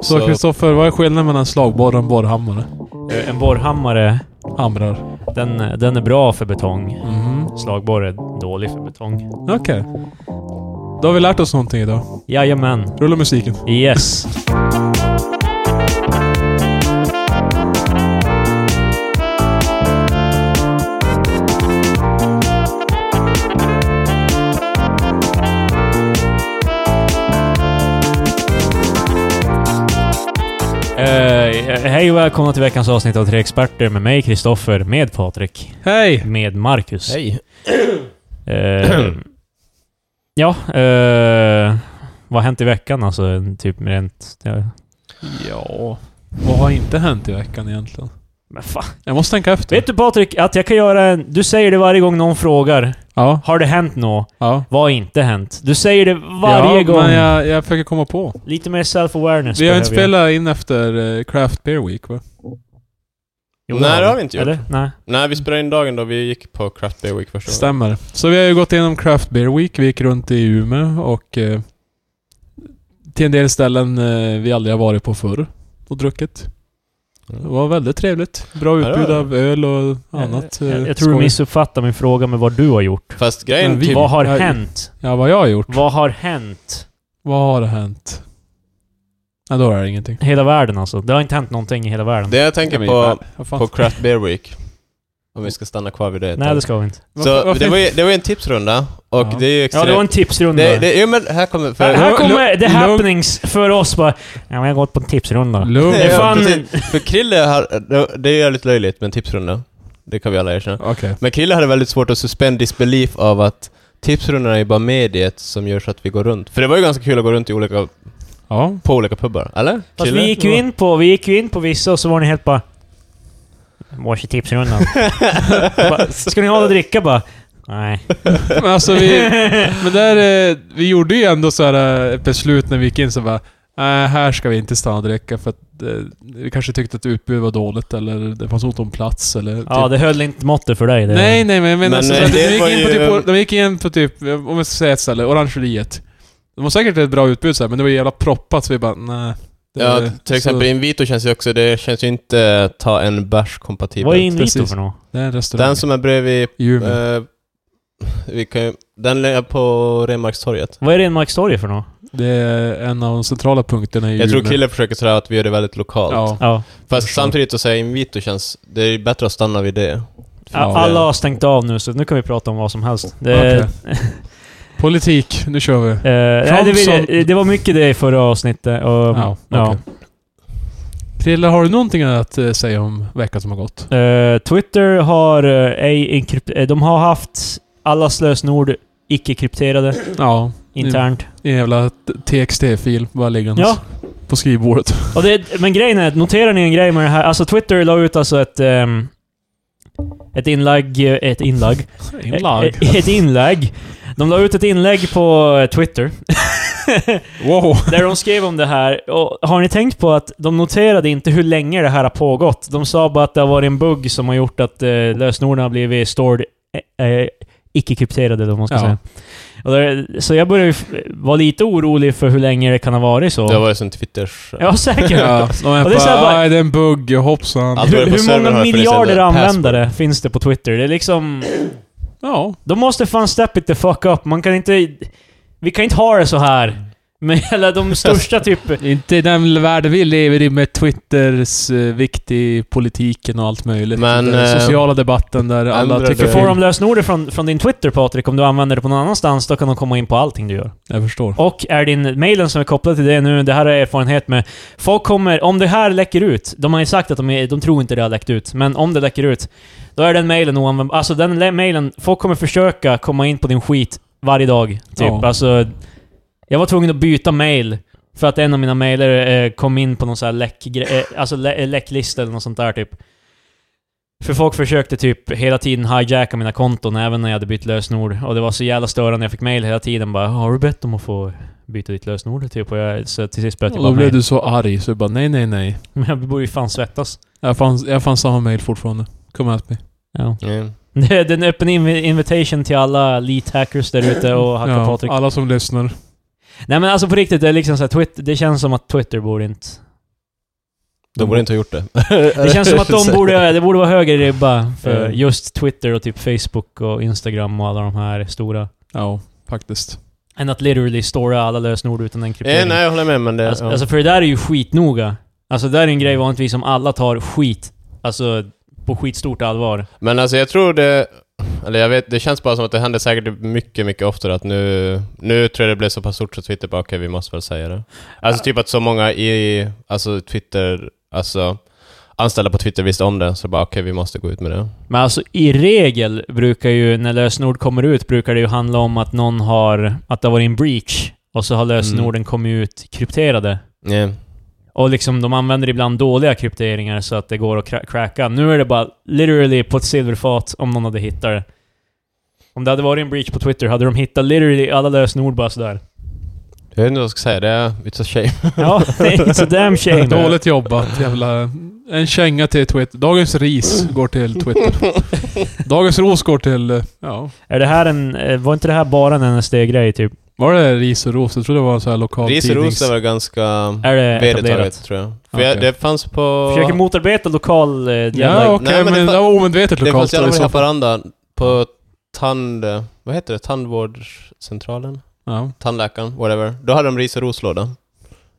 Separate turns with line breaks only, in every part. Så Kristoffer, vad är skillnaden mellan slagborr och en borrhammare?
Eh, En borrhammare,
Hamrar.
den, den är bra för betong.
Mhm.
Slagborr är dålig för betong.
Okej. Då har vi lärt oss någonting idag.
Jajamän.
Rulla musiken.
Yes. Eh, hej och välkomna till veckans avsnitt av Tre Experter med mig, Kristoffer, med Patrik,
Hej!
med Marcus.
Hej.
Eh, ja, eh, vad har hänt i veckan alltså? en Typ rent... Ja.
Ja... Vad har inte hänt i veckan egentligen?
Men fan.
Jag måste tänka efter.
Vet du Patrik, att jag kan göra en... Du säger det varje gång någon frågar.
Ja,
Har det hänt något?
ja.
Vad har inte hänt? Du säger det varje
ja,
gång.
men jag, jag försöker komma på.
Lite mer self-awareness
Vi har inte
behöver jag.
spelat in efter eh, Craft Beer Week va?
Jo,
Nej, det har vi inte gjort.
Eller? Nej.
Nej, vi spelade in dagen då vi gick på Craft Beer Week första gången.
Stämmer. Så vi har ju gått igenom Craft Beer Week, vi gick runt i Umeå och eh, till en del ställen eh, vi aldrig har varit på förr och druckit. Det var väldigt trevligt. Bra
Mm. Ja, det
utbud
var det.
av öl och annat.
Jag,
eh,
jag, jag tror du
skoj.
missuppfattar min fråga med vad du har gjort.
Fast grejen
Men vi-
typ...
Vad har
jag-
hänt?
Ja, vad jag har gjort?
Vad har hänt?
Vad har hänt? Nej, då är det ingenting.
Hela världen alltså. Det har inte hänt någonting i hela världen.
Det jag tänker på,
Vad fan?
på Craft Beer Week, om vi ska stanna kvar vid det ett
Nej,
tag.
det ska vi inte.
Varför-
Så
varför
det var,
inte-
ju, det var ju en tipsrunda, och
Ja.
det är ju
Ja,
extremt...
det var en tipsrunda.
det, det, jo, men här kommer... För,
Här- här
Lugn-
kommer the
lugn-
happenings för oss bara... Ja, men jag har gått på en tipsrunda.
Lugn.
Det är
Ja,
fan...
precis. för Krille har... det- Det är ju lite löjligt med en tipsrunda. Det kan vi alla erkänna.
Okej.
Men Krille hade väldigt svårt att suspend disbelief av att tipsrundorna är bara mediet som gör så att vi går runt. För det var ju ganska kul att gå runt i olika,
Ja.
på olika pubbar, eller?
Fast
Krille?
vi gick, ju in på, vi gick ju in på vissa och så var ni helt bara... Varsin tipsrunda. Bara, Ska ni ha något att dricka bara? Nej.
Men alltså vi... Men där, eh, vi gjorde ju ändå så här eh, ett beslut när vi gick in så bara Nej, här ska vi inte stanna och dricka för att eh, vi kanske tyckte att utbudet var dåligt eller det fanns ont om plats eller...
Ja, det höll inte måttet för dig. Det.
Typ. Nej, nej, men jag menar
Men,
så,
eh,
så att
det
vi gick
var
in på
ju-
typ, de gick in på typ, eh, om jag ska säga ett ställe, Orangeriet. De har säkert ett bra utbud så här, men det var ju jävla proppat så vi bara, nej. det-
Ja, till exempel
Så,
Invito känns ju också, det känns ju inte eh, ta en bärs kompatibelt.
Vad är Invito
Typ, Precis.
för något?
det är en restaurang.
Den som är bredvid...
i Umeå.
Eh, vi kan, ju- den är på Renmarkstorget.
Vad är Renmarkstorget för något?
det är en av de centrala punkterna i
Jag tror
Umeå.
Krille försöker sådär att vi gör det väldigt lokalt.
Ja.
Ja.
Fast
förstår.
samtidigt att säga Invito känns... Det är bättre att stanna vid det.
Ja.
Alla har stängt av nu, så nu kan vi prata om vad som helst. Det,
Okej. Politik, nu kör vi.
eh, nej, det, vill
Thompson.
jag, det var mycket det i förra avsnittet. Och,
Ja,
ja,
okej. Krille, har du någonting att eh, säga om veckan som har gått?
Eh, Twitter har eh, ej inkrypt- eh, De har haft alla lösenord icke-krypterade
Mm. Ja,
internt.
en jävla t- TXT-fil bara liggandes
Ja,
på skrivbordet.
och det, men grejen är, noterar ni en grej med det här? Alltså Twitter la ut alltså ett... ehm, ett inlägg... eh, Ett inlägg?
Inlag.
Eh, Ett, ett inlägg. De la ut ett inlägg på eh, Twitter.
Wow.
Där de skrev om det här. Och har ni tänkt på att de noterade inte hur länge det här har pågått? De sa bara att det har varit en bugg som har gjort att eh, lösenorden har blivit stored... Eh, eh, icke-krypterade, eller vad man ska
Ja.
säga. Och där, så jag börjar ju f- vara lite orolig för hur länge det kan ha varit så.
Det var ju som Twitters...
Ja, säkert.
Ja, de är
Och det är så här
bara,
bara-
"Aj, det är en bugg, hoppsan.
Allt-
Hur,
på
hur
servern har
många
funnits en
miljarder
password.
användare finns det på Twitter? Det är liksom...
Ja.
De måste fan step it the fuck up. Man kan inte... Vi kan inte ha det så här. Men eller de största typ...
Inte i den värld vi lever i med Twitters eh, vikt i politiken och allt möjligt.
Men,
den
eh,
sociala debatten där alla
ändrade-
tycker
Får de
fel.
lösenordet från, från din Twitter Patrik, om du använder det på någon annanstans, då kan de komma in på allting du gör.
Jag förstår.
Och är din mailen som är kopplad till det nu, det här är erfarenhet med. Folk kommer, om det här läcker ut, de har ju sagt att de, är, de tror inte det har läckt ut, men om det läcker ut, då är den mailen oanvändbar. Alltså den lä- mailen, folk kommer försöka komma in på din skit varje dag. Typ.
Ja.
Alltså, jag var tvungen att byta mail. För att en av mina mailer eh, kom in på någon sån här läck, eh, alltså lä eh, läcklista eller något sånt där typ. För folk försökte typ hela tiden hijacka mina konton även när jag hade bytt lösenord. Och det var så jävla störande, jag fick mail hela tiden bara “Har du bett om att få byta ditt lösenord?” typ. Och jag, så till sist böt jag
Och
bara
då blev
mail.
du så arg så du bara nej, nej, nej.
Men jag borde ju fan svettas.
Jag fanns, jag fanns samma mail fortfarande. Come at me.
Ja.
Mm.
Det är en öppen inv- invitation till alla elite hackers där ute och hacka
Ja,
Patrik.
alla som lyssnar.
Nej men alltså på riktigt, det är liksom så här, Twitter, det känns som att Twitter borde inte...
De borde inte ha gjort det. Eh,
Det känns som att de borde, det borde vara högre ribba för just Twitter och typ Facebook och Instagram och alla de här stora.
Ja, faktiskt.
Än att literally stora alla lösenord utan en kryptering.
Eh, nej, jag håller med men det...
alltså,
ja.
alltså för det där är ju skitnoga. Alltså det där är en grej vanligtvis som alla tar skit, alltså på skitstort allvar.
Men alltså jag tror det... Eller jag vet, det känns bara som att det händer säkert mycket, mycket oftare att nu... Nu tror jag det blev så pass stort så Twitter bara, okej vi måste väl säga det. Alltså typ att så många i... Alltså Twitter... Alltså... Anställda på Twitter visste om det, så bara okej vi måste gå ut med det.
Men alltså i regel brukar ju, när lösenord kommer ut, brukar det ju handla om att någon har, att det har varit en breach och så har lösenorden
Mm.
kommit ut krypterade.
Yeah.
Och liksom de använder ibland dåliga krypteringar så att det går att kra- cracka. Nu är det bara literally på ett silverfat om någon hade hittat det. Om det hade varit en breach på Twitter hade de hittat literally alla lösenord bara sådär.
Jag vet inte vad jag ska säga, det är... It's a shame.
Ja, det är så damn shame.
Dåligt jobbat, jävla... En känga till Twitter. Dagens ris går till Twitter. Dagens ros går till... eh, Ja.
Är det här en... eh, Var inte det här bara en NSD-grej typ?
Var det ris och ros? Jag trodde det var en sån här lokal
Ris och
tidnings...
ros är väl ganska...
Är det
Vedertaget
etablerat?
tror jag. För
Okej.
jag, det fanns på...
Försöker motarbeta lokal... eh, jävla-
Ja, okej,
Nej, men
men,
det
det
fa-
var omedvetet
det
lokalt.
fanns i alla
i
fall i
så fall.
Haparanda på tand... Vad heter det? Tandvårdscentralen?
Ja.
Tandläkaren, whatever. Då hade de ris och roslåda.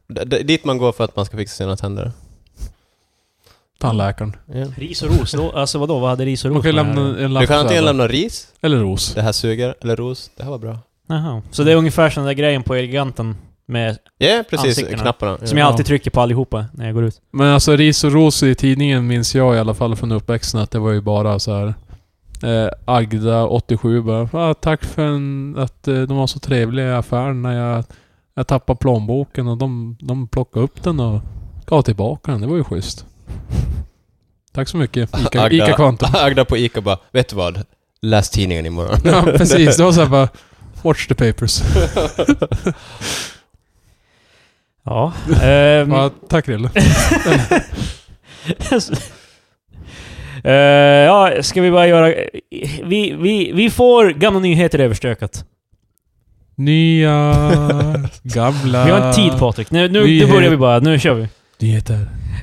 D- d- dit man går för att man ska fixa sina tänder.
Tandläkaren.
Ja.
Ris och ros? Då, alltså vadå? Vad hade ris och
Man
ros
kan ju
med det här
lämna en lapp
Du kan
så här
antingen
bara.
lämna ris,
Eller ros.
det här suger, eller ros, det här var bra.
då? Jaha. Så det är ungefär som den där grejen på Eleganten med,
Ja, precis.
Ansiktena.
Knapparna. Ja.
som jag
Ja.
alltid trycker på allihopa när jag går ut.
Men alltså ris och ros i tidningen minns jag i alla fall från uppväxten att det var ju bara så här. Eh, Agda, 87, bara ah, “Tack för en, att eh, de var så trevliga i affären när jag, jag tappade plånboken och de, de plockade upp den och gav tillbaka den. Det var ju schysst.” Tack så mycket, Ica,
Agda-
Ica Quantum.
Agda på Ica bara, vet du vad? Läs tidningen imorgon.
ja, precis. Det var såhär bara “Watch the papers”.
Ja. ehm,
Bara, tack Rille.
Eh, ja, ska vi bara göra... Vi, vi, vi får gamla nyheter överstökat.
Nya, gamla...
Vi har inte tid Patrik. Nu, nu, nu
Nyhet.
börjar Ah. vi bara. Nu kör vi.
Nyheter.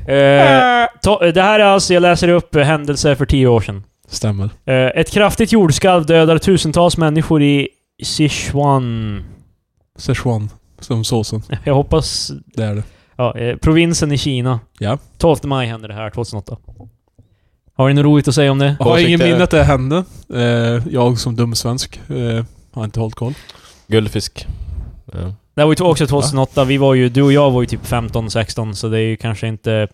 Eh, to, det här är alltså, jag läser upp eh, händelser för tio år sedan.
Stämmer.
Eh, ett kraftigt jordskalv dödar tusentals människor i Sichuan.
Szechuan. Som såsen.
Jag hoppas...
Det är det.
Ja, eh, provinsen i Kina.
Ja.
12 maj hände det här, 2008. Har ni något roligt att säga om det?
Jag har ingen
Åsikter.
minne att det hände. Eh, jag som dum svensk eh, har inte hållit koll.
Guldfisk. Ja.
Det här var ju också 2008. Vi var ju, du och jag var ju typ 15-16, så det är ju kanske inte...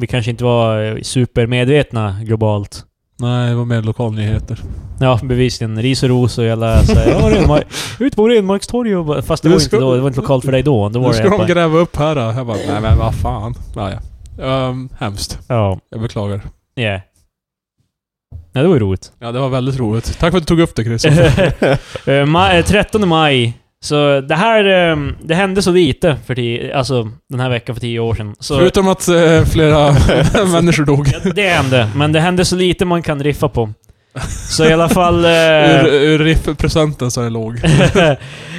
Vi kanske inte var eh, supermedvetna globalt.
Nej, det var mer lokalnyheter.
Ja, bevisligen. Ris och ros och jävla såhär... Ja, Renmark, ut på Renmarkstorget och bara- Fast det
Nu
var ju inte
ska-
då. Det var inte lokalt för dig då. Då
Nu
var
ska
det
de
bara,
gräva upp här. då. Jag bara, nej men vad fan. Ja, ja. Um, hemskt.
Ja.
Jag beklagar.
Yeah. Ja, det var ju roligt.
Ja, det var väldigt roligt. Tack för att du tog upp det Chris.
Eh, ma- eh, 13 maj. Så det här... ehm, Det hände så lite för tio, Alltså, den här veckan för tio år sedan. Så,
Förutom att eh, flera människor dog.
Ja, det hände. Men det hände så lite man kan riffa på. Så i alla fall... eh,
Ur, ur riff-presenten så är det låg.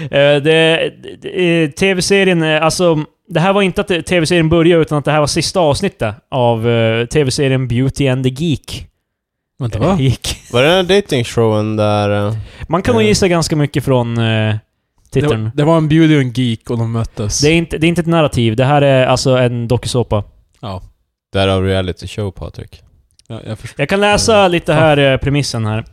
Eh, det, det, eh, tv-serien, eh, alltså... Det här var inte att eh, tv-serien började, utan att det här var sista avsnittet av eh, tv-serien Beauty and the Geek.
Vänta
Eller
va?
Geek.
Var det den där datingshowen där... eh,
Man kan nog
Eh.
gissa ganska mycket från eh,
Det,
titeln.
var- det var en beauty och en geek och de möttes.
Det är, inte, det är inte ett narrativ, det här är alltså en dokusåpa.
Ja,
Därav reality show, Patrik.
ja, jag förstår.
Jag kan läsa lite här, eh, premissen här.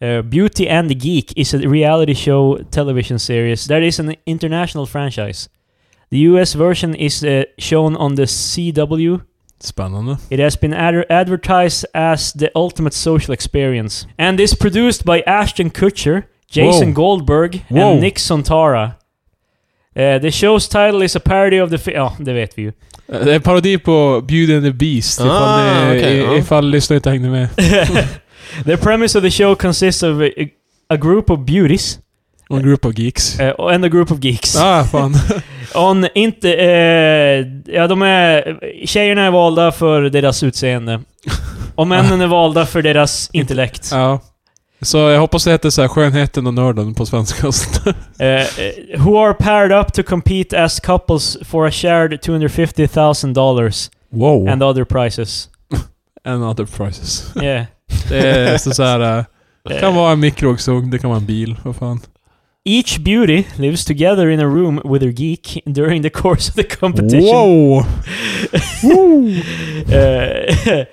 Eh, Beauty and the Geek is a reality show television series that is an international franchise. The US version is eh, shown on the CW.
Spännande.
It has been ad- advertised as the ultimate social experience. And is produced by Ashton Kutcher, Jason
Whoa.
Goldberg,
Whoa.
and Nick Sontara. Eh, the show's title is a parody of the... fi- Ja, det vet vi ju.
Eh, Det är en parodi på Beauty and the Beast. ifall
Ah,
ni,
okej,
i-
ja.
ifall lyssnare inte hängde med.
the premise of the show consists of a, a group of beauties
Och en grupp av geeks.
uh, and a group of geeks.
Ah, fan.
On inte... eh, ja, de är... Tjejerna är valda för deras utseende. Och männen är valda för deras intellekt.
ja. Så jag hoppas det heter så här Skönheten och Nörden på svenska.
Uh, who are paired up to compete as couples for a shared $250,000.
Wow.
and other prices.
And other prices.
Yeah.
Det är så, så här. eh, Det kan vara en mikrovågsugn, det kan vara en bil. Vad fan.
Each beauty lives together in a room with her geek during the course of the competition.
Wow!
Uh,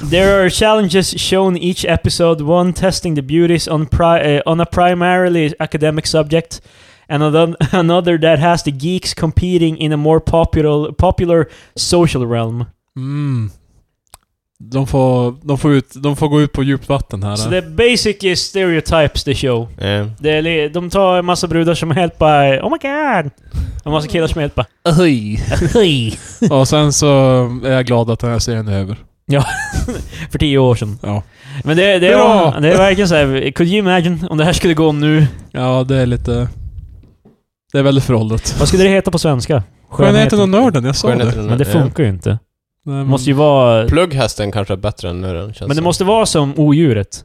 there are challenges shown each episode, one testing the beauties on, pri- uh, on a primarily academic subject, and another- another that has the geeks competing in a more popular, popular social realm.
Mm. De får, de, får ut, de får gå ut på djupt vatten här.
Så
eh.
det är basic is stereotypes the show.
Eh.
Det är, li- de tar en massa brudar som är helt bara Oh my god! Och en massa killar som är helt bara Hej!
Och sen så är jag glad att den här serien är över.
För tio år sedan.
Ja.
Men det, det,
Bra!
är, det är verkligen såhär, could you imagine om det här skulle gå nu?
Ja, det är lite... Det är väldigt föråldrat.
Vad skulle det heta på svenska?
Skönheten och nörden, jag sa det.
Skönheten-
Men det
eh.
funkar ju inte.
Nej,
Det
men-
måste ju
Mm.
vara...
Plugghästen kanske är bättre än nu den känns
Men det
som.
måste vara som odjuret.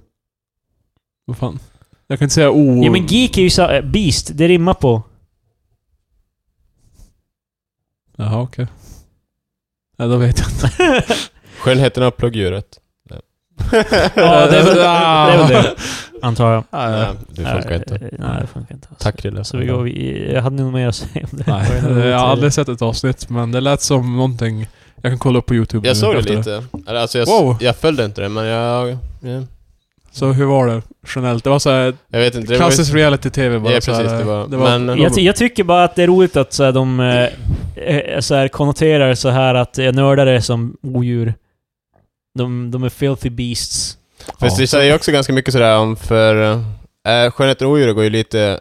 Vad fan? Jag kan inte säga
Mm.
o...
Ja men geek är ju så, äh, beast, det rimmar på.
Jaha, okej. Nej, då vet jag inte.
Skönheten av pluggdjuret. Ja,
Ja, det är väl det.
Ah.
Är väl det antar jag.
Nej, det funkar
Nej,
inte.
Eh, Nej, det funkar inte. alls.
Tack Rille.
Så vi går vi, Jag hade nog mer att säga om det.
Nej,
Det var
jag har
en-
aldrig sett ett avsnitt, men det lät som någonting jag kan kolla upp på YouTube.
Jag
nu
såg det
efter
lite. Eller, Alltså, jag,
Wow.
jag följde inte det, men jag... ja.
Så hur var det generellt? Det var så här,
Jag vet inte. Det var,
klassisk reality-tv bara.
Ja,
så här,
precis, det var- men-
Jag, ty- jag tycker bara att det är roligt att så här, de eh, eh, så här, konnoterar så här att eh, nördar är som odjur. De, de är filthy beasts.
Fast det säger ju också ganska mycket sådär om för... Äh, Skönheten och odjuret går ju lite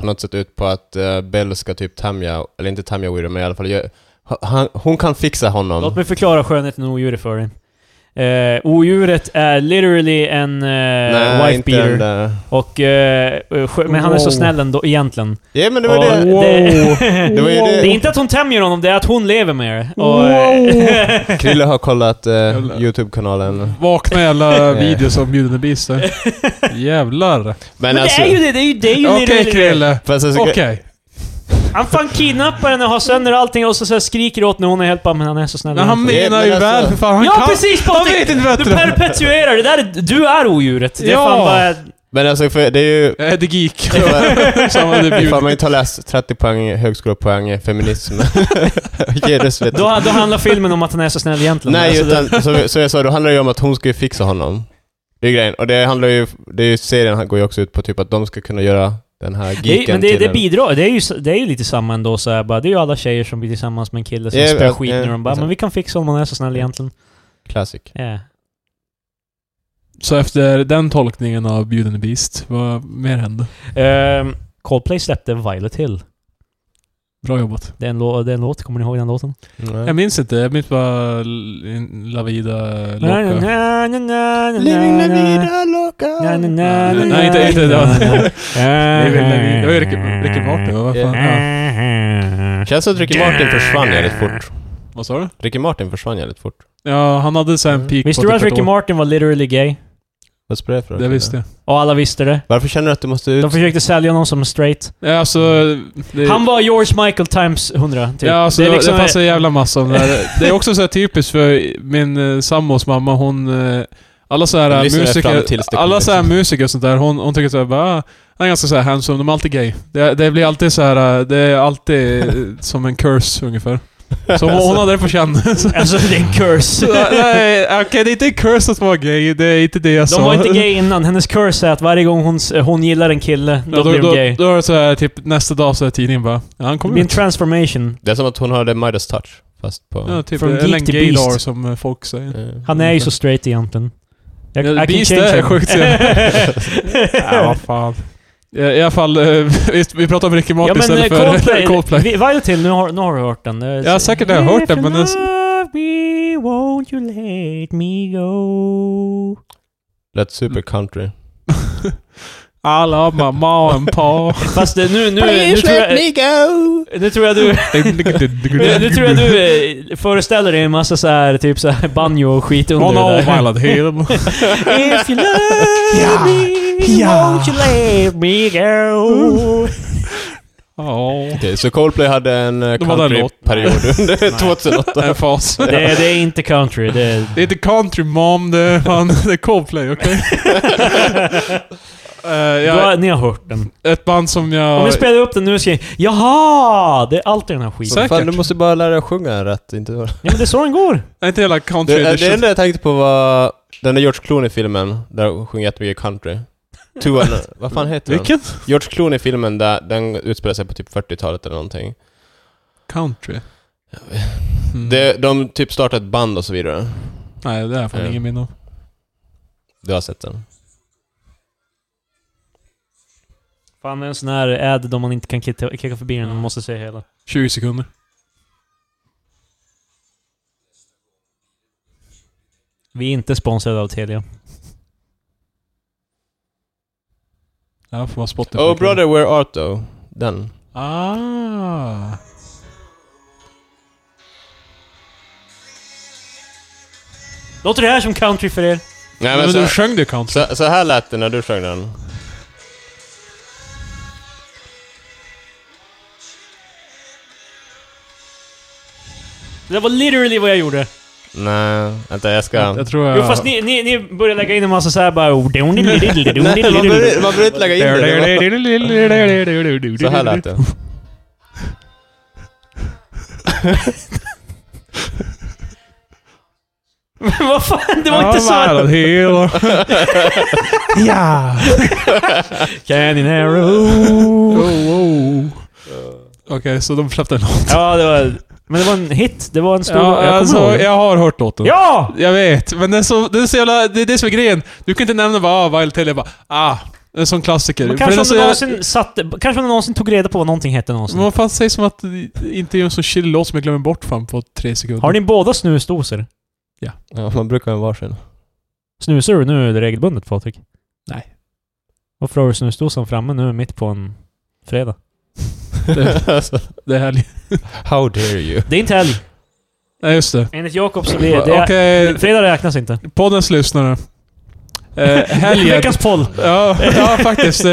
på något sätt ut på att eh, Bell ska typ tämja, eller inte tämja odjuret, men i alla fall gö- ha- han, Hon kan fixa
Låt
honom.
mig förklara skönheten och odjuret för dig. Eh, odjuret är literally en eh, wife
inte den
beater.
där.
Och, eh, skö- men han är så
Wow.
snäll ändå, egentligen.
Ja men det var
Och
det.
Wow.
Det var ju det.
det är inte att hon tämjer honom, det är att hon lever med det. Och,
Wow.
Krille har kollat eh,
Jävlar.
YouTube-kanalen.
Vakna jävla videos om Bjudande Bister. Jävlar.
Men,
Men
alltså...
det är ju det, det är ju, det är ju
Okej
literally det.
Krille.
Fast alltså,
Okej.
Han fan kidnappar henne och har sönder allting och så, så här skriker åt när hon är helt bara men han är så snäll.
Men han
Ja,
menar
men
ju
alltså-
väl för fan. Han
ja
kan.
precis
Han
Patrik!
vet inte bättre.
Du perpetuerar det där, är- du är odjuret. Det är
Ja.
fan bara...
Men alltså, för det är ju...
Eh,
Jag är the geek. Samma det
Ifall
bjud.
man inte har läst 30 poäng högskolepoäng i feminism. Genus, vet du.
Då, då handlar filmen om att han är så snäll egentligen.
Nej,
Alltså,
utan som, som jag sa, då handlar det ju om att hon ska ju fixa honom. Det är ju grejen. Och det handlar ju... Det är ju serien går ju också ut på typ att de ska kunna göra den här
det, det,
geeken
men det,
till
det
en-
bidrar, det är, ju, s- det är ju lite samma ändå så här, bara, det är ju alla tjejer som blir tillsammans med en kille som
Ja,
spöar
ja,
skit
ja,
nu de bara
exakt.
men vi kan fixa honom, han är så snäll egentligen.
Classic.
Ja.
Så efter den tolkningen av Bjudande Beast, vad mer hände?
Ehm, Coldplay släppte Violet Hill.
Bra jobbat.
Det är, en lå- det är en låt, kommer ni ihåg den låten?
Jag minns inte, jag minns bara L- Lavida
Na, na,
Loka.
na, na, na, na,
Living la
na.
vida loca.
Na, na, na, na,
Nej, inte- inte
na,
den.
na, na.
Living La Vida. Det var ju Ricky- Ricky Martin, vad fan?
Känns som att Ricky Martin försvann jävligt fort.
Vad sa du?
Ricky Martin försvann jävligt fort.
Ja, han hade så här en peak
Visste
på
du att
typ ett
Ricky
år.
Martin var literally gay?
Vad spelar det för roll?
Det visste jag.
Och alla visste det.
Varför känner du att du måste ut?
De försökte sälja honom som straight.
Ja, alltså... Det,
Han var George Michael times 100, typ.
Ja, alltså,
Det
det,
är liksom-
det fanns en jävla massa om det här. Det är också så här typiskt för min eh, sambos mamma, hon... eh, Alla så
De
här
lyssnar fram
musiker,
tills det kommer
alla så här
ut.
musiker och sånt där, hon, hon tycker såhär bara... "Ah, Han är ganska såhär handsome, de är alltid gay. Det, det blir alltid så här. eh, det är alltid eh, som en curse ungefär. Så hon, hon hade det på känn. Så-
Alltså, det är en curse.
Nej, okej det är inte en curse att vara gay, det är inte det jag sa.
De var inte gay innan. Hennes curse är att varje gång hon, s- hon gillar en kille, då
Ja, då,
blir
då,
de gay.
då är det så här, typ nästa dag så är tidningen bara ja, han
Det
kommer
blir en
ut.
transformation.
Det är som att hon hade Midas touch, fast på...
Ja, typ
From
eller
geek
en
till
gaydar
beast.
som eh, folk säger.
Eh,
Han är ju så straight egentligen. Jag,
Mm. Ja,
I can
Beast
change
är
him.
sjukt, ja. Ja, vad fan. I, I alla fall, eh, visst, vi pratar om Ricky Martin
Ja men eh,
istället för
Coldplay,
Coldplay.
Vi, vad är det till? Nu har, nu har du hört den. Det är-
Ja, säkert har jag hört den, men den-
If you love me, won't you let me go?
Lät super country.
Alla mamma och en pa.
Fast eh, nu, nu, nu, tror jag,
go!
nu tror jag du... Nu, nu tror jag du eh, föreställer dig en massa så här, typ så här banjo och skit under
Hon har
det där.
omvajlat hela...
If you love
Ja,
me,
ja. Mm.
won't you let me go?
Ja.
Okej, så Coldplay hade en eh,
De hade en
countryperiod under
Nej.
2008.
En fas.
Det, är- det är inte country, det är...
Det är inte country mom, det är, fan, det är Coldplay, okej? Eh,
Du
jag-
har, ni har hört den.
ett band som
Om
jag...
jag spelar upp den nu ska jag... Jaha! Det är alltid den här skiten.
Säkert.
Fan, du måste bara lära dig att sjunga rätt, inte
Ja men det är så den går.
Nej, inte hela country
Det, det, det
edition.
enda jag tänkte på var den där George Clooney-filmen, där hon sjunger jättemycket country. Two and, vad fan heter den?
Vilken?
George Clooney-filmen, där den utspelar sig på typ 40-talet eller någonting.
Country. Mm.
Det, de typ startar ett band och så vidare.
Nej, det är fan
Ja.
ingen minne av.
Du har sett den?
Fan det är en sån här ad då man inte kan kicka, kicka förbi den, man måste se hela.
20 sekunder.
Vi är inte sponsrade av Telia.
Ja, får man spotta
Oh brother, where art thou? Den.
Ah.
Låter det här som country för er?
Nej
Men,
men,
du
så,
sjöng ju country.
så, så här lät det när du sjöng den.
Det var literally vad jag gjorde.
Nej, vänta jag ska...
jag, jag tror jag...
Jo fast ni, ni, ni började lägga in en massa såhär bara... "Oh,
Nej, man behöver man behöver inte lägga in det. Så här lät det.
Vad fan, det var inte så!
så. Ja.
Canyon Arrow.
Oh, oh. Okej, så de släppte en låt.
Ja, det var... Men det var en hit. Det var en stor...
Ja,
jag
alltså,
kommer ihåg.
jag har hört låten.
Ja!
Jag vet, men det är, så, det är så jävla... Det är det som är grejen. Du kan inte nämna bara ah, Wild Tale, jag bara ah. Det är en sån klassiker.
Men
För den
kanske
är
om
så
du
jävla-
någonsin satte... Kanske om du någonsin tog reda på vad någonting hette någonsin.
Men vad fan sägs som att det inte är en sån chill låt som jag glömmer bort fan på tre sekunder?
Har ni båda snusdosor?
Ja, man brukar ha en varsin.
Snusar du nu regelbundet Patrik?
Nej.
Varför har du snusdosan framme nu mitt på en fredag?
Alltså,
Det är helg.
How dare you?
Det är inte helg.
Nej, just det.
Enligt Jakob så blir det...
Okej,
Fredag räknas inte.
poddens lyssnare. Eh, helgen.
Veckans poll!
ja, ja, faktiskt. Eh,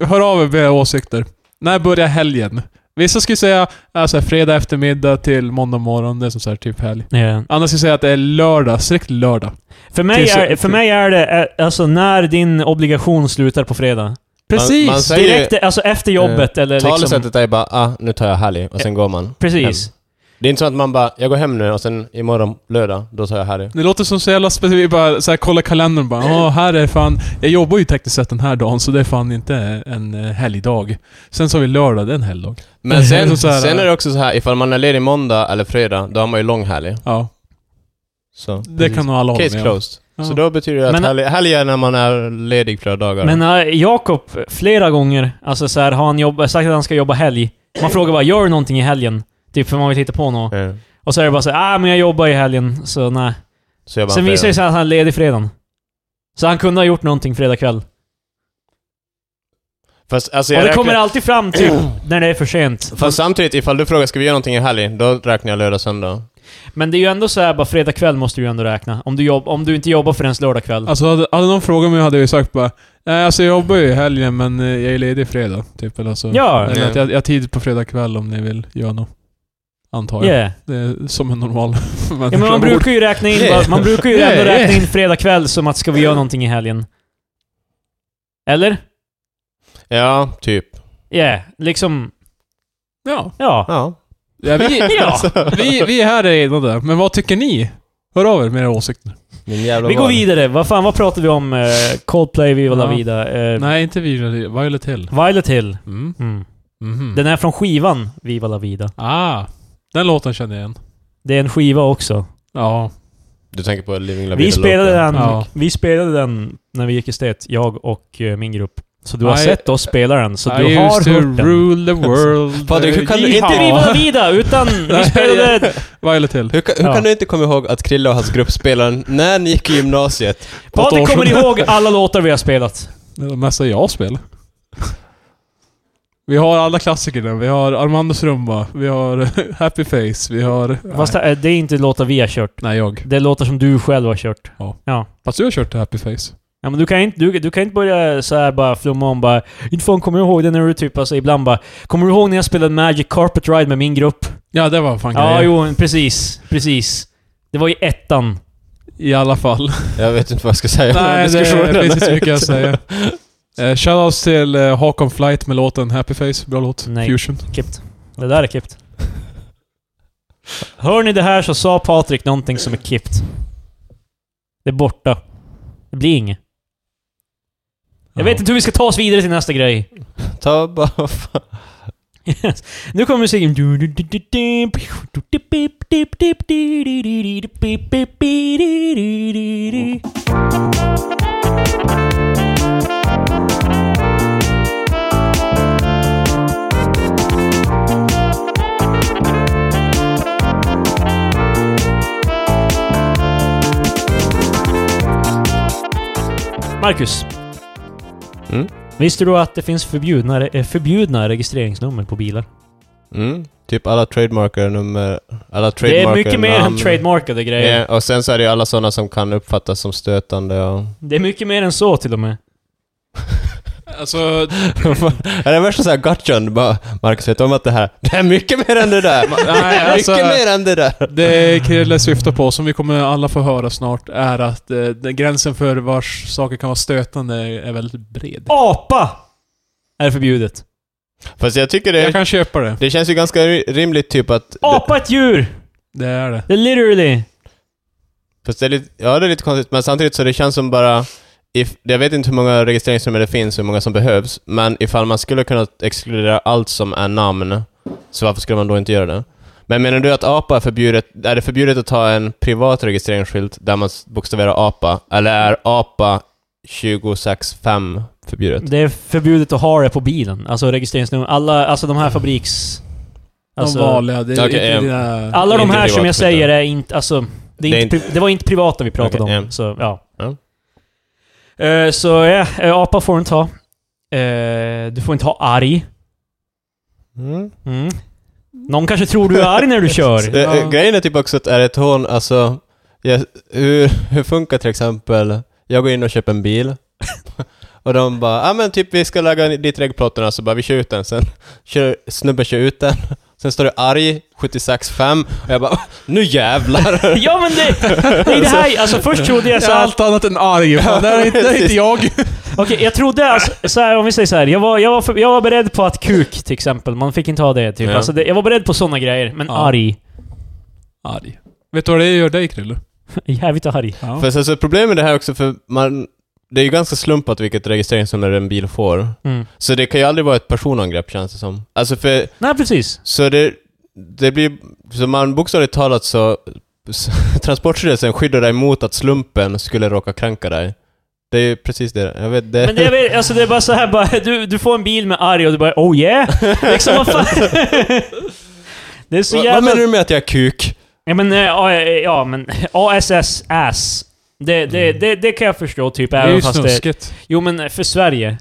hör av er med era åsikter. När börjar helgen? Vissa skulle säga alltså, fredag eftermiddag till måndag morgon. Det är som så här, typ helg.
Ja.
Andra skulle säga att det är lördag. Strikt lördag.
För mig,
Tills-
är, för mig är det eh, alltså när din obligation slutar på fredag.
Precis!
man säger-
Direkt, alltså efter jobbet eller liksom...
Talesättet är bara ah, nu tar jag helg och sen går man.
Precis.
Det är inte så att man bara, jag går hem nu och sen imorgon lördag, då tar jag helg.
Det låter som så jävla specifikt, bara så här, kolla kalendern och bara Åh, här är fan... Jag jobbar ju tekniskt sett den här dagen, så det är fan inte en eh, helgdag. Sen så har vi lördag, det är en helgdag.
Men sen,
Så här,
sen är det också så här, ifall man är ledig måndag eller fredag, då har man ju lång helg.
Ja,
Så.
det kan nog alla hålla
Case
med om.
closed.
Ja.
Så då betyder det att
Men-
helg, helg är när man är ledig flera dagar.
Men eh, Jakob, flera gånger, alltså så här, har han jobba, sagt att han ska jobba helg. Man frågar bara, gör du någonting i helgen? Typ för man vill hitta på något.
Ja.
Och så är det bara så här, ah men jag jobbar i helgen, så nej.
Så jag bara,
Sen
fredag.
visar det sig att han är ledig fredagen. Så han kunde ha gjort någonting fredag kväll.
Fast, alltså, jag
Och det
räknar-
kommer alltid fram typ när det är för sent.
Fast samtidigt, ifall du frågar ska vi göra någonting i helg, då räknar jag lördag söndag.
Men det är ju ändå så här, bara fredag kväll måste du ju ändå räkna. Om du, jobb, om du inte jobbar förrän lördag kväll.
Alltså hade, hade någon frågat mig hade jag ju sagt bara Nej, alltså jag jobbar ju i helgen men eh, jag är ledig fredag. Typ, eller så.
Ja.
eller
Ja.
att jag, jag har tid på fredag kväll om ni vill göra något. Antar jag.
Yeah.
Det är som en normal
Ja, men man brukar ju räkna in,
Nej.
man brukar ju
Nej.
ändå räkna in fredag kväll som att ska vi göra någonting i helgen? Eller?
Ja, typ.
Yeah, liksom,
Ja.
ja.
Ja.
ja, vi,
Ja.
vi, vi här är enade. Men vad tycker ni? Hör av er med era åsikter.
Min jävla
Vi går
val.
vidare. Vad fan, vad pratar vi om? Eh, Coldplay, Viva La
Ja.
Vida. eh,
Nej, inte vi. Violet Hill.
Violet Hill.
Mm.
Mm.
Mhm.
Den är från skivan Viva La Vida.
Ah, den låten känner jag igen.
Det är en skiva också.
Ja.
Du tänker på Living La Vida
Vi spelade,
Loca.
den,
Ja.
vi spelade den när vi gick i stet, jag och eh, min grupp. Så du har
I-
sett oss spela den, så
I
du har
used to
hört den.
rule the world.
Patrik, hur kan du
Inte Viva La Vida, utan vi spelade...
Violet Hill.
Hur, kan, hur
Ja.
kan du inte komma ihåg att Krille och hans grupp spelade den när ni gick i gymnasiet?
Patrik
Patrik
kommer ihåg alla låtar vi har spelat.
Det är det mesta jag spelar. Vi har alla klassikerna. Vi har Armandos rumba, vi har Happy Face, vi har...
Fast
nej,
det det är inte låtar vi har kört.
nej, jag.
Det är låtar som du själv har kört.
Ja.
Ja.
Fast du har kört Happy Face.
Ja men du kan inte, du, du kan inte börja så här bara flumma om bara Inte fan kommer jag ihåg det när du typ alltså ibland bara Kommer du ihåg när jag spelade Magic Carpet Ride med min grupp?
Ja, det var fan
Ja,
grejer.
jo, precis. Precis. Det var i ettan.
I alla fall.
Jag vet inte vad jag ska säga om den
Nej, det
diskussionen.
finns inte så mycket att säga. Eh, Shoutouts till eh, Hawk on Flight med låten Happy Face. Bra låt.
Nej.
Fusion.
Klippt. Det där är klippt.
Typ.
Hör ni det här så sa Patrik någonting som är klippt. Det är borta. Det blir inget. Jag vet inte hur vi ska ta oss vidare till nästa grej.
Ta bara... fan.
Yes. Nu kommer musiken. Marcus.
Mm.
Visste du att det finns förbjudna, eh, förbjudna registreringsnummer på bilar?
Mm. Typ alla trademarker nummer... Alla
Det
trademarker
är mycket mer än
namn.
trademarkade grejer.
Ja, och sen så är det ju alla sådana som kan uppfattas som stötande och...
Det är mycket mer än så till och med.
Alltså,
är det värsta såhär gotchan? Bara, Marcus, vet du om att det här... Det är mycket mer än det där!
nej, alltså-
Mycket mer än det där!
det Krille syftar på, som vi kommer alla få höra snart, är att eh, den gränsen för vars saker kan vara stötande är väldigt bred.
Apa! Är förbjudet.
Fast jag tycker
Jag
det...
kan köpa det.
Det känns ju ganska ri- rimligt typ att...
Apa är ett djur!
Det är det.
Det är literally...
Fast det är lite, ja, det är lite konstigt, men samtidigt så det känns som bara... If, jag vet inte hur många registreringsnummer det finns, hur många som behövs, men ifall man skulle kunna exkludera allt som är namn, så varför skulle man då inte göra det? Men menar du att apa är förbjudet, är det förbjudet att ha en privat registreringsskylt där man s- bokstaverar apa, eller är apa 265 förbjudet?
Det är förbjudet att ha det på bilen. Alltså registreringsnummer. Alla, alltså de här fabriks...
De
Alltså,
vanliga. Det är
Okej,
inte
eh,
dina...
alla de
Inte
här som jag
privat,
säger
utan-
är inte... Alltså, det, är
Det är
inte, pri- det var inte privata vi pratade
Okej,
om.
ja.
Så, ja.
Ja.
Eh, så ja, eh, apa får du inte ha. Eh, du får inte ha arg.
Mm.
Mm. Någon kanske tror du är arg när du kör.
Det,
Ja.
Grejen är typ också att är det ett hån, alltså... Jag, hur, hur funkar till exempel, jag går in och köper en bil, och de bara ah, men typ vi ska lägga dit regplåtarna, så bara vi kör ut den sen. Kör, snubben kör ut den, sen står det arg 76.5, och jag bara nu jävlar!
Ja men det, det är det här, alltså först trodde jag
Jag är
såhär...
allt annat än arg. Fan, det här är inte, det här är inte jag.
Okej, jag trodde alltså, så här, om vi säger såhär, jag var, jag, var för, jag var beredd på att kuk till exempel, man fick inte ha det typ.
Ja.
Alltså, det, jag var beredd på såna grejer, men
Ja.
arg.
Arg. Vet du vad det gör dig, Krille?
Jävligt arg.
Ja.
För alltså, problemet med det här också, för man, det är ju ganska slumpat vilket registreringsnummer en bil får.
Mm.
Så det kan ju aldrig vara ett personangrepp känns det som. Alltså för
Nej precis.
Så det, det blir... Så man bokstavligt talat så... s- Transportstyrelsen skyddar dig mot att slumpen skulle råka kränka dig. Det är ju precis det. Jag vet det.
Men det är, väl- alltså, det är bara så här, bara, du, du får en bil med arg och du bara oh yeah! Liksom vad fan? Det är så
Va- Vad
jävla...
menar du med att jag är kuk?
Ja men, eh, ja, eh, ja men ASS ass. Det, det, det, det kan jag förstå
Mm.
typ,
Det är
även
ju
fast det...
snuskigt.
Jo men eh, för Sverige.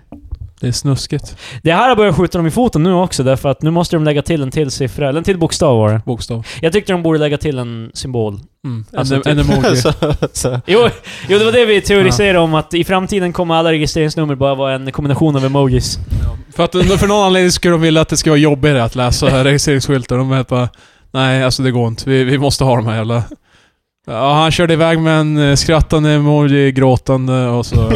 Det är snuskigt.
Det här har börjat skjuta dem i foten nu också, därför att nu måste de lägga till en till siffra, eller en till bokstav var det.
Bokstav.
Jag tyckte de borde lägga till en symbol.
Mm. En,
Alltså, typ-
en emoji.
så, så.
Jo, jo det var det vi teoriserade om, att i framtiden kommer alla registreringsnummer bara vara en kombination av emojis.
För att för någon anledning skulle de vilja att det skulle vara jobbigare att läsa registreringsskyltar. De är bara, nej alltså det går inte. Vi, vi måste ha de här jävla... Ja, han körde iväg med en eh, skrattande emoji, gråtande och så...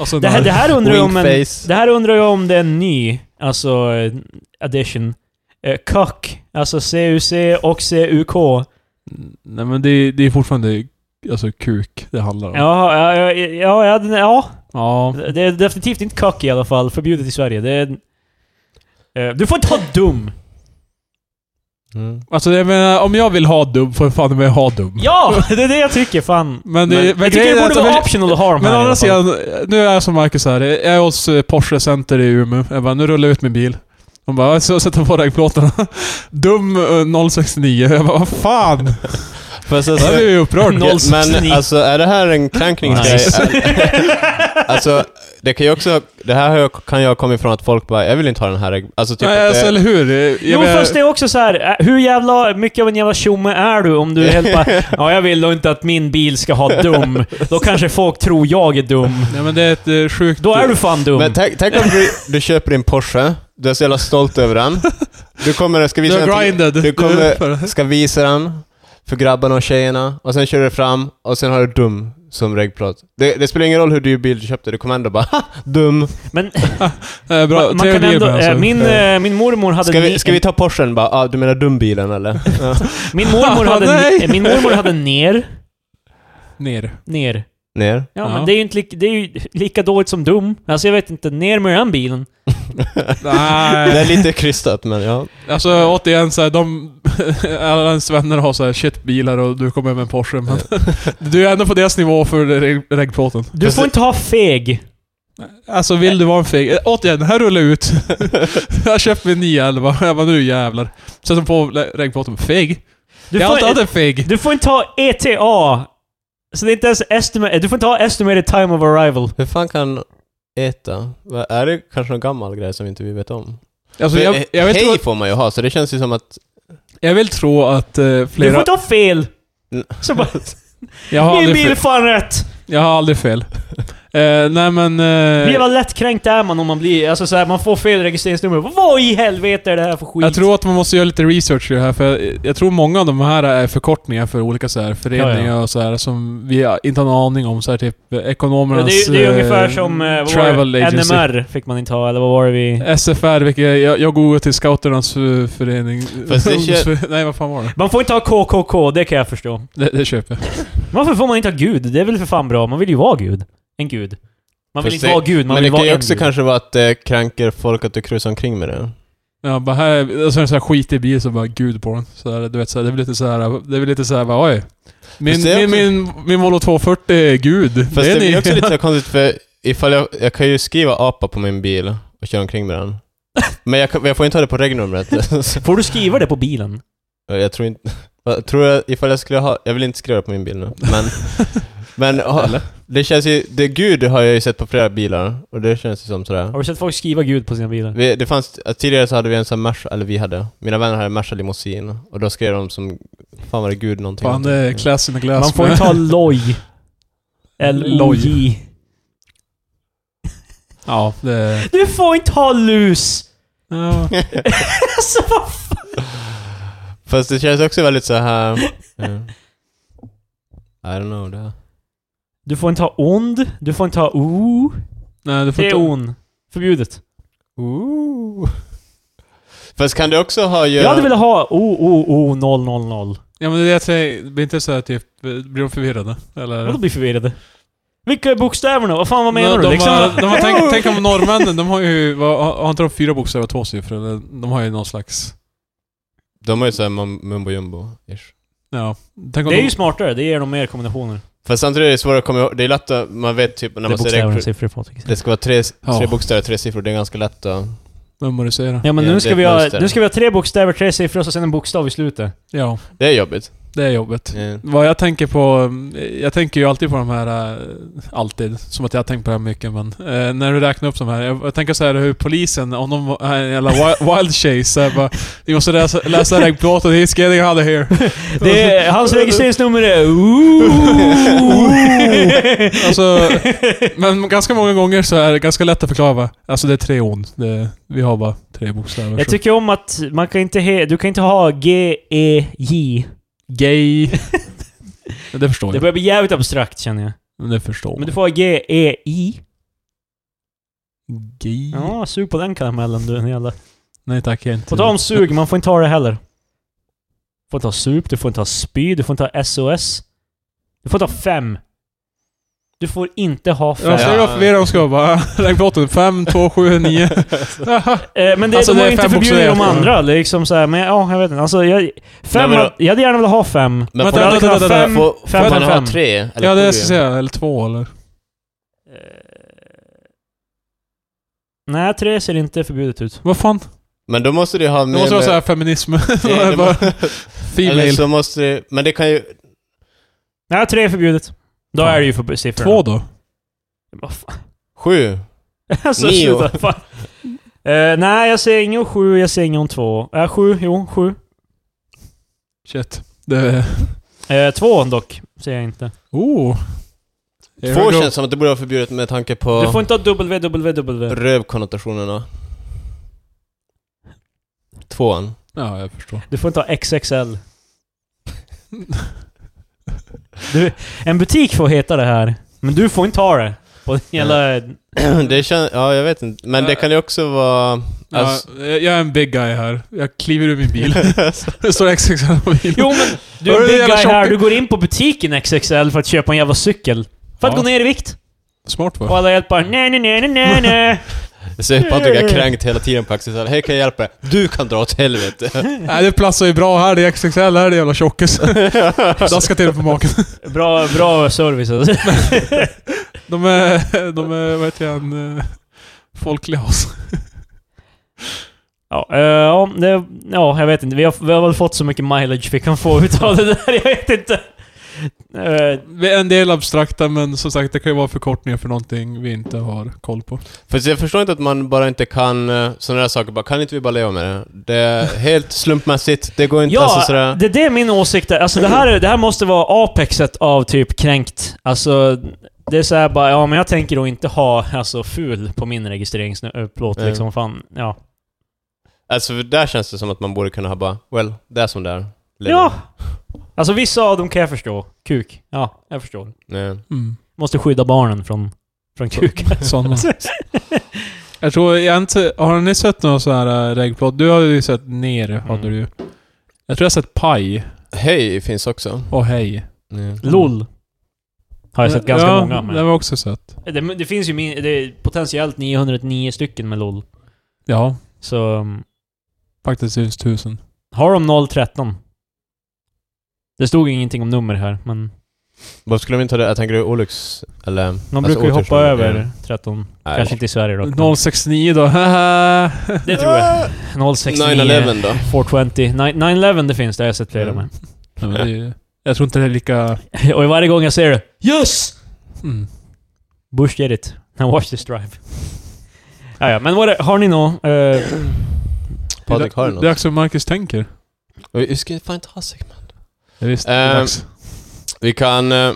och så
Det här, det här undrar jag om en,
Winkface.
Det här undrar jag om det är en ny, alltså eh, addition. Eh, Cuck, alltså CUC och CUK.
Nej men det, det är fortfarande alltså kuk det handlar om.
Ja, ja, ja, ja, ja, den- ja.
Ja.
Det är definitivt inte cuck i alla fall. Förbjudet i Sverige. Det är... Eh, Du får inte ha dum!
Mm.
Alltså jag menar, om jag vill ha dubb får jag fan med ha dubb.
Ja! Det är det jag tycker, fan.
Men, det, men,
jag tycker
grejen
det
är
borde
att-
vara optional att ha de här
Men å
i alla
andra
fall.
sidan, nu är jag som Marcus här. Jag är hos eh, Porsche Center i Umeå. Jag bara, nu rullar jag ut min bil. De bara, så sätter på regplåtarna. Dum eh, 069. Jag bara, vad fan?
Fast
Jag
alltså,
blev ju upprörd.
Noll-
men
069.
alltså är det här en kränkningsgrej?
Nice.
Är- Alltså, det kan ju också... Det här har jag- kan jag ha kommit från att folk bara, jag vill inte ha den här... Alltså typ
Nej,
att
alltså,
det,
eller hur? Jag
Jo,
menar-
fast det är också så här. eh, hur jävla mycket av en jävla tjomme är du om du är helt bara, ja jag vill då inte att min bil ska ha dum. Då kanske folk tror jag är dum.
Nej, men det är ett eh, sjukt...
Då är du fan dum.
Men tänk, tänk om du, du köper din Porsche, du är så jävla stolt över den. Du kommer ska
Du
visa,
har
den,
grinded.
du kommer-
för-
till, ska visa den för grabbarna och tjejerna, och sen kör du fram, och sen har du dum som reggplåt. Det, det spelar ingen roll hur dyr bil du köpte, du kommer ändå bara "Ha, dum.
Men
Eh, bra,
man, man kan
trevlig
ändå,
hjälp,
eh,
alltså.
min, eh, min mormor hade
Ska
ni-
vi, ska vi ta Porschen? Bara, ah, du menar dumbilen eller? Ja.
Min mormor
Ah,
hade,
nej!
ne- min mormor hade ner.
Ner.
Ner.
Ner.
Ja,
Ja.
men det är, ju inte lika, det är ju lika dåligt som dum. Alltså jag vet inte, ner med den bilen.
Det är
Nej,
lite krystat, men ja.
alltså återigen såhär, de... Alla ens vänner har såhär shitbilar och du kommer med en Porsche, men... du är ändå på deras nivå för reg- reggplåten.
Du
Precis.
får inte ha feg.
Alltså vill du vara en feg... Eh, Återigen, här rullar jag ut. jag köpte min 911, jag bara nu jävlar. Sen så får le- regnplåten, feg.
Du
jag har alltid
får,
haft en feg.
du får inte ha ETA. Så det är inte ens estimate, du får inte ha estimated time of arrival.
Hur fan kan ETA? Vad- Är det kanske någon gammal grej som inte vi vet om?
Alltså,
För,
jag,
eh,
jag, vill
hej
tro,
får man ju ha, så det känns ju som att...
jag vill tro att eh,
Du får
flera...
inte ha fel.
Mm.
Så bara,
Jag har
min
aldrig
bil är
fel.
fan rätt.
Jag har aldrig fel. Eh, nej men...
Hur
Eh,
jävla lättkränkt är man om man blir... Alltså såhär, man får fel registreringsnummer. Vad i helvete är det här för skit?
jag tror att man måste göra lite research i det här, för jag, jag tror många av de här är förkortningar för olika så här, föreningar och så här som vi inte har en aning om. Så här, typ eh,
Ja,
ekonomernas...
det, är, ju- det är ju ungefär
eh,
som... eh, vad var det?
Travel Agency. Eh.
NMR fick man inte ha, eller vad var det vi...
SFR, vilket jag, jag går till scouternas eh, förening.
Fast det kän-
Nej, vad fan var det?
Man får inte ha KKK, det kan jag förstå.
Det, det köper jag.
Varför får man inte ha gud? Det är väl för fan bra? Man vill ju vara gud. En gud. Man vill
Fast
inte
det-
vara gud, man
men det
vill
kan
vara
ju
en
också
gud.
kanske vara att det kränker folk att du krusar omkring med det.
Ja, bara här, och så är det så här skitig bil som bara gud på den. Så här, du vet, så här, det blir lite så här, det blir lite så här, bara, oj. Min,
Fast det är
min,
också-
min, min Volvo 240 är gud.
Fast det,
ni.
blir också lite så här konstigt för ifall jag, jag kan ju skriva apa på min bil och köra omkring med den. Men jag, kan- jag får inte ha det på regnumret. Så
Får du skriva det på bilen?
jag tror inte... Vad- Tror jag, ifall jag skulle ha... Jag vill inte skriva det på min bil nu, men... Men ha- det känns ju... Det gud har jag ju sett på flera bilar och det känns ju som sådär.
Har du sett folk skriva gud på sina bilar?
Vi, det fanns, att tidigare så hade vi en sån här Merca, eller vi hade, mina vänner hade en Merca limousin och då skrev de som, fan var det gud någonting.
Fan, det är class in the glass.
Man får inte ha loj. L-O-J.
Ja, det är...
Du får inte ha lus!
Ja.
Alltså vad fan?
Fast det känns också väldigt så här. eh, I don't know det. här.
Du får inte ha ond, du får inte ha o.
Nej, du får
Det är
inte...
on. Förbjudet.
Ooh. Fast kan du också ha ju...
Jag hade velat ha o, o, o, 0, 0, 0.
Ja, men det är det jag säger. Blir inte så här typ... Blir de förvirrade? Eller?
Vadå bli förvirrade? Vilka är bokstäverna? Vad fan, vad menar
de,
du?
de
Liksom?
har, de har tänkt, tänk om norrmännen, de har ju... vad- Har har inte de fyra bokstäver och två siffror? Eller? De har ju någon slags...
De har ju såhär mumbo jumbo ish.
Ja. Tänk om
Det är
de,
ju smartare, det ger dem mer kombinationer.
Fast samtidigt är det svårare att komma ihåg, det är lätt att, man vet typ när
det är
man ser
bokstäver
det,
och liksom. siffror Patrik.
det ska vara tre, tre
Ja.
bokstäver, tre siffror, det är ganska lätt att...
memorisera.
Ja men
Ja, det är
nu ska,
ett
vi ha,
mönster.
nu ska vi ha tre bokstäver, tre siffror och så sen en bokstav i slutet.
Ja,
Det är jobbigt.
det är jobbigt.
Eh,
Vad jag tänker på, eh, jag tänker ju alltid på de här, eh, alltid, som att jag har tänkt på det här mycket men, eh, när du räknar upp de här, jag, jag tänker så här hur polisen, om de har en jävla wi- wild chase, så här bara, ni måste läsa, läsa regplåten, he's getting out of here.
Det är, hans registreringsnummer är... Ooh.
Alltså, men ganska många gånger så är det ganska lätt att förklara va? Alltså det är tre on, det, vi har bara tre bokstäver.
Jag tycker om att man kan inte he, du kan inte ha G, E, J.
gay... det förstår
Det
jag.
börjar bli jävligt abstrakt känner jag.
Men det förstår
Men
man.
du får ha G, E, I.
Gay...
Ja, sug på den karamellen du, den jävla.
Nej tack, jag är inte...
På tal om sug, man får inte ha det heller. Du får inte ha sup, du får inte ha spy, du får inte ha SOS. Du får inte ha fem. Du får inte ha fem.
Jag ser
Ja.
vad förvirrad de ska vara bara. Regplåten 5, 2, 7, 9.
Eh, men det,
Alltså,
de
det
har
är
ju inte
fem
förbjudit de
bokstäver.
andra. Det är liksom så här, men ja, jag vet inte. Alltså, jag, fem,
men då-
hade- jag hade gärna velat ha fem.
Men
Vänta,
får-
vänta, vänta, vänta.
Fem-
Får, får
fem
man
av
ha
fem.
tre? Eller
Ja, det jag
sju?
ska säga. Eller två eller?
Eh, nej, tre ser inte förbjudet ut.
Vad fan?
Men då måste du ha
Det
mer
måste vara
med-
såhär feminism.
Ja,
bara,
det må- Eller
female.
så måste det, Men det kan ju...
Nej, tre är förbjudet. Då
Fan.
är det ju för siffrorna.
Två då?
Vad fan.
Sju.
alltså,
Nio.
sluta, fan. Eh, nej, jag ser ingen sju, jag ser ingen två. Uh, sju, jo, sju.
Shit. Det är...
Eh, två dock, ser jag inte.
Oh! Here
Två
we go.
känns som att det borde vara förbjudet med tanke
Du får
på
inte ha www.
rövkonnotationerna. Tvåan.
Ja, jag förstår.
Du får inte ha XXL. Du, en butik får heta det här, men du får inte ha det. På hela...
Det känns... Ja, jag vet inte. Men det kan ju också vara...
Ja,
Alltså,
jag jag är en big guy här. Jag kliver ur min bil. Det står XXL på bilen.
Jo men, du
Hör
är
du,
en big
jävla
guy här,
shopping-
du går in på butiken XXL för att köpa en jävla cykel. För att
Ja.
gå ner i vikt.
Smart
Och
va?
alla hjälper nej, nej, nej, nej, nej, nej.
jag ser Patrik är kränkt hela tiden på Axel. Hej, kan jag hjälpa dig? Du kan dra åt helvete.
Nej, det platsar ju bra här. Det är XXL här, det är jävla tjockis. Daska till det på maken.
Bra, bra service alltså.
De är, de är vad heter han, eh, folkliga alltså.
Ja, eh, ja, det, ja, jag vet inte. Vi har, vi har väl fått så mycket mileage vi kan få utav det där, jag vet inte. Eh,
En del abstrakta, men som sagt, det kan ju vara förkortningar för någonting vi inte har koll på.
För jag förstår inte att man bara inte kan eh, sådana där saker. Bara, kan inte vi bara leva med det? Det är helt slumpmässigt. Det går inte alltså
Ja,
sådär...
det, det är min åsikt. där. Alltså det här, är- det här måste vara apexet av typ kränkt. Alltså, det är såhär bara, ja men jag tänker då inte ha alltså, ful på min registreringsplåt
Mm.
liksom. Fan, ja.
Alltså, för där känns det som att man borde kunna ha bara... Well, det är som det är. Lever.
Ja! Alltså vissa av dem kan jag förstå. Kuk. Ja, jag förstår.
Nej.
Mm.
Måste skydda barnen från, från kuk.
Sådana. Jag tror, jag har inte, har ni sett någon sån här eh, regplåt? Du har ju sett ner, hade
Mm.
du ju. Jag tror jag har sett paj
Hej finns också.
och hej.
Nej.
LOL. Har jag sett ganska
ja,
många.
det
Men
var också sött.
det, det finns ju min, det är potentiellt 909 stycken med LOL.
Ja,
Så... um,
faktiskt syns tusen.
Har de 013? Det stod ingenting om nummer här, men
Varför skulle de inte ha det? Jag tänker det olycks... Eller... alltså,
de brukar ju hoppa
otursnummer.
över
Ja.
13.
Nej.
Kanske inte i Sverige då.
069 då, haha.
Det tror jag. 069,
9-11 då?
420. 911 det finns, det har jag sett flera
Mm.
Ja, men det är ju- jag tror inte det är lika...
med. Och varje gång jag ser det Yes!
Mm.
Bush did it. Now watch this drive. ja, ja, men vad är, har ni något? eh,
Patrik, har du
Det
något?
är dags för Marcus tänker.
Vi vi ska fan inte ha segment.
Ja, visst, det är
Ehm,
dags.
Vi kan... eh, eh,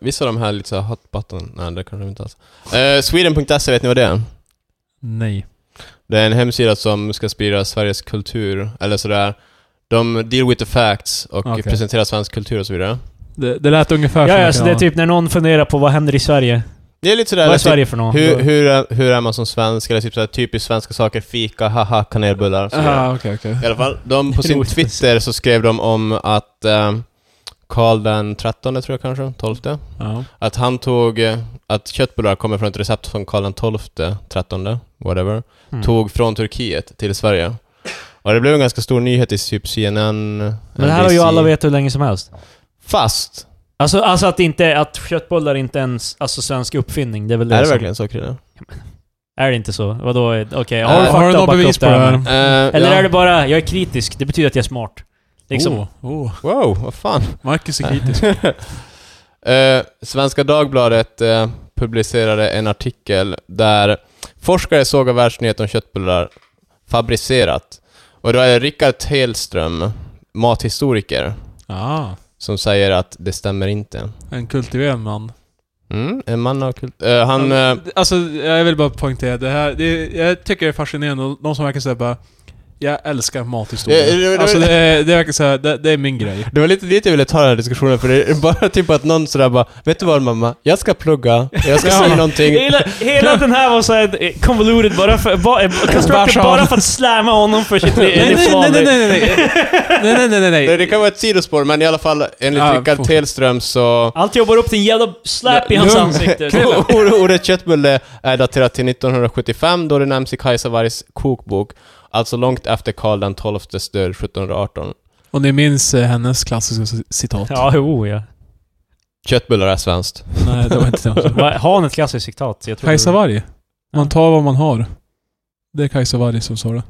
vissa av de här lite såhär hot button... Nej, det kanske vi inte alls. Eh, Sweden.se, vet ni vad det är?
Nej.
Det är en hemsida som ska sprida Sveriges kultur, eller sådär. De deal with the facts och
Okej.
presenterar svensk kultur och så vidare.
Det, det lät ungefär
ja,
som
ja,
något
så det är
annat.
typ när någon funderar på vad händer i Sverige.
Det är lite sådär...
Vad är
lite-
Sverige för något?
Hur, hur, är, hur är man som svensk? Eller typ såhär, typiskt svenska saker, fika, haha, kanelbullar. och så vidare.
Ah, okej, okej.
I alla fall, de på
Det är
sin
roligt.
Twitter så skrev de om att ehm, Karl den trettonde tror jag kanske, tolfte.
Ja.
Att han tog, eh, att köttbullar kommer från ett recept från Karl den tolfte, trettonde, whatever,
Mm.
tog från Turkiet till Sverige. Och det blev en ganska stor nyhet i typ CNN,
Men det här har ju alla vetat hur länge som helst.
Fast!
Alltså, alltså att, inte, att köttbullar inte ens alltså svensk uppfinning, det är väl det,
är det
som-
verkligen så Chrille?
Är det inte så? Vadå? Okej,
Äh,
har du
har
fakta
du
att
något
backa
bevis
upp
på det här?
med?
Eh,
Eller
ja.
är det bara, jag är kritisk, det betyder att jag är smart. Liksom.
Oh, oh.
Wow, vad fan?
Marcus är kritisk.
Eh, Svenska Dagbladet eh, publicerade en artikel där forskare såg världsnyheten om köttbullar fabricerat. Och då är det Rickard Telström, mathistoriker,
ah,
som säger att det stämmer inte.
en kultiverad man.
Mm, en man av kult... Eh, han... eh,
Alltså, jag vill bara poängtera det här. Det, jag tycker det är fascinerande. De som verkar säga bara... Jag älskar mathistoria.
Ja, det- det-
alltså det, är- det verkar säga, det, det är min grej.
det var lite dit jag ville ta den här diskussionen, för det är bara typ att någon sådär bara Vet du vad mamma? Jag ska plugga, jag ska
Ja.
säga någonting.
Hela, hela den här var såhär eh, convoluted bara för, ba, eh, constructed
Bara så.
bara för att slamma honom för sitt
Nej, nej, nej,
livsval.
nej, nej, nej, nej, nej, nej, nej, nej,
Det, det kan vara ett sidospår, men i alla fall enligt
Ja,
Rickard
får-
Telström så...
Allt jobbar upp till en jävla släp i hans
Lugn.
ansikte.
O- o- Ordet köttbulle är daterat till 1975 då det nämns i Kajsa Wargs kokbok, alltså långt efter Karl den XIIs död 1718.
Och ni minns eh, hennes klassiska c- citat?
Ja, jo ja.
Köttbullar är svenskt.
Nej, det var inte det.
Va- Har han ett klassiskt citat? Jag tror
Kajsa Warg. Man
Ja.
tar vad man har. Det är Kajsa Warg som sa det.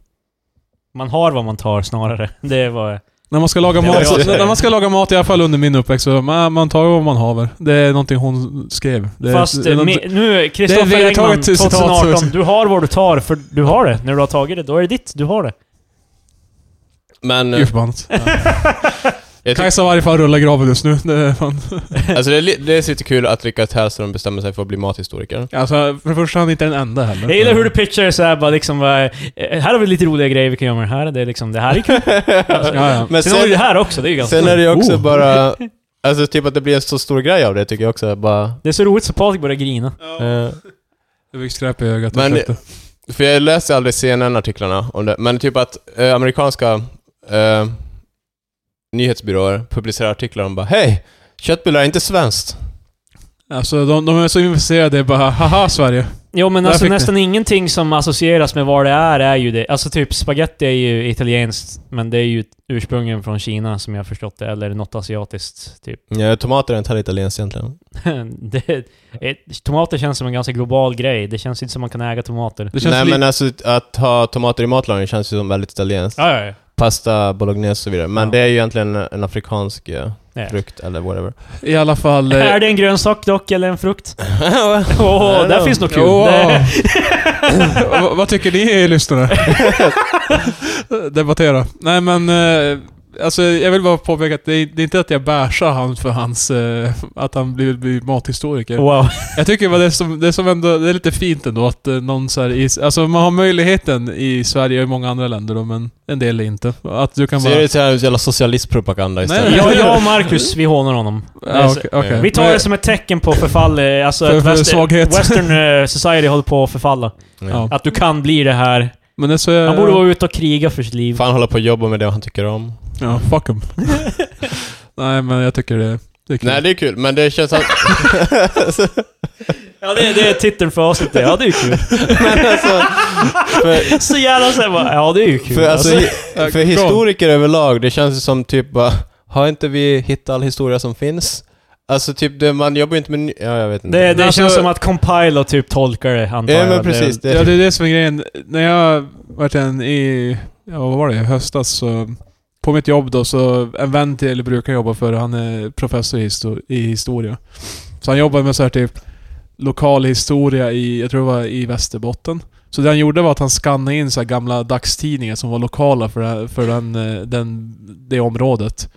Man har vad man tar snarare. Det var...
När man ska laga
Det var
mat, så,
jag som-
när man ska laga mat i alla fall under min uppväxt, så man, man tar vad man haver. Det är någonting hon skrev. Det, är-
Fast
det, är
eh,
något-
mi- nu,
det är
Kristoffer
vedertaget
Engman,
citat,
2018.
så-
Du har vad du tar, för du har det. När du har tagit det, då är det ditt. Du har det.
Mm.
Men... eh,
Gud förbannat.
Jag tyck-
Kajsa i varje fall rullar i graven just nu. Det är fan.
alltså det, är li- det är lite kul att Rickard Hellström bestämmer sig för att bli mathistoriker.
Alltså, för det första, han är inte den enda heller.
Jag gillar hur du pitchar det såhär bara liksom bara, eh, Här har vi lite roliga grejer vi kan göra med det här. Det är liksom, det här är kul. Alltså,
Ja, ja.
Men
sen, har vi det
sen,
här också, det är ju ganska
sen är det ju också
Oh.
bara... Alltså typ att det blir en så stor grej av det tycker jag också. Bara,
Det är så roligt så Patrik börjar grina.
eh,
Jag fick skräp i ögat.
Men-
ursäkta.
För jag läser aldrig CNN-artiklarna om det, men typ att eh, amerikanska eh, nyhetsbyråer publicerar artiklar om bara Hej! Köttbullar är inte svenskt.
Alltså, de, de är så intresserade. Det är bara haha Sverige.
Jo men
Där
alltså
fick ni.
nästan ingenting som associeras med vad det är, är ju det. Alltså typ spaghetti är ju italienskt, men det är ju ursprungligen från Kina som jag har förstått det, eller något asiatiskt typ.
Ja, tomater är inte heller italienskt egentligen.
det, eh, tomater känns som en ganska global grej. Det känns inte som man kan äga tomater.
Det känns
Nej
li-
men alltså att ha tomater i matlagning känns ju som väldigt italienskt.
Ja, ja, ja.
Pasta, bolognese och så vidare. Men
Ja.
det är ju egentligen en afrikansk eh,
Ja.
frukt eller whatever.
I alla fall... eh,
Är det en grönsak dock, eller en frukt? Åh,
don't
där
know.
finns något kul.
Åh.
Det,
V- vad tycker ni eh, lyssnare? Debattera. Nej men, eh, alltså jag vill bara påpeka att det är, det är inte att jag bärsar han för hans, eh, att han blir, blir mathistoriker.
wow.
Jag tycker bara det är som, det är som ändå, det är lite fint ändå att eh, någon så här, i, alltså man har möjligheten i Sverige och i många andra länder då, men en del är inte. Att du kan
Så
bara...
är det så här jävla socialistpropaganda
Nej,
istället.
nej.
Jag, jag och Marcus, vi hånar honom.
Ja, okej, okej.
Alltså, Vi tar det som ett tecken på förfall, eh, alltså
För-
att
för
väst-
svaghet.
Western eh, Society håller på att förfalla.
Ja.
Att du kan bli det här.
Men det är så...
Han borde vara ute och kriga för sitt liv.
Fan hålla på och jobba med det han tycker om.
Ja, fuck him. Nej men jag tycker det, det är kul.
Nej det är kul, men det känns att...
Ja, det, det är titeln för avsnittet. Ja, det är ju kul.
men alltså, för,
Så jävla såhär bara, ja det är ju kul.
För, alltså,
Alltså,
Ja,
hi- för
go.
historiker överlag, det känns ju som typ bara, har inte vi hittat all historia som finns? Alltså typ, det, man jobbar ju inte med ny- Ja, jag vet inte.
det det
alltså-
känns som att Compile och typ tolkar det, antar
ja
jag.
men precis. Det, typ-
Ja, det är det som är grejen. När jag verkligen i, ja vad var det, i höstas så, på mitt jobb då, så en vän till brukar jobba för, han är professor i, histo- i historia. Så han jobbar med så här typ lokal historia i, jag tror det var i Västerbotten. Så det han gjorde var att han skannade in så här gamla dagstidningar som var lokala för, det här- för den, eh, den, det området.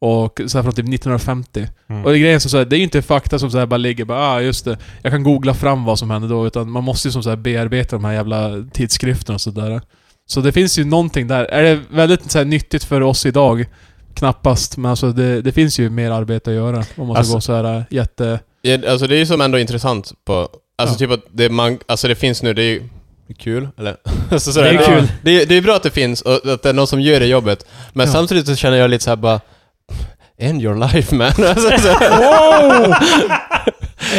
Och så här från typ 1950.
Mm.
Och det är grejen som så här, det är ju inte fakta som så här bara ligger bara ah, just det. Jag kan googla fram vad som hände då. Utan man måste ju som så här bearbeta de här jävla tidskrifterna och sådär. Så det finns ju någonting där. Är det väldigt så här, nyttigt för oss idag? Knappast. Men alltså det, det finns ju mer arbete att göra. Om man ska
Alltså-
gå så här äh, jätte...
ja, alltså det är ju som ändå intressant på... Alltså
Ja.
typ att det, man, alltså det finns nu, det är ju kul, eller? Alltså, så
Det är
här,
kul.
Det, är- det är bra att det finns och att det är någon som gör det jobbet. Men
Ja.
samtidigt så känner jag lite så här bara... End your life man. Alltså, så här,
Wow!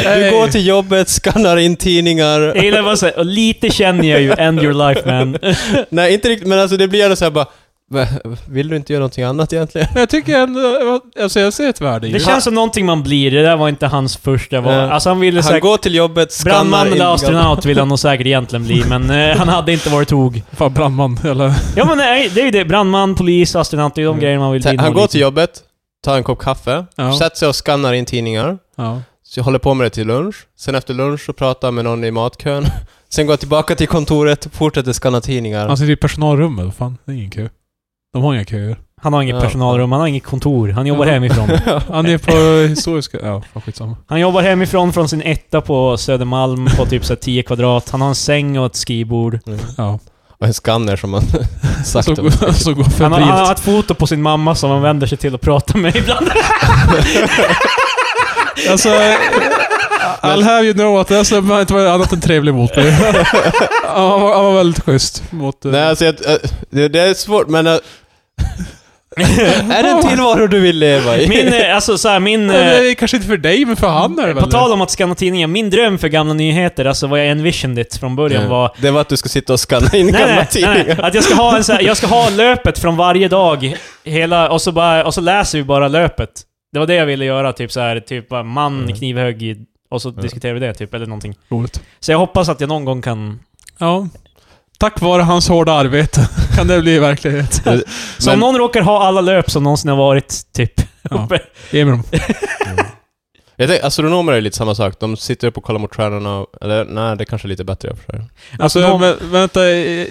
du går till jobbet, skannar in tidningar.
Jag gillar bara såhär, och lite känner jag ju End Your Life Man.
Nej, inte riktigt, men alltså det blir ändå så här bara... "Va, Vill du inte göra någonting annat egentligen?
Men jag tycker ändå... Alltså jag ser ett värde i
Det
det.
känns som någonting man blir. Det där var inte hans första val.
Nej.
Alltså han ville
Han
säkert...
går till jobbet, skannar
Brandman
in-
eller astronaut vill han nog säkert egentligen bli, men eh, han hade inte varit tog.
Fan, brandman eller...
Ja men nej, det är ju det. Brandman, polis, astronaut, det är ju de
Mm.
grejerna man vill
Så
bli.
Han
nog
går
lite.
till jobbet, tar en kopp kaffe,
Ja.
sätter sig och skannar in tidningar.
Ja.
Så jag håller på med det till lunch. Sen efter lunch så pratar jag med någon i matkön. Sen går jag tillbaka till kontoret, fortsätter skanna tidningar.
Alltså-
Han sitter i personalrummet. vad Fan, det är ingen kö. De har inga köer.
Han har inget
Ja.
personalrum, han har inget kontor. Han jobbar
Ja.
hemifrån.
Han är på historiska... Ja, fan skitsamma.
Han jobbar hemifrån från sin etta på Södermalm på typ så här 10 kvadrat. Han har en säng och ett skrivbord.
Ja.
Och en skanner som man
Så,
sakta...
så går
Han har, han har
febrilt.
ett foto på sin mamma som han vänder sig till och pratar med ibland.
Alltså, I'll have you know att alltså, man inte var annat än trevlig mot mig. han, var, han var väldigt schysst mot... eh,
Nej, alltså jag, äh, det, det är svårt, men... äh, är det en tillvaro du vill leva i?
Min, eh, alltså så här, min...
men
eh,
det är kanske inte för dig, men för han är det
På
väl liksom.
tal om att skanna tidningar, min dröm för gamla nyheter, alltså vad jag envisioned it från början var...
Det var att du ska sitta och skanna in
Nej,
gamla
nej, nej, nej.
tidningar.
Att jag ska ha en så här, jag ska ha löpet från varje dag, hela, och så, bara, och så läser vi bara löpet. Det var det jag ville göra, typ så här, typ bara man,
Mm.
knivhög, i- och så diskuterar vi det, typ, eller någonting.
Roligt.
Så jag hoppas att jag någon gång kan...
Ja. Tack vare hans hårda arbete kan det bli verklighet.
Så om någon råkar ha alla löp som någonsin har varit, typ.
Ja. Ge mig dem.
Jag tänker, astronomer är lite samma sak. De sitter upp och kollar mot stjärnorna. Eller nej, det kanske är lite bättre i och för sig.
Alltså,
Astronom-
vä- vänta,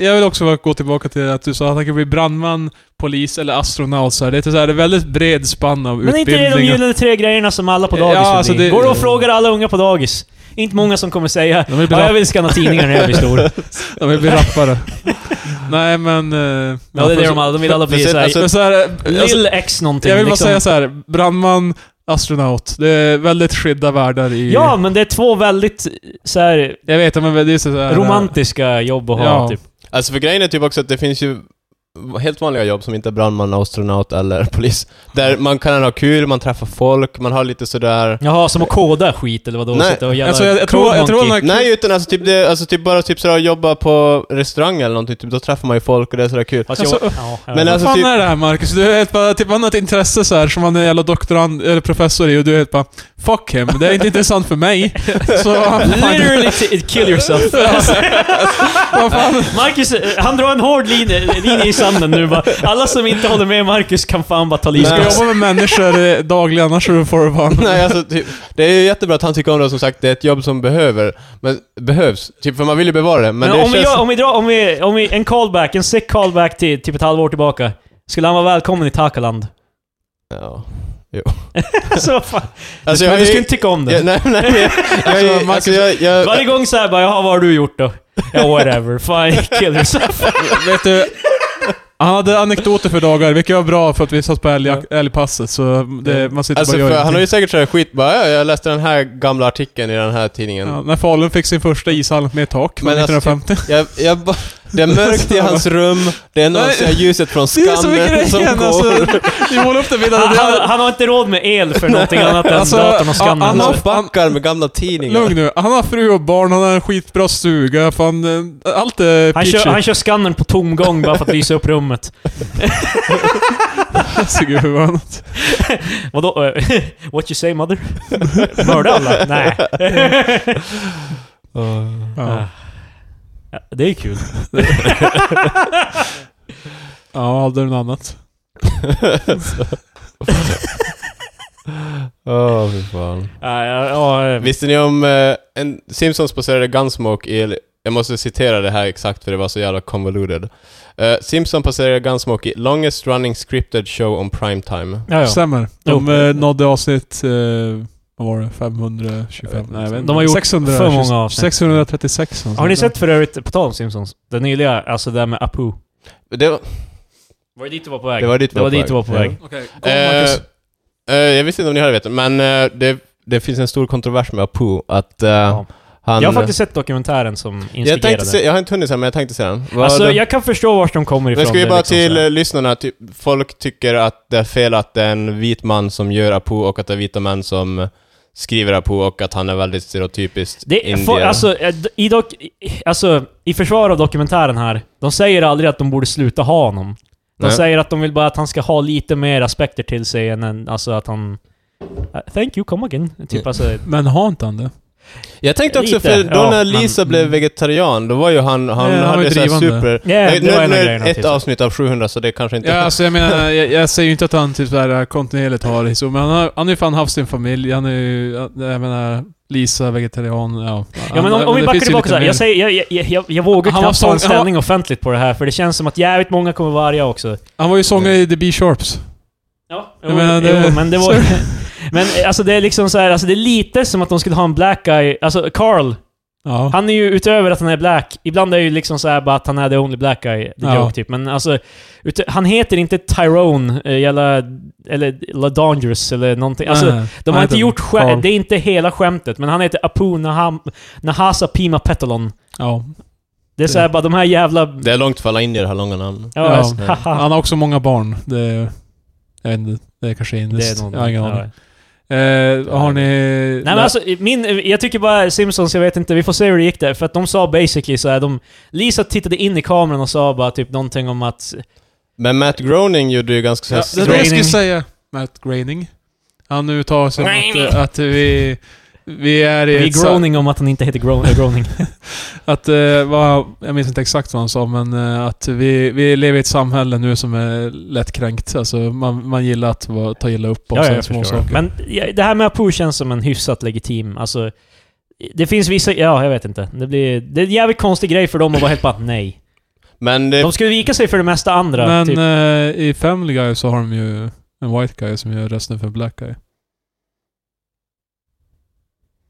jag vill också bara gå tillbaka till att du sa att han kan bli brandman, polis eller astronaut. Så här. Det är så här, det är väldigt bred spann av
Men inte är det de
utbildningar.
gyllene tre grejerna som alla på dagis
Ja,
vill
alltså
bli?
det-
Går du och frågar alla unga på dagis? Inte många som kommer säga
De vill bli,
ja, jag
rapp,
vill skanna tidningar när jag blir stor.
de vill bli rappare. Nej men... eh,
Ja, det är det de alla, de vill alla bli
Precis,
såhär...
alltså-
Men så här, eh, alltså,
Lill X någonting.
jag vill bara
liksom.
säga så här, brandman, astronaut. Det är väldigt skilda världar i...
Ja, men det är två väldigt så här,
Jag vet, men det är så här...
romantiska jobb att ha,
Ja.
typ.
Alltså för grejen är typ också att det finns ju helt vanliga jobb som inte är brandman, astronaut eller polis. Där man kan ha kul, man träffar folk, man har lite sådär...
Jaha, som att koda skit eller vadå?
Nej,
Sitta och jävla
Alltså, jag, jag,
Code
tror, jag tror
Monkey.
han har...
Nej, utan alltså typ, det, alltså typ bara typ sådär jobba på restaurang eller någonting, typ, då träffar man ju folk och det är sådär kul.
Fast jag-
Alltså,
ja, jag vet.
men
Vad
alltså
fan
typ-
är det här Marcus? Du är helt bara, typ annat intresse så här som han är jävla doktorand, eller professor i och du är helt bara Fuck him, det är inte intressant för mig. Så vad fan,
Literally t- kill yourself.
vad fan,
Marcus, eh, han drar en hård linje, linje i sanden nu bara. Alla som inte håller med Marcus kan fan bara ta
du
livet
ska
av sig.
jobba med människor eh, dagligen annars så får du fan...
Nej, alltså, typ, det är ju jättebra att han tycker om det, som sagt, det är ett jobb som behöver, men, behövs. Typ, för man vill ju bevara det,
Men,
men, det
om, vi
känns...
gör, om vi drar, om vi, om vi, en callback, en sick callback till typ ett halvår tillbaka. Skulle han vara välkommen i Takaland?
Ja.
alltså vad fan?
Alltså, jag
men
har
du
ju-
skulle inte tycka om det.
Ja, nej, nej. Jag, jag,
Alltså,
jag,
Marcus-
alltså, jag, jag,
Varje gång såhär bara, jaha vad har du gjort då? Ja, whatever. Fine, kill yourself.
Vet du, han hade anekdoter för dagar, vilket var bra för att vi satt på älgjakt- älgpasset så det, man sitter
Alltså,
bara och
för
gör
han har ju
ingenting.
säkert sådär skit bara, ja, jag läste den här gamla artikeln i den här tidningen.
ja, När Falun fick sin första ishall med tak
Men alltså,
1950.
Jag, jag ba- det är mörkt i hans rum, det är någon
Nej.
som ser ljuset från
Det är så
skammen
mycket
som
grejen
går.
alltså. Vi målar upp det bilden.
Han,
Det är-
han, han har inte råd med el för någonting annat än
Alltså,
datorn och
han-
skannen.
Han har
han-
backar med gamla tidningar.
Lugn nu. Han har fru och barn, han har en skitbra stuga, fan... eh, Allt är
han,
peachy.
kör, han kör skannern på tomgång bara för att lysa upp rummet.
Alltså, gud, vad annat.
Vadå? eh, What you say mother? Mörda alla? Nej.
Ja.
Ja, det är ju kul.
ja, hade du något annat?
Åh, fy fan.
Ja, ja, ja, eh,
Visste ni om eh, en Simpsons baserade Gunsmoke i... Jag måste citera det här exakt för det var så jävla convoluted. Eh, Simpsons baserade Gunsmoke i Longest Running Scripted Show on Primetime.
ja, ja.
Stämmer. De eh, nådde avsnitt... Eh, vad var det? liksom. 525? Nej, jag vet inte.
De har gjort
600,
för många avsnitt.
636 något
Har ni
sånt
sett för övrigt, på tal om Simpsons, det nyliga, alltså det där med Apu?
Det var,
Var det dit du var på väg?
det var dit vi
Det var dit du var på väg.
där.
Ja.
Okej, kom,
Eh,
Marcus.
eh, jag visste inte om ni hade vetat, men eh, det, det finns en stor kontrovers med Apu att eh,
Ja.
han...
Jag har faktiskt sett dokumentären som
jag, tänkte
instigerade.
se, jag har inte hunnit se den, men jag tänkte se den. Vad-
Alltså, jag kan förstå vart de kommer ifrån.
men ska vi
det är
bara
liksom
till
så här.
eh, lyssnarna, typ, folk tycker att det är fel att det är en vit man som gör Apu och att det är vita män som skriver Apu och att han är väldigt stereotypiskt
Det,
indier.
for, alltså, eh, d- i dok, i- alltså, i försvar av dokumentären här, de säger aldrig att de borde sluta ha honom. De
Nej.
säger att de vill bara att han ska ha lite mer aspekter till sig än en, alltså att han... eh, Thank you, come again. Typ
Mm.
alltså...
Men har inte han det?
jag tänkte också,
lite,
för då
ja,
när
men-
Lisa blev vegetarian, då var ju han, han
Ja, han var
hade
ju
så här
drivande.
super...
Yeah,
Nej,
Äh, det var
nu,
en
nu
av
är
grejerna typ.
det ett
till sig.
avsnitt av 700, så det kanske inte...
Ja, alltså jag menar, jag, jag säger ju inte att han typ såhär kontinuerligt har det så, men han har han har ju fan haft sin familj, han är ju, jag menar, Lisa, vegetarian, ja.
Ja, men om, om vi backar tillbaka så här, jag, säger, jag, jag, jag, jag, jag vågar
Han var
knappt ta en
sång- han var-
ställning offentligt på det här, för det känns som att jävligt många kommer varga också.
Han var ju sångare i The B-Sharps.
Ja,
Jag
jo,
menar, det-
jo, men det var... men eh, alltså det är liksom så här, alltså det är lite som att de skulle ha en black guy, alltså Carl
Ja.
Han är ju utöver att han är black, ibland är det ju liksom så här bara att han är the only black guy, the
Ja.
joke typ. Men alltså, utö- han heter inte Tyrone, eh, jävla, eller La Dangerous eller någonting. Alltså,
Nej,
de
han
har
heter
inte gjort
Carl.
skämt, det är inte hela skämtet, men han heter Apu Naham, Nahasa Pima Petalon.
Ja.
Det är så här bara de här jävla...
Det är långt för alla indier, det här långa namn.
Ja, alltså,
ja.
haha.
Han har också många barn. Det är, jag vet inte, det är kanske
Det är
indiskt.
någon,
Jag har ingen aning.
ja.
Eh, har ni...
Nej men alltså, min, jag tycker bara Simpsons, jag vet inte, vi får se hur det gick där. För att de sa basically så här, de, Lisa tittade in i kameran och sa bara typ någonting om att...
Men Matt Groening gjorde ju ganska... så
ja,
här-
det är det jag skulle
Groening.
säga. Matt Groening. Han uttalar sig om att, att vi... vi är i
Vi
ett sa-
groaning om att han inte heter gro- äh, groaning.
Att, eh, vad, jag minns inte exakt vad han sa, men eh, att vi, vi lever i ett samhälle nu som är lättkränkt. Alltså, man, man gillar att vara, ta illa upp om
Ja, ja,
sådana
jag
små
förstår.
saker.
Men ja, det här med Apu känns som en hyfsat legitim, alltså... Det finns vissa, ja jag vet inte. Det blir... Det är en jävligt konstig grej för dem att vara helt bara nej.
Men det,
De skulle vika sig för det mesta andra,
Men
typ.
eh, i Family Guy så har de ju en White Guy som gör rösten för en Black Guy.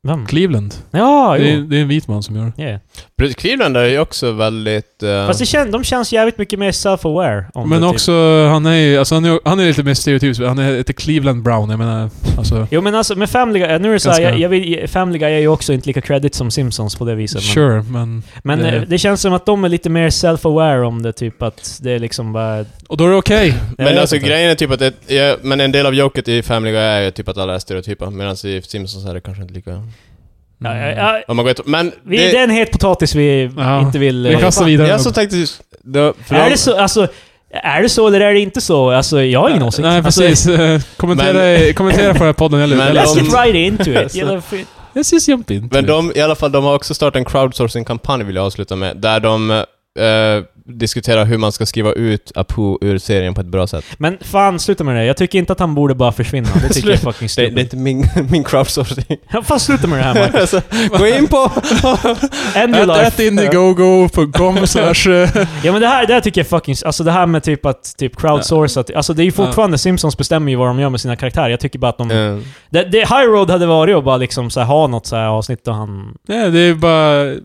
Vem?
Cleveland.
Ja,
det, är,
Ah, jo.
det är en vit man som gör det.
Yeah.
Cleveland är ju också väldigt... eh,
Fast det kän, de känns jävligt mycket mer self-aware. om
Men
det, typ.
också, han är ju alltså, han är, han är lite mer stereotypisk. Han är lite Cleveland Brown, jag menar. Alltså,
Jo men alltså med Family Guy, nu är det såhär,
Ganska-
jag, jag vill, Family Guy är ju också inte lika credit som Simpsons på det viset. Men,
sure, men...
men
det-
eh, det känns som att de är lite mer self-aware om det, typ att det är liksom bara...
Och då är det okej.
jag
Men
vet
alltså
inte.
grejen är typ att det, ja, men en del av joket i Family Guy är ju typ att alla är stereotypa, medan i Simpsons är det kanske inte lika...
Ja, ja, ja,
Om man går ett, men...
vi, det, är en het potatis vi
Ja.
inte vill...
Vi
eh,
kastar
det,
vidare.
jag som tänkte just... Då, för
är
de-
det så, alltså, är det så eller är det inte så? Alltså, jag har ingen åsikt.
Nej, precis. Eh, kommentera, kommentera på den här podden, eller
Men
eller-
Alltså,
De-
let's get right into it. Jävla fi-
Jag syns jämt inte.
Men de, i alla fall, de har också startat en crowdsourcing-kampanj vill jag avsluta med, där de eh, diskuterar hur man ska skriva ut Apu ur serien på ett bra sätt.
Men fan, sluta med det. Jag tycker inte att han borde bara försvinna. Det tycker jag är fucking
Det, det är
stupid.
inte min, min crowdsourcing.
Fan, sluta med det här Mark.
alltså, gå in på...
End your
Ät,
life.
ät indiegogo.com slash... eh,
Ja men det här, det här tycker jag fucking... Alltså det här med typ att typ crowdsourca... Alltså det är ju fortfarande Simpsons bestämmer ju vad de gör med sina karaktärer. Jag tycker bara att de...
Eh,
Det, det high road hade varit att bara liksom så här, ha något så här avsnitt och han...
Nej, det är bara...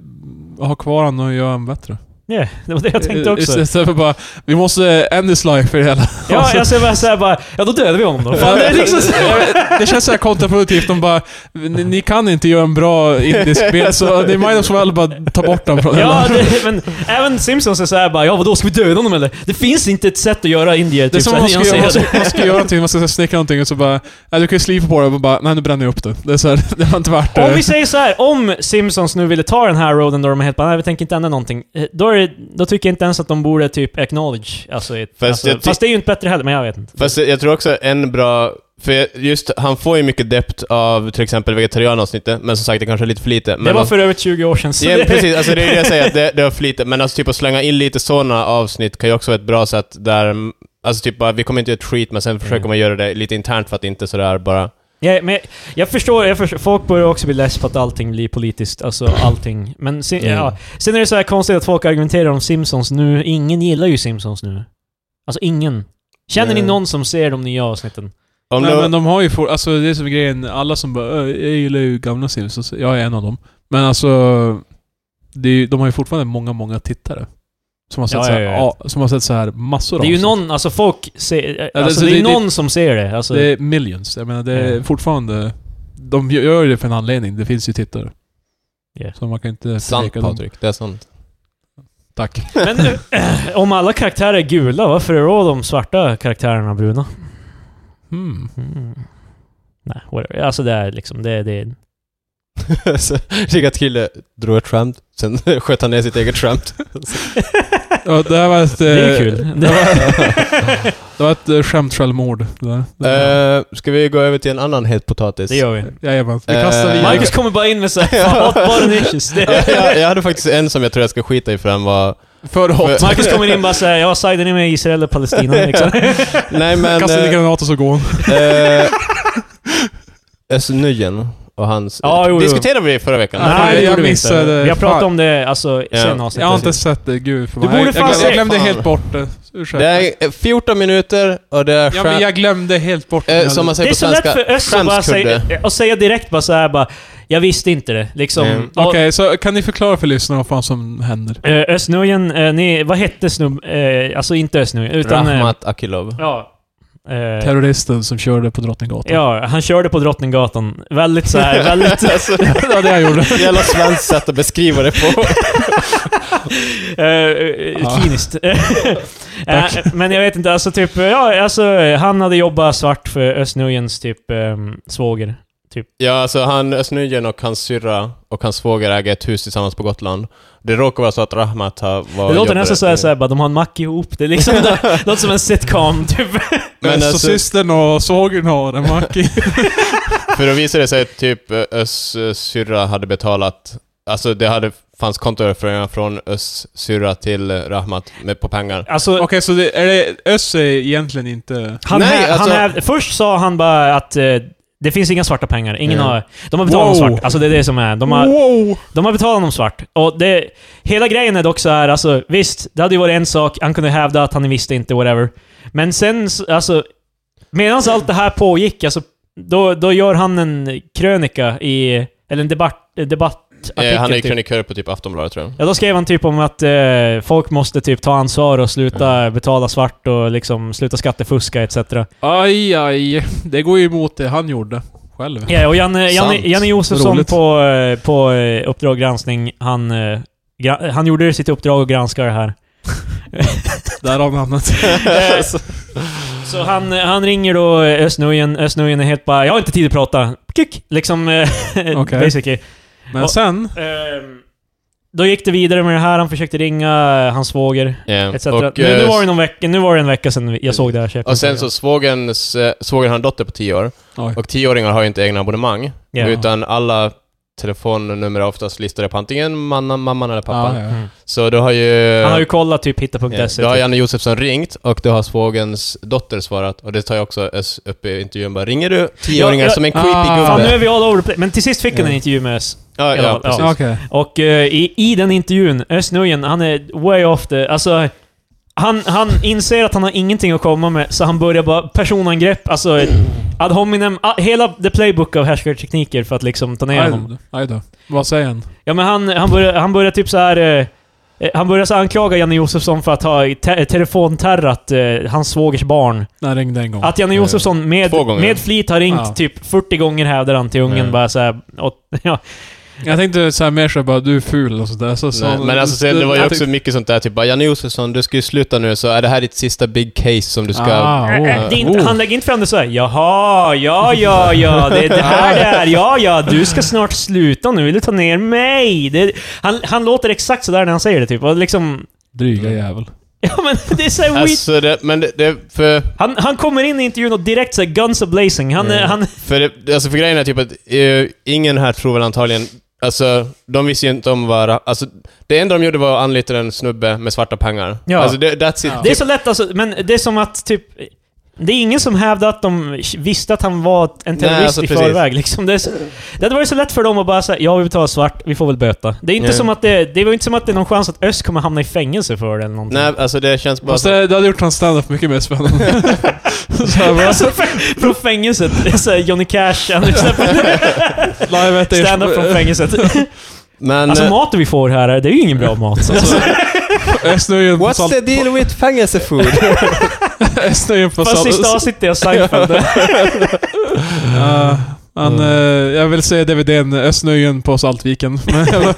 Ha kvar honom och göra honom bättre.
Ja, det var det jag tänkte
Eh,
också.
Istället för bara... Vi måste end this life för det hela. Alltså,
Ja, jag ser bara såhär bara... Ja, då dödar vi honom då. Fan, det är liksom så här.
Det känns så här kontraproduktivt. De bara... Ni, ni kan inte göra en bra indisk bild, så ni might as well bara ta bort den från
Ja, det, men även Simpsons är såhär bara ja vadå, ska vi döda honom eller? Det finns inte ett sätt att göra indier
Det är
typ
som
såhär
om man ska, göra- man,
nyanserade.
ska, man ska göra någonting, man ska så här snickra någonting och så bara... Nej, du kan ju slipa på det och bara... Nej, nu bränner jag upp det. Det, är så här, det har inte varit...
Om
eh,
vi säger så här, om Simpsons nu ville ta den här roaden då de är helt bara nej vi tänker inte ändra någonting. eh, Då, är det, då tycker jag inte ens att de borde typ acknowledge. Alltså, ett,
Fast
alltså,
jag ty-
fast det är ju inte bättre heller, men jag vet inte.
Fast jag tror också en bra... För jag- just, han får ju mycket dept av till exempel vegetarianavsnittet, men som sagt det kanske är lite för lite. Men
det var
man-
för över 20 år sedan. så
Ja,
det-
precis. Alltså, det är det jag säger, att det, det har flitit. Men alltså, typ att slänga in lite sådana avsnitt kan ju också vara ett bra sätt där... Alltså typ bara, vi kommer inte göra ett skit, men sen försöker man göra det lite internt för att inte sådär bara...
Ja, men jag, jag, förstår, jag förstår, folk börjar också bli less på att allting blir politiskt, alltså allting. Men sen,
Mm.
ja, sen är det så här konstigt att folk argumenterar om Simpsons nu. Ingen gillar ju Simpsons nu. Alltså ingen. Känner ni
Nej.
någon som ser de nya avsnitten?
Om
Nej
det var-
men de har ju for, alltså det är som grejen, alla som bara "Ö, jag gillar ju gamla Simpsons, jag är en av dem. Men alltså, det är, ju- de har ju fortfarande många, många tittare. Som har sett,
Ja,
så, här,
ja, ja.
ja, som har sett så här massor
Det är ju
avsnitt.
någon, alltså folk ser,
Ja,
alltså,
det-
det, är
det-
någon som ser det. Alltså,
Det är millions. Jag menar det är
Ja.
fortfarande... De gör ju det för en anledning, det finns ju tittare.
Ja.
Så man kan inte
Sant
förneka dem.
Patrik, det är sant.
Tack.
Men eh, om alla karaktärer är gula, varför är då de svarta karaktärerna bruna?
Hmm.
Mm. Nej, whatever. Alltså det är liksom, det, det,
Så, Rikard Kille drog ett skämt, sen sköt han ner sitt eget skämt.
Ja, det här var ett...
det är
eh,
kul.
Det var, det var ett eh, skämt självmord. Det där. Det där.
Eh, ska vi gå över till en annan het potatis?
Det gör vi.
Jajamän. Vi
eh,
kastar vidare.
Marcus kommer bara in med såhär hotbutton issues. Det.
jag, jag, jag hade faktiskt en som jag tror jag ska skita i för den var...
För hot.
Marcus kommer in bara såhär, jag sidar ni med Israel eller Palestina liksom.
Nej men...
Kastar lite
eh,
granat och så går hon.
eh, Özz Nujen och hans...
Ja, jo, jo.
Diskuterade vi det förra veckan?
Nej,
det
jag
gjorde vi
missade.
inte. Jag pratade
Fan.
om det alltså
Ja.
sen avsnittet.
Jag har inte sett det, gud för
Du
mig.
borde
jag,
fan
glömde, jag
se-
glömde
fan.
helt bort det. Ursäkta.
Det är 14 minuter och det är
ja, men
skär-
jag glömde helt bort
eh, som man
Det
säger
är
på
så lätt
svenska,
för Özz att bara säga,
skämskudde.
och säga direkt bara såhär bara, jag visste inte det. Liksom.
Mm.
Okej,
Och-
så kan ni förklara för lyssnarna vad fan som händer?
Eh, Östnöjen, eh, ni, vad hette snubb... Eh, alltså inte Östnöjen, utan... eh,
Rahmat Akilov.
ja. Eh,
Terroristen som körde på Drottninggatan.
ja, han körde på Drottninggatan. Väldigt så här, väldigt...
alltså,
det var det jag gjorde.
jävla svenskt sätt att beskriva det på.
Eh, eh,
Ja.
Kliniskt. Eh, Men jag vet inte, alltså typ... Ja, alltså han hade jobbat svart för Östnöjens typ ehm, svåger.
ja, alltså han, Özz Nujen och hans syrra och hans svåger äger ett hus tillsammans på Gotland. Det råkar vara så att Rahmat har... Var
det låter
jobbade-
nästan såhär, såhär bara, de har en mack ihop. Det är liksom... det låter som en sitcom, typ.
Men
Men
så
alltså,
systern och svågern har en macki.
För då visade det sig att typ eh, Öss eh, syrra hade betalat, alltså det hade, fanns kontoöverföringar från Öss syrra till eh, Rahmat med, på pengar. Eh,
Alltså,
Okej, så det, är det, Öss är egentligen inte...
han
Nej,
hä-
alltså-
han häv- först sa han bara att eh, det finns inga svarta pengar. Ingen
Ja.
har, de har betalat
Wow.
dem svart. Alltså det är det som är. De har,
Wow!
De har betalat honom svart. Och det, hela grejen är dock så här, alltså visst, det hade ju varit en sak, han kunde hävda att han visste inte, whatever. Men sen, s- alltså, medan allt det här pågick, alltså, då, då gör han en krönika i, eller en debatt, debattartikel.
Eh, han är ju
typ.
krönikör på typ Aftonbladet tror jag.
Ja, då skrev han typ om att eh, folk måste typ ta ansvar och sluta betala svart och liksom sluta skattefuska etc.
Aj, aj. Det går ju emot det han gjorde själv.
Ja, och Janne, Janne,
Sant.
Janne Josefsson
Roligt.
på, eh, på eh, Uppdrag granskning, han, eh, gra- han gjorde sitt uppdrag och granskade det här.
Där har namnet.
Eh, Så han, han ringer då Östnujen, Östnujen är helt bara 'Jag har inte tid att prata' Kick! Liksom, eh,
Okej.
basically.
Men
Och-
sen...
Ehm, då gick det vidare med det här, han försökte ringa eh, hans svåger,
Yeah.
etc. nu, nu, var det någon vecka, nu var det en vecka sedan vi- jag såg det här köpet.
eh, och sen så svågen, eh, svågen har en dotter på 10 år.
Oj.
Och 10-åringar har ju inte egna abonnemang.
Ja.
Utan alla telefonnummer är oftast listade på antingen manna, mamman eller pappan.
Ah, ja.
Mm.
Så då har ju...
Han har ju kollat typ hitta.se.
Ja, Då har
typ.
Janne Josefsson ringt och då har svågens dotter svarat. Och det tar jag också S upp i intervjun bara. Ringer du tioåringar
Ja, ja.
som en creepy
Ah.
Fan, nu
gubbe?
är vi all over the place. Men till sist fick han
Ja.
en intervju med Ös.
Ja, ja,
Ja,
precis.
Ja, Okej.
Och eh, i, i den intervjun, Östnujen, han är way off the... Alltså, han, han inser att han har ingenting att komma med, så han börjar bara personangrepp, alltså ett ad hominem, a, hela the playbook av härskartekniker för att liksom ta ner
Aj,
honom.
aj då. Vad säger han?
Ja men han, han, börjar, han börjar typ så här eh, eh, han börjar så här anklaga Janne Josefsson för att ha te telefonterrat eh, hans svågers barn.
När ringde en gång.
Att Janne
Ja.
Josefsson med,
Två gånger.
med flit har ringt
Ja.
typ 40 gånger hävdar han till ungen
Ja.
bara så här, och, ja,
Jag tänkte såhär mer såhär bara, du är ful och sådär. Så, så,
Nej, men alltså, sen, det var ju
jag
också
tyckte-
mycket sånt där, typ bara Janne Josefsson, du ska ju sluta nu, så är det här ditt sista big case som du ska...
Ah,
Äh,
oh.
äh, det är inte,
oh.
han lägger inte fram det såhär Jaha, ja, ja, ja, det är det här det är, ja, ja, du ska snart sluta nu, vill du ta ner mig? Det, han, han låter exakt sådär när han säger det typ, och liksom...
Dryga jävel.
Ja men det är såhär weird.
Alltså, det, men det, det för...
Han, han kommer in i intervjun och direkt såhär guns a blazing. Han,
Mm.
eh, han...
För, det, alltså för grejen är typ att eh, ingen här tror väl antagligen... Alltså, de visste ju inte om vad... Alltså, det enda de gjorde var att anlita en snubbe med svarta pengar.
Ja.
Alltså, det, that's it.
Ja.
Det är så lätt alltså, men det är som att typ... Det är ingen som hävdar att de visste att han var en terrorist
Nej, alltså,
i
precis.
förväg. Liksom. Det, är så, det hade varit så lätt för dem att bara säga ja vi betalar svart, vi får väl böta. Det är inte
Nej.
som att det, det var inte som att det är någon chans att Öst kommer hamna i fängelse för det eller någonting.
Nej, alltså det känns bara...
Fast
som-
det, det hade gjort hans standup mycket mer spännande. såhär bara,
Alltså f- från fängelset. Det är såhär Johnny Cash, han
live at the-
stand-up från fängelset.
Men...
Alltså maten vi får här, det är ju ingen bra mat.
Alltså, Östnöjen på,
What's
salt,
the deal with fängelse food?
Östnöjen på
Fast
salt...
sista avsnittet är jag Seinfeld.
Ja, han, eh, jag vill säga DVDn Östnöjen på Saltviken. Men-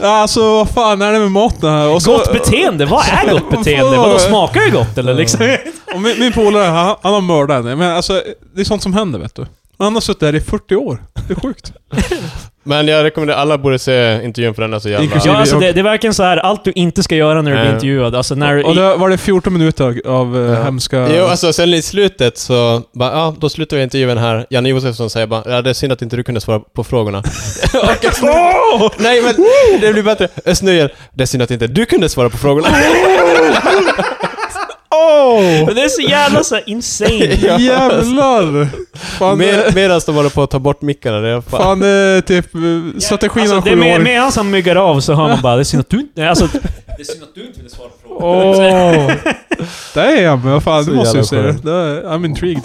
alltså vad fan är det med maten här? Och så-
Gott beteende, Alltså, vad är gott beteende? Vadå, smakar det gott eller liksom?
Och min, min polare, han, han har mördat henne. Men alltså, det är sånt som händer vet du. Han har suttit där i 40 år. Det är sjukt.
Men jag rekommenderar alla borde se intervjun för den är så jävla...
Inklusive-
Ja, alltså det, det är verkligen så här allt du inte ska göra när du blir
Nej.
intervjuad. Alltså när du...
Och det var det 14 minuter av ja.
Ja.
hemska...
Jo, alltså sen i slutet så bara, ja, då slutar vi intervjun här. Janne Josefsson säger bara, ja, det är synd att inte du kunde svara på frågorna. Och Östnö- Nej men, det blir bättre. Östnöjen, det är synd att inte du kunde svara på frågorna.
Men det är så jävla så här insane.
Ja.
Jävlar! Fan,
Med,
eh,
medan de håller på att ta bort mickarna. Det är fan.
fan eh, typ eh, strategin
Alltså,
av
det är
sju
med,
år.
medan han myggar av så hör man bara det är synd att du inte... Alltså,
Åh! Damn, vad fan.
Så
Du måste ju
jävla
se det.
skönt.
Det är- I'm intrigued.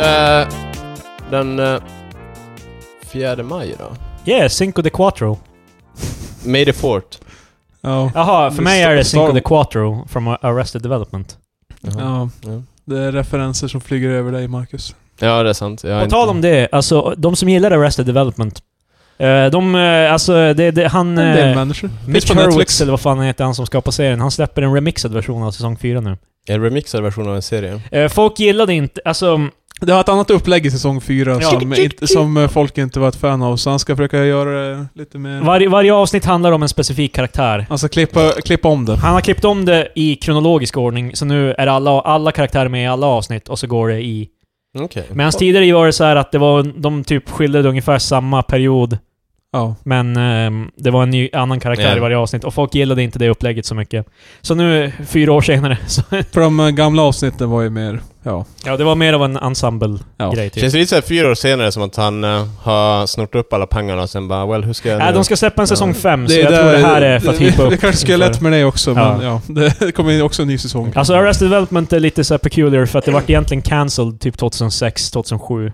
Eh, den eh, fjärde maj då.
yeah, Cinco de Quattro.
May the fort.
Ja.
Jaha, för mig är det Cinco
Star-
de Quattro from Arrested Development.
ja.
Ja.
Det är referenser som flyger över dig, Marcus.
Ja, det är sant. Jag har
På tal
inte-
om det, alltså de som gillar Arrested Development. eh, De, eh, alltså, det, det, han...
En del
eh,
människor. Finns
Mitch
på
Hurwitz,
Netflix.
eller vad fan han heter, han som skapar serien. Han släpper en remixad version av säsong 4 nu.
En remixad version av en serie.
Eh, Folk gillade inte... Alltså,
Det var ett annat upplägg i säsong fyra
Ja.
som, inte, som eh, folk inte var ett fan av, så han ska försöka göra det lite mer...
Varje, varje avsnitt handlar om en specifik karaktär.
Han ska klippa, klippa om det.
Han har klippt om det i kronologisk ordning, så nu är alla, alla karaktärer med i alla avsnitt och så går det i...
Okej.
Medan tidigare var det så här att det var, de typ skildrade ungefär samma period,
Ja.
men ehm, det var en ny, annan karaktär
Ja.
i varje avsnitt och folk gillade inte det upplägget så mycket. Så nu, fyra år senare, så...
För de eh, gamla avsnitten var ju mer... Ja.
Ja, det var mer av en ensemble-grej
ja.
typ.
Känns det lite såhär fyra år senare som att han eh, har snort upp alla pengarna och sen bara well, hur ska jag...
Nej,
nu-
Äh, de ska släppa en säsong
Ja.
fem, så jag
där-
tror det här är för att hypa
Det,
upp.
det kanske skulle
inför-
lätt med det också, men
Ja.
ja. Det kommer ju också en ny säsong.
Alltså Arrested Development är lite så här peculiar för att det vart egentligen cancelled typ 2006, 2007.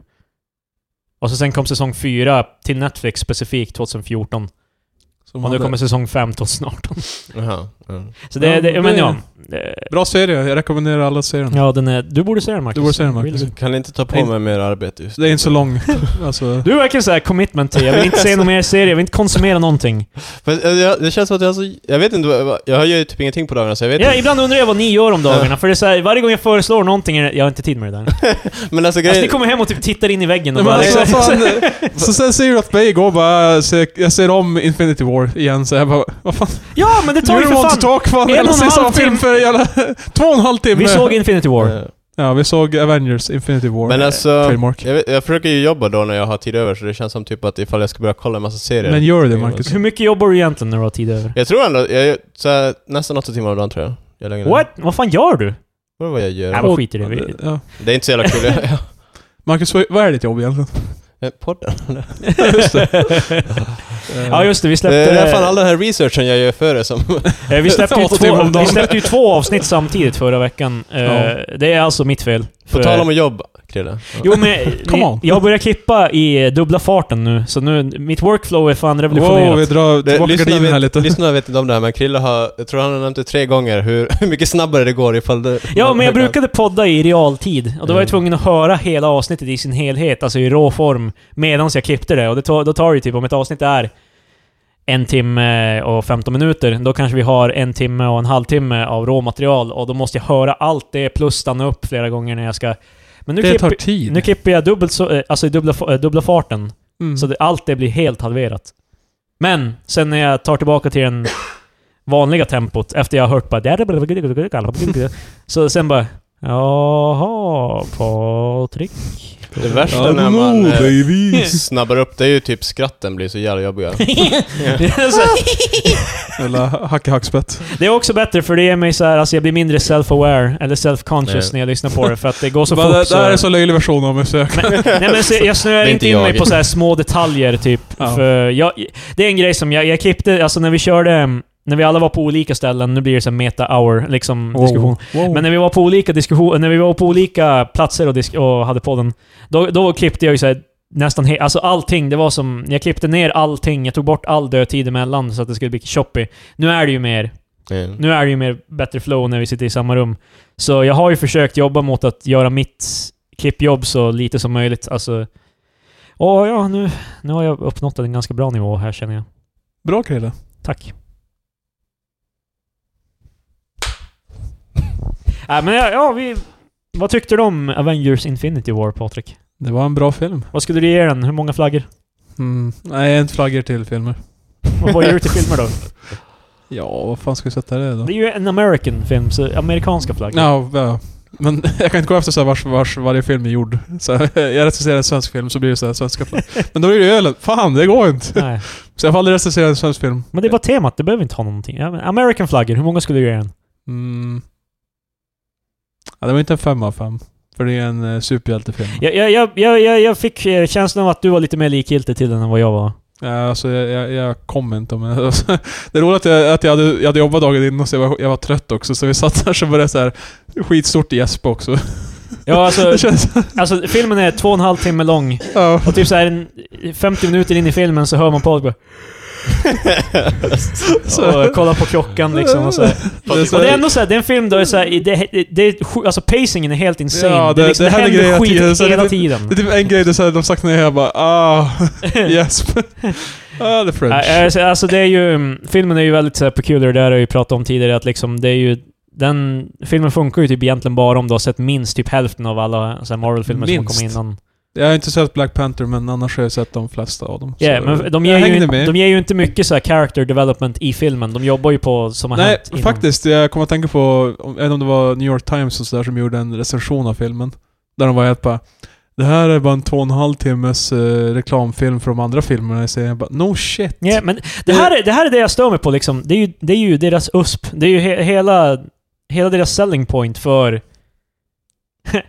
Och så sen kom säsong 4 till Netflix specifikt 2014.
Som
Och nu
hade-
kommer säsong 5 2018.
Jaha. Mm.
Så det,
Ja,
det,
det-
men ja. Det-
Bra serie, jag rekommenderar alla att se den.
Ja, den är... Du borde se den Marcus.
Du borde se den, Marcus.
Really.
Kan inte ta på mig mer arbete just
Det är
nu.
inte så lång. alltså,
Du är verkligen såhär commitment till, jag vill inte se någon mer serie, jag vill inte konsumera någonting.
Men, eh, jag, det känns som att jag har så... Jag vet inte, vad- vad- jag har ju typ ingenting på dagarna så jag vet
Ja,
inte.
ibland undrar jag vad ni gör om dagarna, för det är så här, varje gång jag föreslår någonting, är det- jag har inte tid med det där.
Men alltså
Alltså,
grejen...
ni kommer hem och typ tittar in i väggen och
Nej, men
bara
alltså,
liksom,
fan, så sen ser du att mig igår bara, så jag- jag ser om Infinity War igen, så jag bara, vad fan?
Ja, men det tar ju
you
för
want
fan...
to talk fan,
en
jävla
och en halv
sista film
timme.
för jävla... Två och en halv timme!
Vi såg Infinity War.
Eh,
Ja, vi såg Avengers Infinity War. eh,
Men alltså...
trademark.
Jag, vet, jag försöker ju jobba då när jag har tid över så det känns som typ att ifall jag ska börja kolla en massa serier. Mm.
Men gör det, Marcus.
Hur mycket jobbar du egentligen när du har tid över?
Jag tror ändå, jag, så här, nästan åtta timmar om dagen tror jag. jag lägger ner.
What? Vad fan gör du?
Vad var jag
Nej,
gör?
vad skit i det. Vi-
Ja.
Det är inte så jävla kul. Jag- jag-
Marcus, vad vad är ditt jobb egentligen?
jag- Podden. Eh,
ja just det, vi
Det
släppte...
är fan all den här researchen jag gör före som...
eh, vi, släppte ju
Åtta timmar om
två, vi
dagen.
släppte ju två avsnitt samtidigt förra veckan. Eh,
Ja.
Det är alltså mitt fel.
På tal om att jobba, Krille.
Jo men,
Come
ni,
on.
jag börjar klippa i dubbla farten nu, så nu, mitt workflow är fan revolutionerat.
Wow, vi drar
Det-
tillbaka
lyssnarna
gardinen här
vet-
lite.
Lyssnarna vet inte om det här, men Krille har... Jag tror han har nämnt det tre gånger hur, hur mycket snabbare det går ifall det...
Ja, men jag brukade podda i realtid. Och då var jag
Mm.
tvungen att höra hela avsnittet i sin helhet, alltså i rå form, medan jag klippte det. Och det tar, då tar det ju typ, om ett avsnitt är en timme och 15 minuter, då kanske vi har en timme och en halvtimme av råmaterial. Och då måste jag höra allt det, plus stanna upp flera gånger när jag ska... Men nu,
Det tar
klipper,
tid.
nu klipper jag dubbelt så, eh, alltså i dubbla, fa- eh, dubbla farten,
Mm.
så det, allt det blir helt halverat. Men, sen när jag tar tillbaka till den vanliga tempot, efter jag har hört bara... Så sen bara... Jaha, Patrik.
Det värsta
Ja,
när
no,
man eh,
baby.
snabbar upp, det är ju typ skratten blir så jävla jobbiga.
Så
Eller hacka hackspett.
det är också bättre för det ger mig så här, alltså jag blir mindre self-aware, eller self-conscious
Nej.
när jag lyssnar på det, för att det går så
Bara, Det
fort.
det här är
Så.
så löjlig version av mig så jag
Men, nej, men så jag snöar
Det är
inte
inte
in
jag.
mig på så här små detaljer typ.
Ja.
För jag, det är en grej som jag, jag klippte, alltså när vi körde, mm, när vi alla var på olika ställen, nu blir det så här meta-hour liksom diskussion.
Wow.
Men när vi var på olika diskussion, när vi var på olika platser och, disk, och hade podden, då, då klippte jag ju så här, nästan he, alltså allting. Det var som, jag klippte ner allting, jag tog bort all dödtid emellan så att det skulle bli choppy. Nu är det ju mer,
Mm.
nu är det ju mer bättre flow när vi sitter i samma rum. Så jag har ju försökt jobba mot att göra mitt klippjobb så lite som möjligt. Alltså, åh ja, nu, nu har jag uppnått en ganska bra nivå här känner jag.
Bra Krille.
Tack. Nej Äh, men ja, ja, vi... Vad tyckte du om Avengers Infinity War, Patrik?
Det var en bra film.
Vad skulle du ge den? Hur många flaggor?
Mm. Nej, en flaggor till filmer.
Och vad ger du till filmer då?
Ja, vad fan ska vi sätta det då?
Det är ju en American film, så amerikanska flaggor.
Ja, ja. Men jag kan inte gå efter så här vars, vars varje film är gjord. Så här, jag recenserar en svensk film så blir det så här svenska flagg. Men då blir det ju ölen. Fan, det går inte.
Nej.
Så jag får aldrig recensera en svensk film.
Men det är bara temat, det behöver inte ha någonting. Ja, men American flaggor, hur många skulle du ge den?
Mm. Ja, det var inte en femma av fem. För det är en eh, superhjältefilm.
Jag, jag, jag, jag, jag, jag fick eh, känslan av att du var lite mer likgiltig till den än vad jag var.
Ja, alltså jag, jag, jag kom inte men Det är roligt att jag, att jag, hade, jag hade jobbat dagen innan så jag var, jag var trött också. Så vi satt där så började jag så här skitstort gäspa också.
Ja, alltså,
Det känns...
alltså filmen är två och en halv timme lång.
Ja.
Och typ så här en- 50 minuter in i filmen så hör man Paul bara...
Så-
Och kollar på klockan liksom och så här.
Det är så-
Och det är ändå såhär, det är en film där det är såhär, det, det, det, är sju- alltså pacingen är helt insane.
Ja,
det,
det-
är liksom, det,
det händer
händer,
grejer
skit
hela tiden.
hela
Det-
tiden.
Det är typ en grej, det är så här, de saknar ner jag bara ah, gäsp. ah, the French.
Ja, alltså, alltså det är ju, mm, filmen är ju väldigt så här peculiar, det här har jag ju pratat om tidigare, att liksom det är ju den filmen funkar ju typ egentligen bara om du har sett minst typ hälften av alla så här Marvel-filmer som
Minst.
kom innan.
Jag har inte sett Black Panther, men annars har jag sett de flesta av dem.
Ja,
Så
men de
jag
ger, ju,
hängde med.
de ger ju inte mycket så här character development i filmen. De jobbar ju på som har
Nej,
hänt innan.
faktiskt. Jag kommer att tänka på, om- jag vet inte om det var New York Times och så där som gjorde en recension av filmen. Där de var helt bara Det här är bara en två och en halv timmes eh, reklamfilm från de andra filmerna i serien. Jag bara, no shit!
Ja, men det här, är, det här är det jag stör mig på liksom. Det är ju, det är ju deras USP. Det är ju he, hela, hela deras selling point för...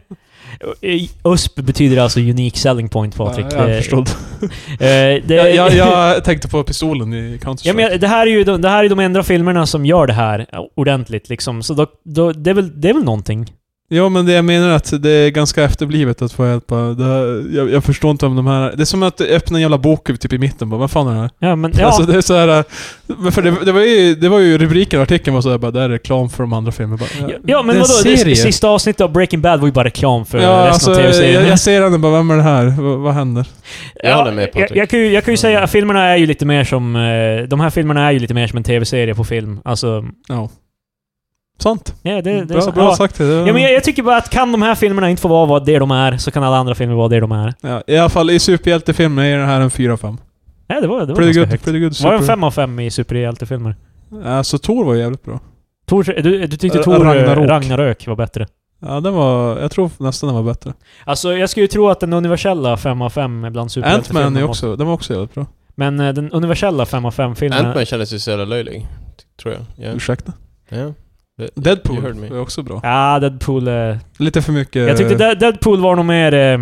USP betyder alltså unique selling point, Patrik.
Ja, jag
Det-
förstod.
eh, det-
Jag, jag, jag tänkte på pistolen i
Ja,
Counter-Strike.
men det här är ju de, det här är de enda filmerna som gör det här ordentligt liksom. Så då, då, det, är väl, det är väl någonting.
Ja, men det jag menar är att det är ganska efterblivet att få hjälp. av- Det här, jag, jag förstår inte om de här... Det är som att öppna en jävla bok typ i mitten. Bara, vad fan är det här?
Ja, men ja.
Alltså det är så här... äh, men För det, det, var ju, det var ju rubriken i artikeln var såhär bara, det här är reklam för de andra filmerna. Bara,
ja, ja, men
det är en
vadå? Det,
serie.
sista avsnittet av Breaking Bad var ju bara reklam för
ja,
resten
alltså,
av tv-serien.
jag, jag ser den och bara, vem är det här? Vad- vad händer?
Jag håller med, Patrik.
jag, jag, kan ju, jag kan
Mm.
ju säga att filmerna är ju lite mer som... eh, De här filmerna är ju lite mer som en tv-serie på film. Alltså...
Ja. Sant.
Ja, det, det är
bra
så,
bra
ja.
sagt. Det.
Ja, men jag, jag tycker bara att kan de här filmerna inte få vara vad det de är, så kan alla andra filmer vara det de är.
Ja, I alla fall i superhjältefilmer är den här en 4 av 5.
Nej, det var, det var
Pretty
ganska
good,
högt.
pretty good
Var det en
super-
5 av 5 i superhjältefilmer?
Alltså Thor var jävligt bra.
Tor, du, du tyckte
Ä-
Tor
Ragnarök.
Ragnarök. Ragnarök var bättre?
Ja, den var... Jag tror nästan den var bättre.
Alltså, jag skulle ju tro att den universella 5 av 5 bland superhjältefilmer...
Ant-Man är
måste-
också... Den var också jävligt bra.
Men eh, den universella 5 av 5-filmen...
Ant-Man kändes ju så jävla löjlig. t- Tror jag. Ja.
Ursäkta?
Ja. You heard me.
Deadpool var också bra.
Ja, Deadpool... eh,
Lite för mycket...
Jag tyckte De- Deadpool var nog mer eh,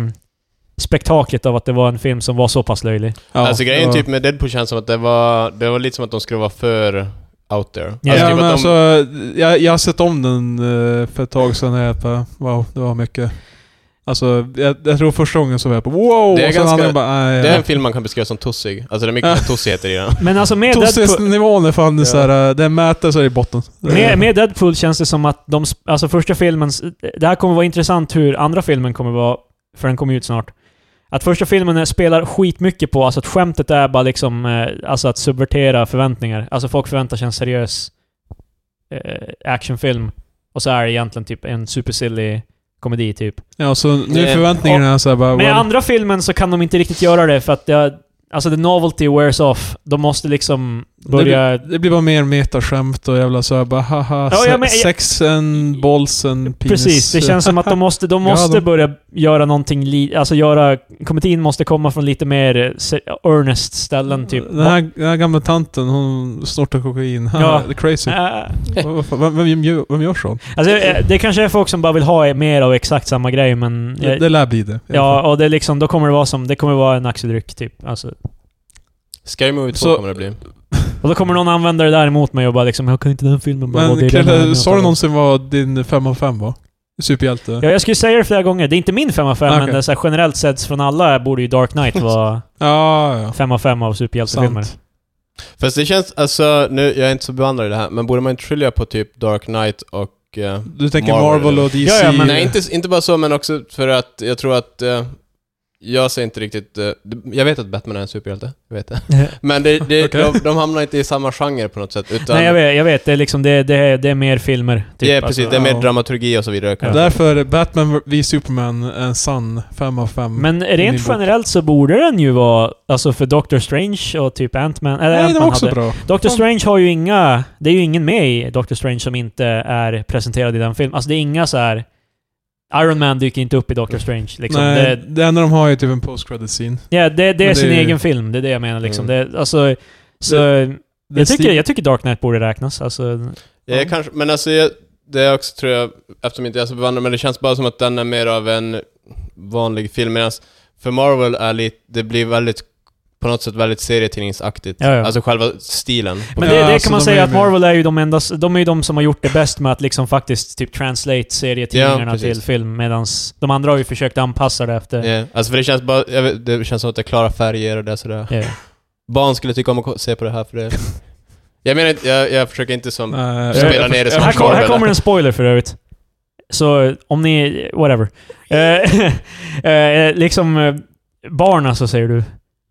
spektaklet av att det var en film som var så pass löjlig.
Ja,
alltså grejen
det var-
typ med Deadpool känns som att det var, det var lite som att de skulle vara för out there.
Ja,
Ja,
typ
men
att
alltså,
de,
jag, jag har sett om den eh, för ett tag sedan och jag bara, wow, det var mycket. Alltså, jag, jag tror första gången så var jag på wow!
Det är
och sen
ganska-
andra bara, nej.
det är en film man kan beskriva som tossig. Alltså det är mycket
Ja.
tossigheter i den.
Men alltså med Deadpool,
Tossisnivån är fan
Ja.
ja. såhär, eh, det är en mätare så är det i botten.
med, med Deadpool känns det som att de... sp- Alltså första filmen... s- Det här kommer vara intressant hur andra filmen kommer vara, för den kommer ju ut snart. Att första filmen spelar skitmycket på, alltså att skämtet är bara liksom, eh, alltså att subvertera förväntningar. Alltså folk förväntar sig en seriös eh, actionfilm. Och så är det egentligen typ en supersilly komedi typ.
Ja, så nu
Eh,
förväntningarna är såhär bara,
Men i
well,
andra filmen så kan de inte riktigt göra det för att det, alltså the novelty wears off. De måste liksom börja...
det blir bara mer metaskämt och jävla såhär bara haha,
Ja,
se-
ja, men jag-
sex and balls and penis.
Precis, det känns som att de måste, de
Ja,
måste
de-
börja göra någonting, li, alltså göra... Komedin måste komma från lite mer eh, se- earnest ställen typ.
Den här, den här gamla tanten, hon snortar kokain.
Ja.
det är crazy.
Äh,
Vad- vad fan, vem, vem, gör- vem gör sånt?
alltså, eh, det kanske är folk som bara vill ha mer av exakt samma grej men...
Det,
eh,
det lär bli det. i alla fall.
Ja, och det är liksom, då kommer det vara som, det kommer vara en axeldryck typ. Alltså,
Scary Movie 2
Så-
kommer det bli.
och då kommer någon använda det där emot mig och bara liksom, jag kan inte den filmen bara vara
Men
det den här
Krille,
med?"
sa du någonsin vad din 5 av 5 var? Superhjälte?
Ja, jag skulle säga det flera gånger. Det är inte min 5 av 5,
Ah, Okej.
men det är så här, generellt sett från alla borde ju Dark Knight vara
ja. ja.
5 av 5 av superhjältefilmer.
Sant.
Fast det känns, alltså nu, jag är inte så bevandrad i det här, men borde man inte skilja på typ Dark Knight och... eh,
Du tänker
Marvel.
Marvel, och DC?
Ja, ja, men-
Nej, inte, inte bara så, men också för att jag tror att... eh, jag ser inte riktigt... eh, jag vet att Batman är en superhjälte, jag vet det. Men det, det,
Okej.
de, de hamnar inte i samma genre på något sätt, utan...
Nej, jag vet, jag vet. Det är liksom, det, det, är, det är mer filmer. Typ.
ja, precis. det är
Alltså,
mer
ja.
dramaturgi och så vidare. kanske.
Därför Batman v Superman, en sann 5 av 5.
Men
Min bok.
rent generellt så borde den ju vara, alltså för Doctor Strange och typ Ant-Man, eller
Nej,
Ant-Man
den var också
hade.
bra.
Doctor Strange har ju inga, det är ju ingen med i Doctor Strange som inte är presenterad i den filmen. Alltså det är inga så här. Iron Man dyker inte upp i Doctor Strange liksom.
Nej,
Det,
det... enda de har är typ en post credit scene.
ja, det, det är
Men
sin
det är- Mm.
egen film, det är det jag menar liksom. Det, alltså, så...
Det är
jag, tycker,
Steve-
jag tycker Dark Knight borde räknas. Alltså,
Ja, jag kanske, men alltså, jag, det är också tror jag, eftersom inte jag är så bevandrad, men det känns bara som att den är mer av en vanlig film, medan för Marvel är lite, det blir väldigt, på något sätt väldigt serietidningsaktigt.
Ja, ja.
Alltså själva stilen.
men
Ja,
det, det kan
alltså,
man
de
säga
är
att
med.
Marvel är ju de enda, de är ju de som har gjort det bäst med att liksom faktiskt typ translate serietidningarna
Ja, precis.
till film medan de andra har ju försökt anpassa det efter...
Ja, alltså för det känns bara, jag vet, det känns som att det är klara färger och det är sådär.
Ja.
Barn skulle tycka om att ko- se på det här för det. Jag menar inte- jag, jag försöker inte som...
Nej, jag-
Spelar
jag-
ner det
jag-
som
Här,
jag-
kom,
Marvel.
här kommer en spoiler för övrigt. Så om ni... Whatever. Eh, eh, liksom... eh, Barn alltså, säger du.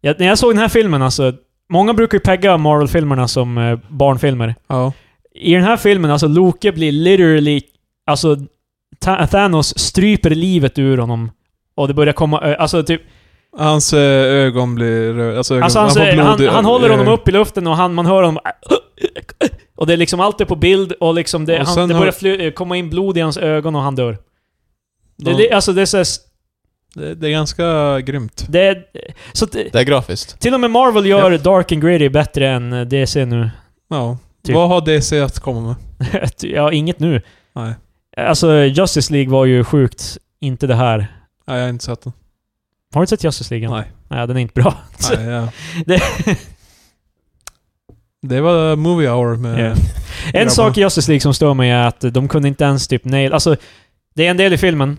Jag, när jag såg den här filmen alltså... Många brukar ju pegga Marvel-filmerna som eh, barnfilmer.
Ja.
I den här filmen, alltså Loke blir literally... Alltså Ta- Thanos stryper livet ur honom. Och det börjar komma... ö- Alltså typ...
Hans eh, ögon blir röda. Alltså, ögon,
Alltså han,
får
han,
blod
han,
i-
håller honom
eh,
upp i luften och han, man hör honom... Och det är liksom allt är på bild och liksom det,
Och
han,
sen
det
har-
börjar fly, komma in blod i hans ögon och han dör. Det,
Ja.
är li- alltså det är så, här s-
Det, det är ganska grymt.
det är, så att,
Det är grafiskt.
Till och med Marvel gör Dark and Gritty bättre än eh, DC nu.
Ja.
Typ.
Vad har DC att komma med?
ja, inget nu.
Nej.
Alltså, Justice League var ju sjukt. Inte det här.
Nej, jag har inte sett den.
Har du inte sett Justice League? än?
Nej.
Nej, den är inte bra.
Nej ja.
Det-
det var movie hour med...
Ja. En
Grabbarna.
sak i Justice League som stör mig är att de kunde inte ens typ nail... Alltså, det är en del i filmen.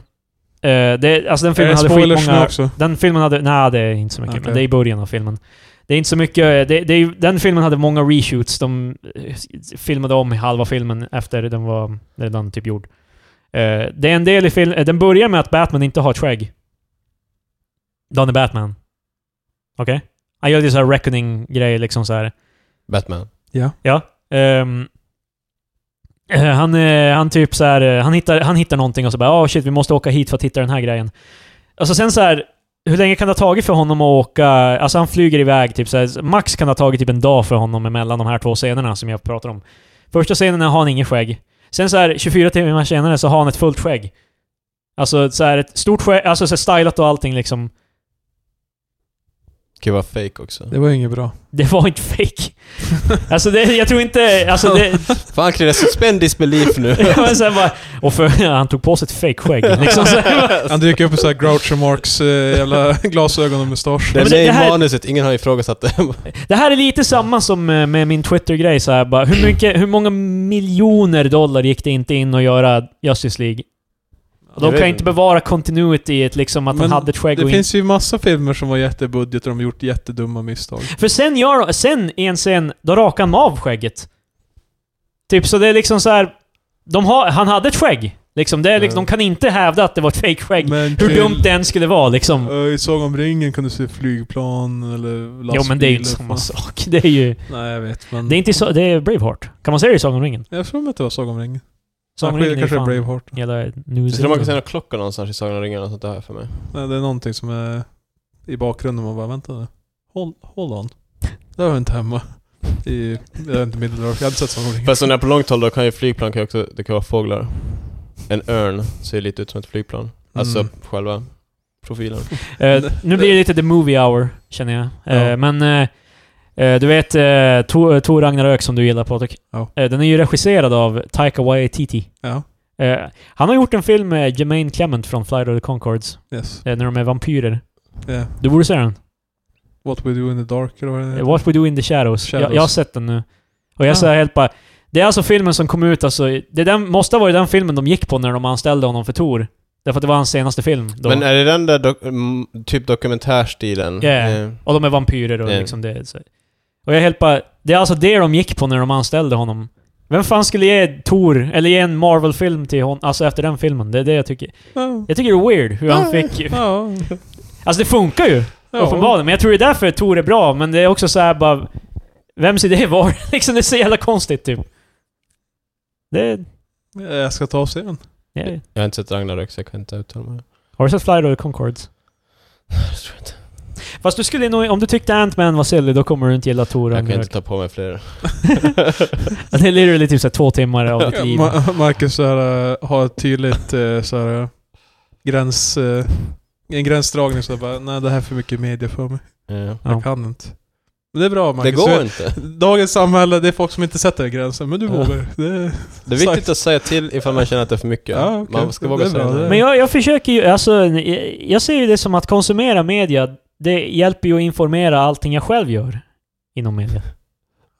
Eh, det, alltså den
Är
filmen
det
hade
spoilers nu
skitmånga...
också?
Den filmen hade... Nej, det är inte så mycket.
Okej.
Men det är i början av filmen. Det är inte så mycket... eh, Det, det är, ju- den filmen hade många reshoots. De eh, filmade om halva filmen efter den var redan typ gjord. Eh, det är en del i filmen... Den börjar med att Batman inte har ett skägg. Danny Batman. Okej? Han gör ju så här reckoning-grejer liksom så här.
Batman.
Ja. ehm, eh, han, eh, han typ så här, eh, han hittar, han hittar någonting och så bara oh shit, vi måste åka hit för att hitta den här grejen. Alltså sen så här, hur länge kan det ha tagit för honom att åka? Alltså han flyger iväg typ så här, max kan det ha tagit typ en dag för honom mellan de här två scenerna som jag pratar om. Första scenen har han ingen skägg. Sen så här 24 timmar senare så har han ett fullt skägg. Alltså så här, ett stort skägg, alltså så här, stylat och allting liksom.
Kan ju vara fake också.
Det var ju inget bra.
Det var inte fake. Alltså det, jag tror inte, alltså det,
Fan Chrille, suspend disbelief nu.
Ja, men sen bara, och för, han tog på sig ett fake-skägg. Liksom. Så,
Han dyker upp i såhär Groucho Marx eh, jävla glasögon och mustasch.
Det är
men
med
det
i
här-
manuset, ingen har ifrågasatt det.
det här är lite samma som eh, med min Twitter-grej. Så här, bara, hur, mycket, hur många miljoner dollar gick det inte in att göra Justice League? Och
Jag
De
vet
kan
inte.
inte bevara continuityet liksom, att
Men
han hade ett skägg
Det
och
finns ju massa filmer som var jättebudget och de gjort jättedumma misstag.
inte... För sen, gör, de- sen i en scen, då rakar han av skägget. Typ, så det är liksom så här... De har, han hade ett skägg. Liksom, det är, liksom,
Mm.
De kan inte hävda att det var ett fake-skägg.
Men
Hur
till-
dumt det än skulle vara liksom.
Eh, I Sagan om ringen kunde du se flygplan eller lastbilar.
Jo, men det är ju inte samma sak. Det är ju...
Nej, jag vet. Men
Det är inte så, det är Braveheart. Kan man säga det i Sagan om ringen?
Jag tror att det var Sagan om ringen.
Sagan om
Kanske-
ringen är
kanske
fan
Braveheart.
hela New
Jag tror man kan
Zealand.
se några klockor någonstans i Sagan om ringarna och sånt där för mig.
Nej, det är någonting som är i bakgrunden. Man bara, vänta nu. Hold, hold on. Det var inte hemma. I, jag är inte Middle-earth. Jag hade sett Sagan om ringen.
Fast när på långt håll då kan ju flygplan kan ju också, det kan vara fåglar. En örn ser lite ut som ett flygplan. Alltså
Mm.
själva profilen.
Eh, nu blir det lite the movie hour, känner jag. Eh,
Ja.
Men eh, eh, du vet eh, Tor Tor Ragnarök som du gillar Patrik?
Ja.
Eh, den är ju regisserad av Taika Waititi.
Ja,
Eh, han har gjort en film med Jermaine Clement från Flight of the Conchords
yes.
eh, när de är vampyrer.
Yeah.
Du borde se den.
What we do in the dark eller vad det
Eh,
heter.
What We Do In The Shadows.
Shadows.
Jag, jag har sett den nu. Och jag
Ah.
ah. helt bara... Det är alltså filmen som kom ut, alltså... Det är den, måste ha varit den filmen de gick på när de anställde honom för Tor. Därför att det var hans senaste film då.
Men eh, är det den där dok- mm, typ dokumentärstilen?
Ja.
Eh,
Och de är vampyrer och
Ja.
liksom det. Så. Och jag är helt bara... Det är alltså det de gick på när de anställde honom. Vem fan skulle ge Tor, eller ge en Marvel-film till honom, alltså efter den filmen? Det är det jag tycker.
Ja.
Jag tycker det är weird hur han fick...
Ja.
Alltså det funkar ju,
ja.
uppenbarligen. Men jag tror det är därför Tor är bra, men det är också så här bara... Vems idé var det? liksom, det är så jävla konstigt typ. Det...
Eh, Jag ska ta och se den.
Ja.
Jag har inte sett Ragnarök så jag kan inte uttala mig.
Har du sett Flight of the Conchords?
Jag tror inte.
Fast du skulle nog, om du tyckte Ant-Man var silly, då kommer du inte gilla Tor
Jag kan
Ragnarök.
inte ta på mig fler.
Det är literally typ såhär två timmar av ditt liv.
Ma- Marcus så här, äh, har ett tydligt eh, så här, äh, gräns, eh, en gränsdragning så jag bara, nej det här är för mycket media för mig.
Ja.
Ja.
Jag kan inte. Men det är bra
Det
Marcus.
går
För
inte.
Dagens samhälle, det är folk som inte sätter den gränsen, men du
Ja.
vågar. Det,
Det är viktigt att säga till ifall man känner att det är för mycket.
Ja, okej.
Man ska
Det
våga
är
säga
bra, det
det.
är-
Men jag, jag försöker ju, alltså, jag- jag ser ju det som att konsumera media, det hjälper ju att informera allting jag själv gör inom media.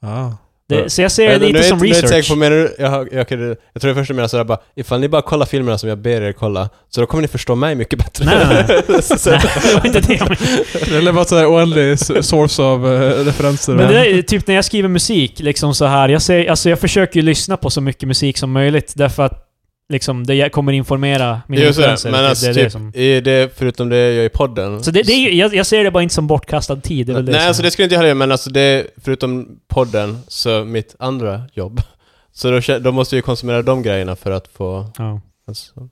ja.
Det,
Ja.
så jag ser det
Men
lite
nu är
som
jag, inte- Nu är jag, inte
research.
säker på, menar du- jag, har- jag, kan- jag tror det första du menar sådär bara, ifall ni bara kollar filmerna som jag ber er kolla, så då kommer ni förstå mig mycket bättre.
Nej, nej, Nej, det var inte det jag menade.
Det är bara sådär oändlig s- source av eh, referenser.
Men det är typ när jag skriver musik, liksom så här, jag, ser, alltså, jag försöker ju lyssna på så mycket musik som möjligt, därför att liksom, det jag kommer informera mina
Just det,
influenser.
men
Det-
alltså
det är det
typ,
som-
i det, förutom det jag gör i podden.
Så det, det är, ju- jag, jag ser det bara inte som bortkastad tid. Det är väl
Nej,
det som-
alltså det skulle jag inte jag heller göra, men alltså det, förutom podden, så mitt andra jobb, Så då, kä- de måste ju konsumera de grejerna för att få...
Ja.
Alltså,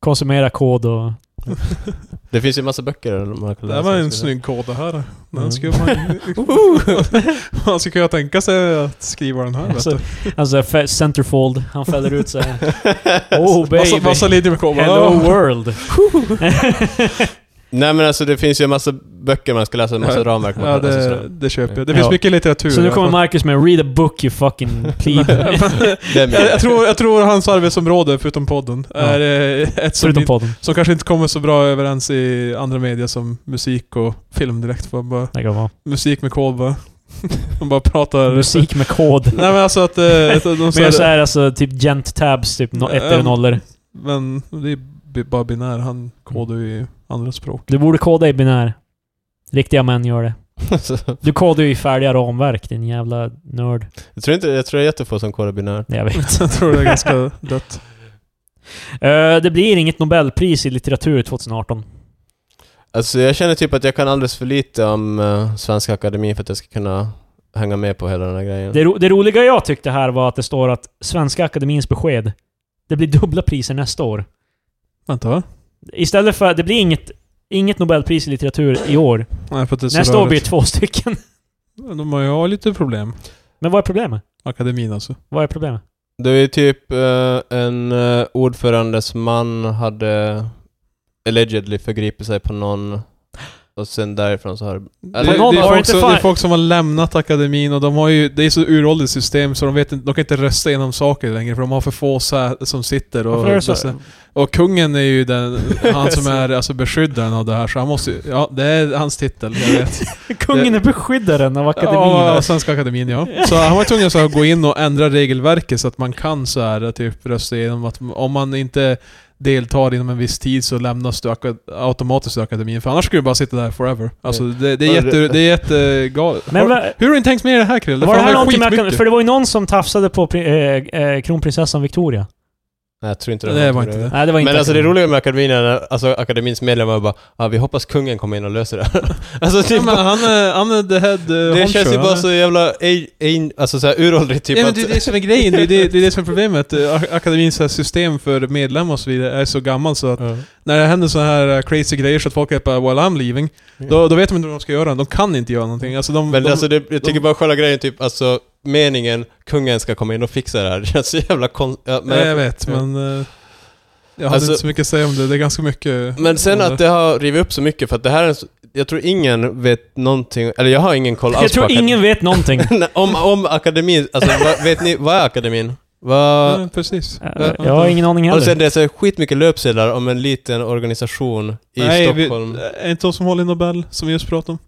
Konsumera kod och...
det finns ju massa böcker man kan
Det
läsa.
här var en snygg kod det här.
Mm.
Man skulle, man, man skulle kunna tänka sig att skriva den här vet
Alltså,
du.
alltså fe- centerfold, han fäller ut sig. Oh
Massa,
baby!
massa linjer med kod.
Hello
Ah.
world!
Nej men alltså det finns ju en massa böcker man ska läsa, en massa
Ja.
ramverk man
Ja,
kan läsa.
det,
sådär.
det köper jag. Det finns
alltså, Ja.
mycket litteratur.
Så nu
i alla
kommer
fall.
Marcus med 'Read a book you fucking plebe'
Det är min-
jag, jag, tror, jag tror hans arbetsområde, förutom podden, är eh, ett som,
Förutom
inte-
podden.
som kanske inte kommer så bra överens i andra medier som musik och film direkt. För bara,
Det kan vara.
musik med kod bara. De bara pratar...
Musik med kod.
Nej men alltså att... eh, att de
Men
säger-
jag säger alltså typ gent tabs, typ no, ettor och
Ehm.
nollor.
Men det är bi- bara binär. Han kodar ju i andra språk.
Du borde koda i binär. Riktiga män gör det. Du kodar ju i färdiga ramverk, din jävla nörd.
jag tror inte, jag tror det är jättefå som kodar binärt.
Nej, Jag vet.
Jag tror det är ganska dött.
Eh, det blir inget Nobelpris i litteratur 2018.
Alltså jag känner typ att jag kan alldeles för lite om eh, Svenska Akademin för att jag ska kunna hänga med på hela den här grejen.
Det, ro det roliga jag tyckte här var att det står att Svenska Akademins besked. Det blir dubbla priser nästa år.
Vänta va?
Istället för... Det blir inget, inget Nobelpris i litteratur i år.
Nej, för att det är så
Nästa år blir
rörigt.
det två stycken.
De har ju har lite problem.
Men vad är problemet?
Akademin alltså.
Vad är problemet?
Det är typ eh, en eh, ordförandes man hade allegedly förgripit sig på någon och sen därifrån så har
Det, det,
någon
är
har
folk
inte
som,
fan-
det är folk som har lämnat akademin och de har ju... Det är så uråldrigt system så de, vet inte, de kan inte rösta igenom saker längre för de har för få sä, som sitter och...
Varför är det så?
och- Och kungen är ju den, han som är alltså beskyddaren av det här så han måste ju- Ja, det är hans titel, jag vet.
Kungen är beskyddaren av akademin.
Ja, alltså. Svenska akademin ja. Så han var tvungen så här, att gå in och ändra regelverket så att man kan så här typ rösta igenom att om man inte deltar inom en viss tid så lämnas du aka- automatiskt ur akademin. För annars skulle du bara sitta där forever. Alltså det, det är jätte... Det är jättegalet.
Men
Har-
va-
Hur har du inte tänkt med det här Krill?
var det här någonting med
skitmycket.
För det var ju någon som tafsade på pri- eh, eh, kronprinsessan Victoria.
Nej, jag tror inte det.
Nej, det var
något
inte
med
det.
Nej, det var inte
Men alltså det roliga med akademin är när, alltså akademins medlemmar bara ah, vi hoppas kungen kommer in och löser det här. alltså
Ja,
typ,
men han är, han är the head eh, honcho,
det känns ju
han
bara
är-
så jävla, ej, ej, alltså såhär uråldrigt typ
ja, men
att-
det är det som är grejen, det är det, det, är det som är problemet. Eh, ak- Akademins så här system för medlemmar och så vidare är så gammalt så att
Ja.
när det händer så här eh, crazy grejer så att folk är bara 'Well I'm leaving' då, då vet de inte vad de ska göra, de kan inte göra någonting. Alltså de...
Men
de
alltså det, jag tycker bara själva grejen typ, alltså meningen kungen ska komma in och fixa det här, det känns så jävla konstigt. Ja,
nej, jag vet, men... eh, Jag hade
Alltså-
inte så mycket att säga om det, det är ganska mycket...
Men sen
om
att det har rivit upp så mycket för att det här är en så- jag tror ingen vet någonting, eller jag har ingen koll
Jag
alls
tror
på akad-
ingen vet någonting. Eh,
Nej, om, om akademin, alltså vad, vet ni, vad är akademin? Vad...
Ja, precis.
Eh, Jag har ingen aning
Alltså,
Och sen
heller.
det är så skitmycket löpsedlar om en liten organisation i
Nej, vi,
Stockholm.
är inte de som håller i Nobel, som vi just pratade om?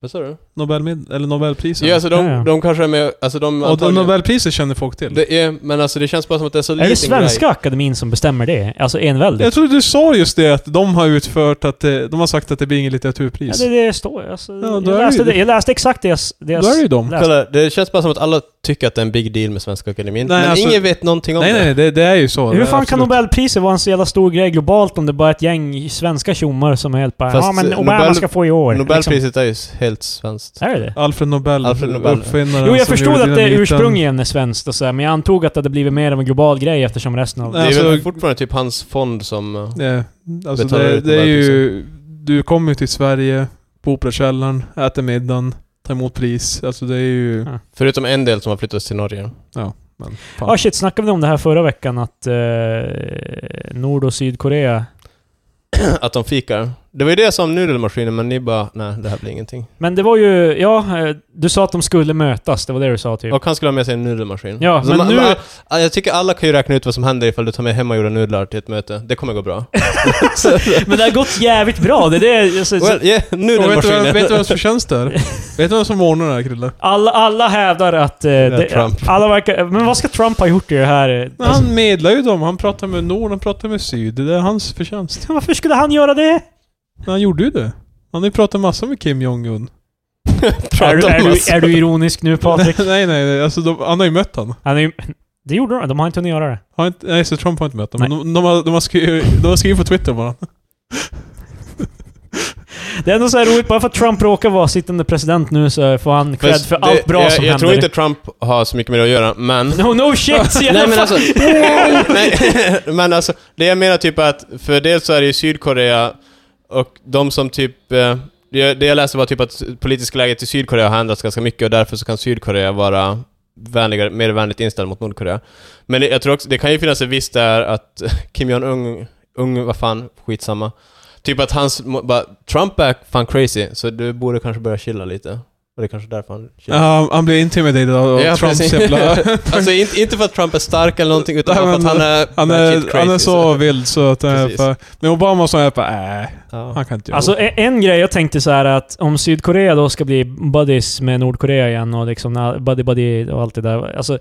Vad sa du?
Nobelmed... Eller Nobelpriset?
Ja, alltså de,
Ja, ja.
de kanske är med, alltså de
och de
antagligen-
Nobelpriset känner folk till.
Det är, men alltså det känns bara som att det är så
Är
liten
det Svenska akademin som bestämmer det? Alltså enväldigt?
Jag tror du sa just det, att de har utfört att eh, de har sagt att det blir inget
Ja,
litteraturpris.
det, det står alltså,
då
jag,
är det
läste
ju-
det, jag läste exakt deras... deras
Då är det ju de.
läs-
Kolla, det känns bara som att alla tycker att det är en big deal med Svenska Akademin.
Nej,
men
alltså-
ingen vet någonting om
Nej,
det.
nej, det, det är ju så.
Hur
Det är
fan kan
absolut.
Nobelpriset vara en så jävla stor grej globalt om det bara är ett gäng svenska tjommar som är helt bara
Fast,
Ja men
eh,
Obama
Nobel-
ska få i år.
Nobelpriset är ju helt svenskt.
Liksom. Är det det?
Alfred Nobel,
Alfred Nobel.
uppfinnaren
Jo, jag
som
förstod
gjorde
att det
dynamiten.
ursprungligen är svenskt och så här, men jag antog att det hade blivit mer av en global grej eftersom resten av...
Nej,
det är väl
alltså-
fortfarande typ hans fond som... eh,
Ja, alltså
Betalar
det,
ut
det är ju... Du kommer ju till Sverige, på Operakällaren, äter middagen, tar emot pris. Alltså det är ju...
Ja.
Förutom en del som har flyttats till Norge.
Men, fan.
Ja shit, snackade vi om det här förra veckan att eh, Nord och Sydkorea...
Att de fikar. Det var ju det som nudelmaskinen, men ni bara, nej det här blir ingenting.
Men det var ju... Ja, eh, du sa att de skulle mötas, det var det du sa typ.
Och han skulle ha med sig en nudelmaskin. Alltså,
Ja,
Så
men nu-
man- ah, jag tycker alla kan ju räkna ut vad som händer ifall du tar med hemmagjorda nudlar till ett möte. Det kommer gå bra.
Men det har gått jävligt bra, det är det... Alltså, så,
Well, yeah,
Och vet, du, vem-
nudelmaskinen.
vet du vem som känns där? vet du vem som ordnar det här Krille?
alla, alla hävdar att... Eh,
är
det,
Trump.
Alla verkar... Men vad ska Trump ha gjort i det här? eh,
Men
Alltså-
han medlar ju dem. Han pratar med Nord, han pratar med Syd. Det är hans förtjänst.
Varför skulle han göra det?
Men han gjorde ju det. Han har ju pratat massor med Kim Jong-Un.
Är du,
Pratar
är,
om
du, är du ironisk nu Patrik?
nej, nej, nej. Alltså, de, han har ju mött han.
Han är ju... Det gjorde de, de har inte hunnit göra det.
Har inte, nej, så Trump har inte mött honom. Men de, de, har, de, har skrivit, de har skrivit på Twitter bara.
Det är ändå så här roligt, bara för att Trump råkar vara sittande president nu så får han cred för
det-
allt bra
jag,
som
Jag
händer.
tror inte Trump har så mycket med det att göra, men...
No, no shit! i alla
Nej men
fall.
alltså, nej, men alltså, det jag menar typ är att, för dels så är det ju Sydkorea, och de som typ, eh, det det jag läste var typ att politiska läget i Sydkorea har ändrats ganska mycket och därför så kan Sydkorea vara vänligare, mer vänligt inställd mot Nordkorea. Men det, jag tror också, det kan ju finnas en viss där att Kim Jong-Un, ung, vad fan, skitsamma. Typ att hans, må- bara, Trump är fan crazy, så du borde kanske börja chilla lite. Och det är kanske därför han chillar.
Ja, han blir intimidated av
Ja,
Trumps
precis.
jävla...
Alltså inte, inte för att Trump är stark eller någonting, utan
Nej,
bara för att
men
han är...
Han
batshit
är,
crazy,
han är så vild så att... eh,
Precis.
För, men Obama och sådana är bara äh,
Ja.
han kan inte göra
Alltså e- en grej jag tänkte så här att om Sydkorea då ska bli buddies med Nordkorea igen och liksom na- buddy buddy och allt det där. Alltså,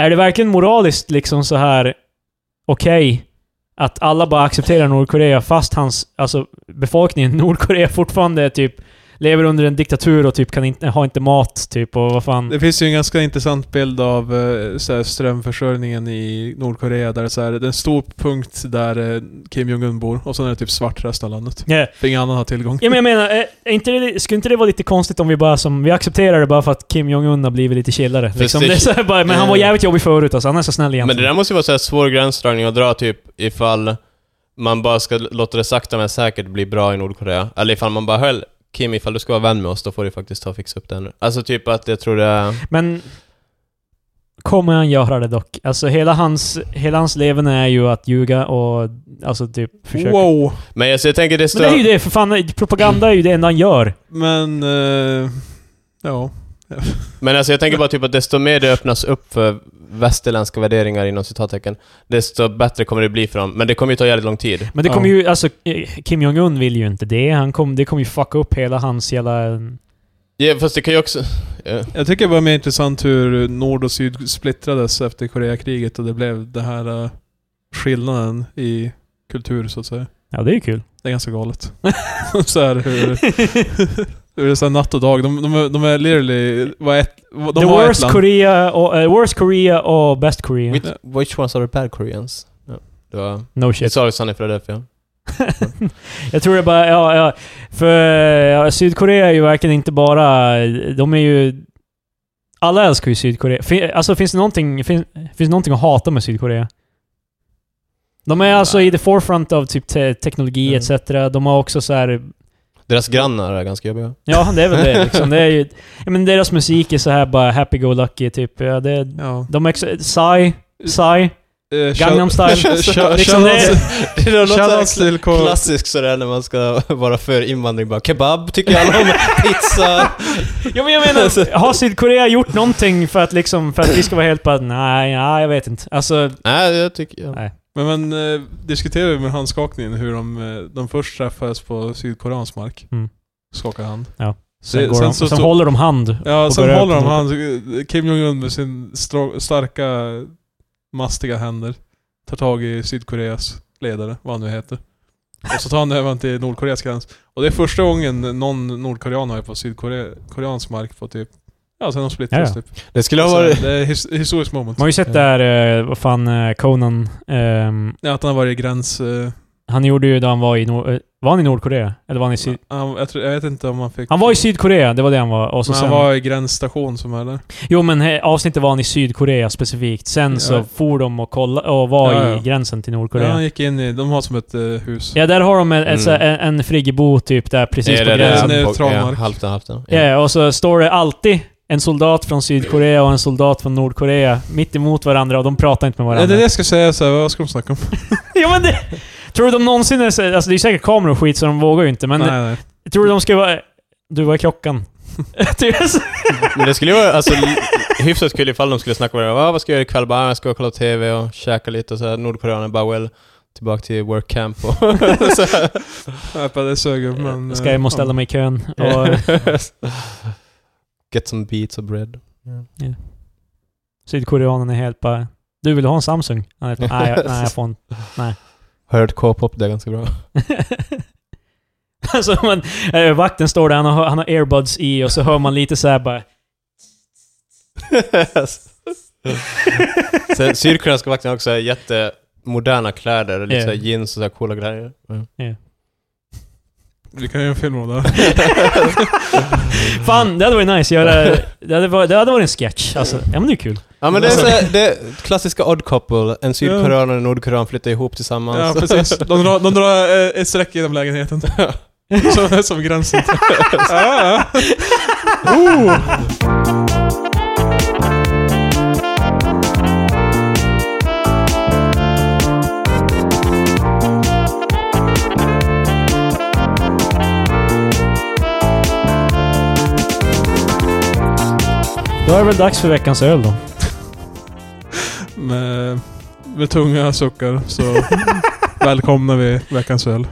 är det verkligen moraliskt liksom så här okej att alla bara accepterar Nordkorea fast hans, alltså befolkningen i Nordkorea fortfarande är typ lever under en diktatur och typ kan inte, har inte mat typ och vad fan.
Det finns ju en ganska intressant bild av eh, så här, strömförsörjningen i Nordkorea där det är så här, det är en stor punkt där eh, Kim Jong-Un bor och sen är det typ svart resten av landet.
Yeah.
För ingen annan har tillgång.
Ja, men jag menar, eh, är inte det, skulle inte det vara lite konstigt om vi bara som, vi accepterar det bara för att Kim Jong-Un har blivit lite chillare?
Fast
Liksom.
det-
Det är så här bara, men han var
Mm.
jävligt jobbig förut alltså, han är så snäll egentligen.
Men det där måste ju vara så här svår gränsdragning att dra typ ifall man bara ska låta det sakta men säkert bli bra i Nordkorea. Eller ifall man bara höll Kim, ifall du ska vara vän med oss, då får du faktiskt ta och fixa upp det nu. Alltså typ att jag tror det är...
Men kommer han göra det dock? Alltså hela hans, hela hans leverne är ju att ljuga och alltså typ försöka...
Wow!
Men alltså, jag tänker det
Men det är ju
stör...
det, för fan. Propaganda är ju det enda han gör.
Men... eh, ja.
Men alltså jag tänker bara typ att desto mer det öppnas upp för västerländska värderingar inom citattecken, desto bättre kommer det bli för dem. Men det kommer ju ta jävligt lång tid.
Men det
Ja.
kommer ju, alltså eh, Kim Jong-Un vill ju inte det. Han kom, det kommer ju fucka upp hela hans jävla...
Ja, fast det kan ju också... Ja.
Jag tycker det var mer intressant hur Nord och Syd splittrades efter Koreakriget och det blev det här eh, skillnaden i kultur så att säga.
Ja, det är ju kul.
Det är ganska galet. så här hur... hur det är så här natt och dag. De, de, är- de är literally... Vad ett, de
The
har ett
worst
land.
Korea, och, eh, worst Korea och best Korea.
Which, which ones are the bad Koreans? Ja. Det var...
No
Det
shit.
sa ju Sunny Philadelphia.
Jag tror det bara, ja, ja för ja, Sydkorea är ju verkligen inte bara, de är ju... Alla älskar ju Sydkorea. Fin, alltså finns det någonting, fin, finns det någonting att hata med Sydkorea? De är alltså i the forefront av typ te, teknologi
Mm.
etc. De har också så här.
Deras grannar är ganska jobbiga.
ja det är väl det liksom. Det är ju, ja, men deras musik är så här bara happy-go-lucky typ. Ja, det,
Ja.
de är ex- Psy, Psy,
Eh,
Gangnam Style.
Shout-
Liksom det-
Det är något så här
Shoutouts till K...
klassiskt sådär när man ska vara för invandring bara kebab tycker alla om, pizza.
Ja men jag menar, har Sydkorea gjort någonting för att liksom, för att vi ska vara helt bara nej, nej jag vet inte. Alltså,
Nej, jag tycker... Ja.
Nej.
Men man eh, diskuterade ju med handskakningen hur de, eh, de först träffades på sydkoreansk mark.
Mm.
Skakade hand.
sen,
Det-
går
sen
de,
så-
sen
så-
håller de hand.
Ja,
Och
sen
började
håller de
öppna
hand. Kim Jong-Un med sin stra- starka, mastiga händer tar tag i Sydkoreas ledare, vad han nu heter. Och så tar han över till Nordkoreas gräns. Och det är första gången någon nordkorean har varit på sydkoreansk mark på typ... Ja, sen de splittrades
Ja,
typ.
Det skulle ha
Så
varit...
Det är his- historiskt moment.
Man har ju sett där, eh, vad fan, eh, Conan. ehm,
Ja, att han har varit i gräns... eh,
han gjorde ju då han var i Nor- eh, Var han i Nordkorea? Eller var han i Syd...
han, jag, tror, jag vet inte om han fick...
Han var i Sydkorea, det var det han var. Och så
Men han
sen,
var i gränsstation som är där.
Jo men he, avsnittet var han i Sydkorea specifikt. Sen så
Ja.
for de och, kolla, och var
Ja, ja.
i gränsen till
Ja,
Nordkorea.
han
Ja,
gick in i... De har som ett eh, hus.
där har de en, en,
Mm.
så här- en, en friggebo typ där precis
Är
på
det
där?
gränsen.
Nej, Neutral
eh, ja,
mark.
Halvten, halvten.
Ja, och så står det alltid en soldat från Sydkorea och en soldat från Nordkorea mitt emot varandra och de pratar inte med
Ja, det är
varandra.
det jag ska säga, så här, vad ska de snacka om?
ja, men det, tror du de någonsin är... så- Alltså det är säkert kameror och skit så de vågar ju inte, men
nej, nej.
tror du de ska vara... Du, var är klockan? Typ så-
Men det skulle ju vara alltså, li- hyfsat kul ifall de skulle snacka med varandra. Ah, vad ska jag göra ikväll? Bara, "Ah, jag ska kolla på TV och käka lite och så här. Nordkoreaner bara well, tillbaka till work camp och så här.
Nej, bara det sög upp, men...
ska jag
eh,
måste ställa mig i kön. Och,
Ja. Get some beats och bread.
Sydkoreanen är helt bara... Du, vill du ha en Samsung? Han är, nej, jag, nej, jag får inte.
Hört K-pop, det är ganska bra.
alltså, man, eh, vakten står där, han har, han har earbuds i och så hör man lite så här bara...
Sen Sydkoreanska vakten har också jättemoderna kläder, lite
Ja.
såhär jeans och såhär coola grejer.
Ja.
Vi kan göra en film om det.
Fan, det hade varit nice. Göra, det, hade varit, det hade varit en sketch. Alltså, ja men det är kul.
Ja men det är, så, här- det är klassiska odd couple. En sydkorean och en nordkorean flyttar ihop tillsammans.
Ja,
Alltså.
precis. De drar, de drar eh, ett streck genom lägenheten. Som, som gränsen. ja, ja. Oh.
Då är det väl dags för veckans öl då.
Med, med tunga suckar så välkomnar vi veckans öl.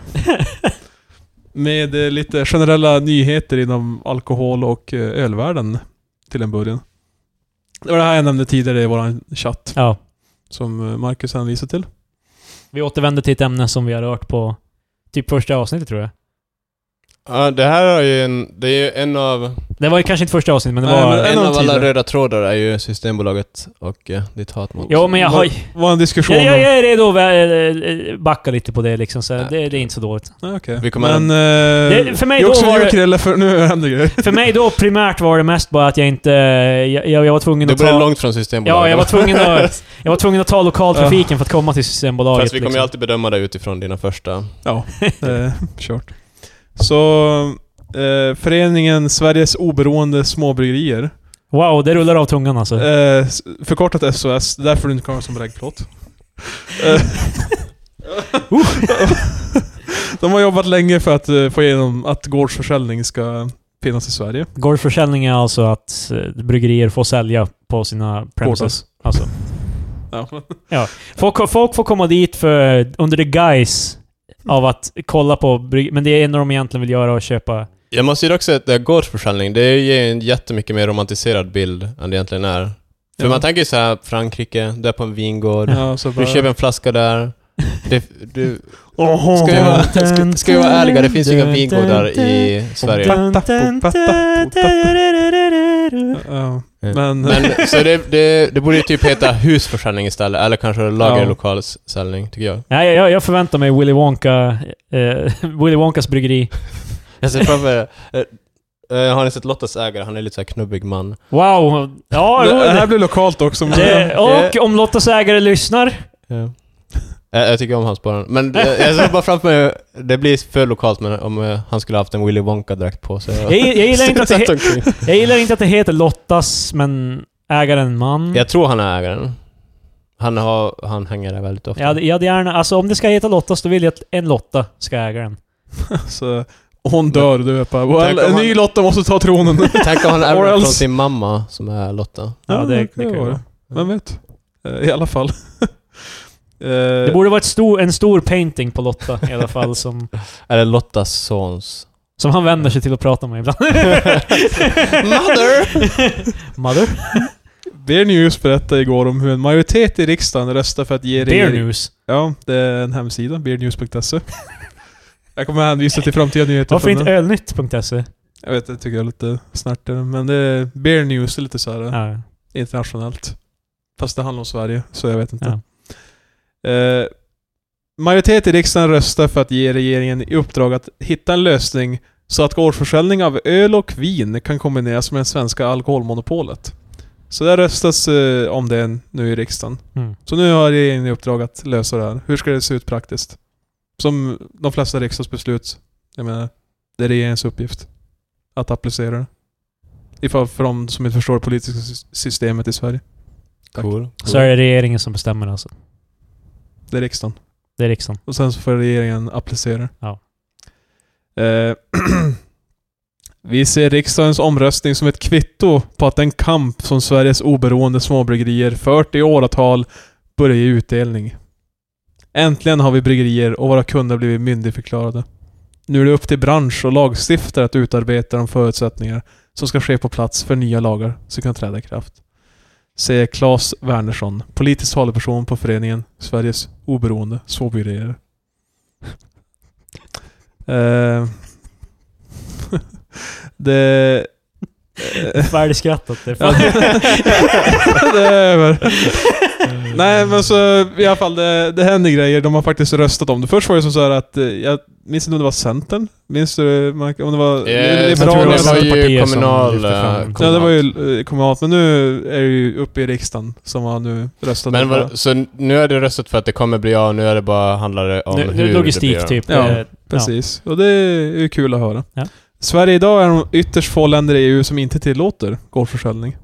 Med eh, lite generella nyheter inom alkohol och eh, ölvärlden till en början. Det var det här jag nämnde tidigare i vår chatt
Ja.
som eh, Marcus hänvisade till.
Vi återvänder till ett ämne som vi har rört på typ första avsnittet tror jag.
Ja, det här är ju en, det är ju en av,
Det var ju kanske inte första avsnittet men det
Nej,
var...
men-
en
av
av alla
tidigare.
röda trådar är ju Systembolaget och eh, ditt hat mot...
Jo men jag har...
Det var en diskussion
Jag, jag,
om...
jag är redo att vä- eh, backa lite på det liksom, så
Nej.
det, det är inte så dåligt.
Nej, okej.
Vi kommer
Men...
Det,
Eh,
för, mig
jag
då
också
var
mjuk
det,
Krille, för nu händer grejer.
för mig då primärt var det mest bara att jag inte... Jag, jag, jag var tvungen
Det
att
blir
ta...
långt från Systembolaget.
Ja, jag var tvungen att, jag var tvungen att ta lokaltrafiken för att komma till Systembolaget.
Fast vi kommer ju
liksom.
alltid bedöma det utifrån dina första...
Ja, eh, kört. Så eh, föreningen Sveriges Oberoende Småbryggerier,
Wow, det rullar av tungan alltså.
eh, s- förkortat SOS, det är därför du inte kommer som bräggplåt. Eh,
Uh.
De har jobbat länge för att eh, få igenom att gårdsförsäljning ska finnas i Sverige.
Gårdsförsäljning är alltså att eh, bryggerier får sälja på sina premises. Alltså,
Ja, men-
folk, folk får komma dit för, under the guise av att kolla på brygg, Men det är enda de egentligen vill göra och köpa.
Jag måste ju dock säga att det här gårdsförsäljning, det ger ju en jättemycket mer romantiserad bild än det egentligen är. För
Ja.
man tänker ju så här, Frankrike, du är på en vingård,
ja, så bara,
du köper en flaska där. Det, du,
Oho.
ska, jag vara, ska, ska jag vara ärliga, det finns ju inga vingårdar i Sverige.
Ja,
Ja.
men...
Eh, Men, så det, det, det borde ju typ heta husförsäljning istället, eller kanske lagerlokalssäljning, tycker jag.
Nej, jag, jag förväntar mig Willy Wonka... Eh, Willy Wonkas bryggeri.
Jag ser framför eh, eh, Har ni sett Lottas ägare? Han är lite så här knubbig man.
Wow! Ja,
det, det
roligt.
här blir lokalt också. men-
Det, och om Lottas ägare lyssnar.
Ja. Eh, Jag, jag tycker om hans bara. Men jag, jag ser bara framför mig, det blir för lokalt, men om eh, han skulle haft en Willy Wonka-dräkt på sig.
Jag, jag, gillar inte att det,
Satt
he-
omkring.
jag gillar inte att det heter Lottas, men ägaren man.
Jag tror han är ägaren. Han, har, han hänger där väldigt ofta.
Jag hade, jag hade gärna... Alltså om det ska heta Lottas, då vill jag att en Lotta ska äga den.
Så hon dör, du vet bara. Well,
Tänk om
en ny
han-
Lotta måste ta tronen.
Tänk om han
Or
ärver från
else.
sin mamma, som är Lotta.
Ja, det, det kan ju
vara.
vara.
Vem vet? Eh, I alla fall. Eh,
Det borde vara ett stor, en stor painting på Lotta i alla fall, som,
Eller Lottas sons.
som han vänder sig till att prata med ibland.
Mother!
Mother?
Beer News berättade igår om hur en majoritet i riksdagen röstar för att ge
Beer
regering-
news.
Ja, det är en hemsida. Beernews.se. jag kommer hänvisa till framtida nyheter.
Varför
från
inte
den.
ölnytt.se?
Jag vet, det tycker jag är lite snärtigare. Men det är Beer News, är lite så här
Ja.
internationellt. Fast det handlar om Sverige, så jag vet inte.
Ja.
Eh, majoritet i riksdagen röstar för att ge regeringen i uppdrag att hitta en lösning så att gårdsförsäljning av öl och vin kan kombineras med det svenska alkoholmonopolet. Så det röstas eh, om det nu i riksdagen.
Mm.
Så nu har regeringen i uppdrag att lösa det här. Hur ska det se ut praktiskt? Som de flesta riksdagsbeslut. Jag menar, det är regeringens uppgift. Att applicera det. Ifall för de som inte förstår det politiska sy- systemet i Sverige.
Cool.
Så är det regeringen som bestämmer alltså.
Det är riksdagen.
Det är riksdagen.
Och sen så får regeringen applicera.
Ja.
Eh, Vi ser riksdagens omröstning som ett kvitto på att den kamp som Sveriges oberoende småbryggerier fört i åratal börjar ge utdelning. Äntligen har vi bryggerier och våra kunder blivit myndigförklarade. Nu är det upp till bransch och lagstiftare att utarbeta de förutsättningar som ska ske på plats för nya lagar som kan träda i kraft. Säger Claes Wernersson, politisk talesperson på föreningen Sveriges oberoende småbryggerier. Eh, det...
Färdigskrattat. Det är
Ja,
fan-
det är över. Nej men så i alla fall, det, det händer grejer. De har faktiskt röstat om det. Först var det som så här att, eh, jag minns inte om det var Centern? Minns du Mark, om det var
Eh,
tror det
det
Liberalerna?
var
var ju
Centerpartiet som
kommunal...
lyfte fram-
eh,
Ja, det var ju eh, kommunalt, men nu är det ju uppe i riksdagen som har nu röstat
Men
om det.
vad, så nu är det röstat för att det kommer bli av, nu är det bara handlar det om
Nu,
hur
nu
det
logistik
blir.
typ.
Ja,
eh,
Precis, och det är ju kul att höra.
Ja.
Sverige idag är de ytterst få länder i EU som inte tillåter gårdsförsäljning.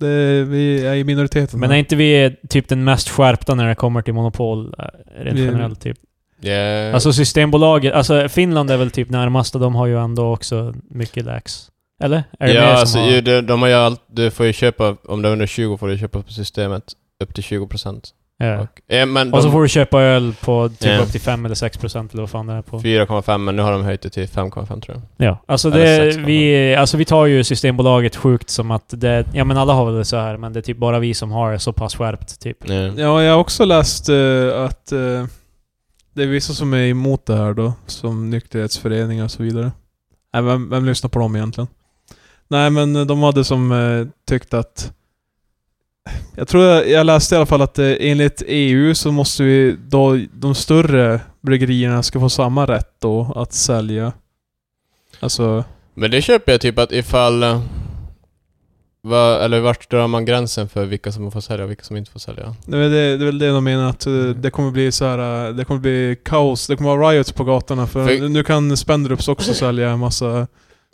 Det, vi är i minoriteten.
Men är inte vi typ den mest skärpta när det kommer till monopol eh, rent
Vi-
generellt? Typ.
Yeah.
Alltså Systembolaget, alltså Finland är väl typ närmast och de har ju ändå också mycket lax. Eller? Är det
ja,
mer som
alltså,
har...
ju, de, de har ju allt, du får ju köpa, om du är under 20 får du köpa på systemet upp till 20 procent.
ja.
Eh, men
Och så
de-
får du köpa öl på typ
Ja.
upp till 5 eller 6 procent eller vad fan det är på.
4,5 men nu har de höjt det till 5,5 tror jag.
Ja, alltså,
Eller
det,
sex,
vi, alltså vi tar ju Systembolaget sjukt som att det... Ja men alla har väl det så här, men det är typ bara vi som har det så pass skärpt typ.
Yeah.
Ja, jag har också läst eh, att eh, det är vissa som är emot det här då, som nykterhetsföreningar och så vidare. Nej, vem, vem lyssnar på dem egentligen? Nej, men eh, de hade som eh, tyckt att... Jag tror jag, jag läste i alla fall att eh, enligt EU så måste vi då, de större bryggerierna ska få samma rätt då att sälja. Alltså,
Men det köper jag typ att ifall... eh, Va, eller vart drar man gränsen för vilka som får sälja och vilka som inte får sälja?
det är väl det, det, är väl det de menar att eh,
Mm.
det kommer bli så här, eh, det kommer bli kaos, det kommer vara riots på gatorna för,
För-
nu kan Spendrups också sälja en massa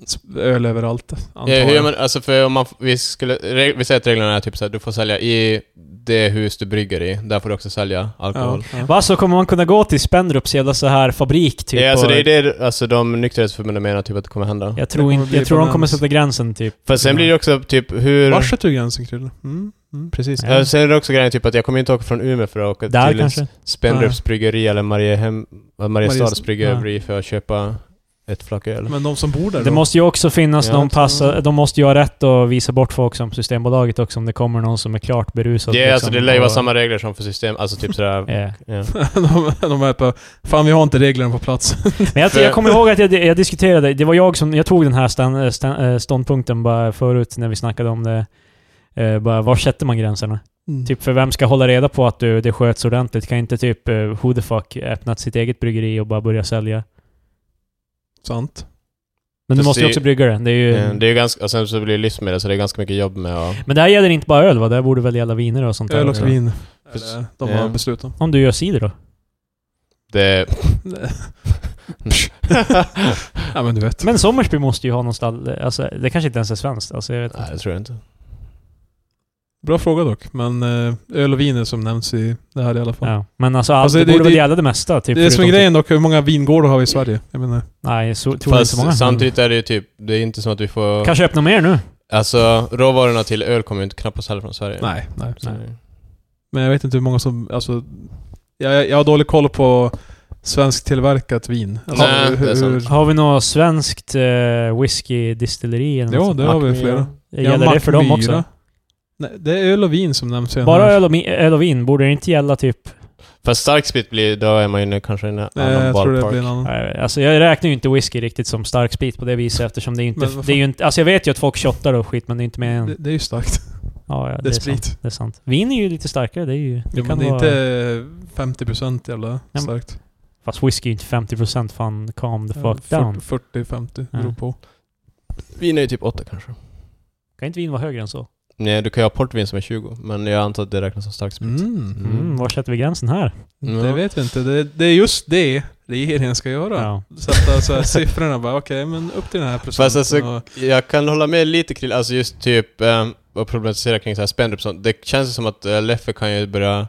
sp- öl överallt. antar
Eh, hur gör
jag.
man, alltså för om man, f- vi, skulle, reg, vi säger att reglerna är typ såhär, du får sälja i det hus du brygger i, där får du också sälja alkohol.
Ja, ja.
Va, så kommer man kunna gå till Spendrups jävla så här fabrik typ?
ja, alltså
och-
det är det alltså, de nykterhetsförbunden menar typ att det kommer hända.
Jag
Det
tror,
kommer
inte,
bli
jag tror de
balans.
kommer sätta gränsen typ.
För sen blir det också typ hur...
Vars är gränsen Krille? Mm, mm, precis.
Ja.
Ja, sen är det också grejen typ att jag kommer inte åka från Umeå för att åka
Där
till
kanske?
Spendrups bryggeri eller Mariehem, Mariestads
Mariestad,
bryggeri för att köpa ett flak öl.
Men de som bor där
Det
då?
måste ju också finnas
Ja,
någon
absolut.
passa, De måste ju ha rätt att visa bort folk som Systembolaget också om det kommer någon som är klart berusad. liksom,
Det, är alltså, det lär ju vara
och-
samma regler som för system, alltså typ sådär...
Ja.
ja.
de, de är på, Fan vi har inte reglerna på plats.
Men jag,
För-
jag kommer ihåg att jag, jag diskuterade, det var jag som, jag tog den här stan- stan- eh, ståndpunkten bara förut när vi snackade om det. Eh, Bara, var sätter man gränserna?
Mm.
Typ för vem ska hålla reda på att du, det sköts ordentligt? Kan inte typ eh, who the fuck öppnat sitt eget bryggeri och bara börja sälja?
Sant.
Men du
Fast
måste ju
det-
också brygga det. Det är ju...
Ja, Eh, Det är ju ganska, och sen så blir det livsmedel så det är ganska mycket jobb med och,
Men det här gäller inte bara öl va? Det här borde väl gälla viner och sånt där
Öl och
också?
vin.
För-
är det De
ja.
har beslutat.
Om du gör cider då?
det,
ja men du vet.
Men Sommersby måste ju ha någonstans... Alltså, det kanske inte ens är svenskt. Alltså, jag vet
Nej,
inte.
det tror jag inte.
Bra fråga dock. Men eh, öl och vin är som nämns i det här i alla fall.
Ja. Men alltså, allt
Alltså,
det,
det-
borde
det-
väl gälla det mesta? Typ,
det är som är
förutom
grejen dock, hur många vingårdar har vi i Sverige? Jag menar,
Typ, nej, så tror jag inte så många.
Fast samtidigt är det ju typ, det är inte som att vi får...
Kanske öppna mer nu?
Alltså råvarorna till öl kommer ju inte knappast heller från Sverige.
nej, nej.
Så-
Men jag vet inte hur många som, alltså... Jag, jag har dålig koll på svensk tillverkat vin. Alltså,
Nej,
hur,
det är sant.
Har vi något svenskt eh, whiskydistilleri eller något
Ja,
sånt?
det har vi
Mackmyra.
flera.
Gäller
ja,
det för dem
Mackmyra.
också?
Nej, det är öl och vin som nämns i den
Bara
här.
öl och, mi- öl och vin, borde det inte gälla typ...
Fast starksprit blir, då är man ju nu kanske i en
Nej,
annan
Eh, jag tror det
ballpark.
blir en annan.
Nej, Alltså jag räknar ju inte whisky riktigt som stark sprit på det viset eftersom det är inte...
Men vad
Det är ju inte alltså jag vet ju att folk shottar och skit men det är inte mer än...
Det, det är ju starkt.
ja, ja,
Det är
sant.
sprit.
Det är sant. Vin är ju lite starkare, det är ju... Det
Jo, men
kan
det är
vara,
inte 50% jävla
men-
starkt.
Fast whisky är ju inte 50% fan, calm the fuck down.
40-50,
Ja.
beror på.
Vin är ju typ 8 kanske.
Kan inte vin vara högre än så?
Nej, du kan ju ha portvin som är 20, men jag antar att det räknas som starksprit.
Mm.
Mm.
Mm.
var sätter vi gränsen här?
Det
Ja.
vet vi inte. Det, det är just det regeringen ska göra.
Ja.
Sätta så här siffrorna bara, okej men upp till den här procenten.
Fast alltså-
och,
Jag kan hålla med lite kring, alltså just typ, um, att problematisera kring så här spendrup och sånt. Det känns som att eh, Leffe kan ju börja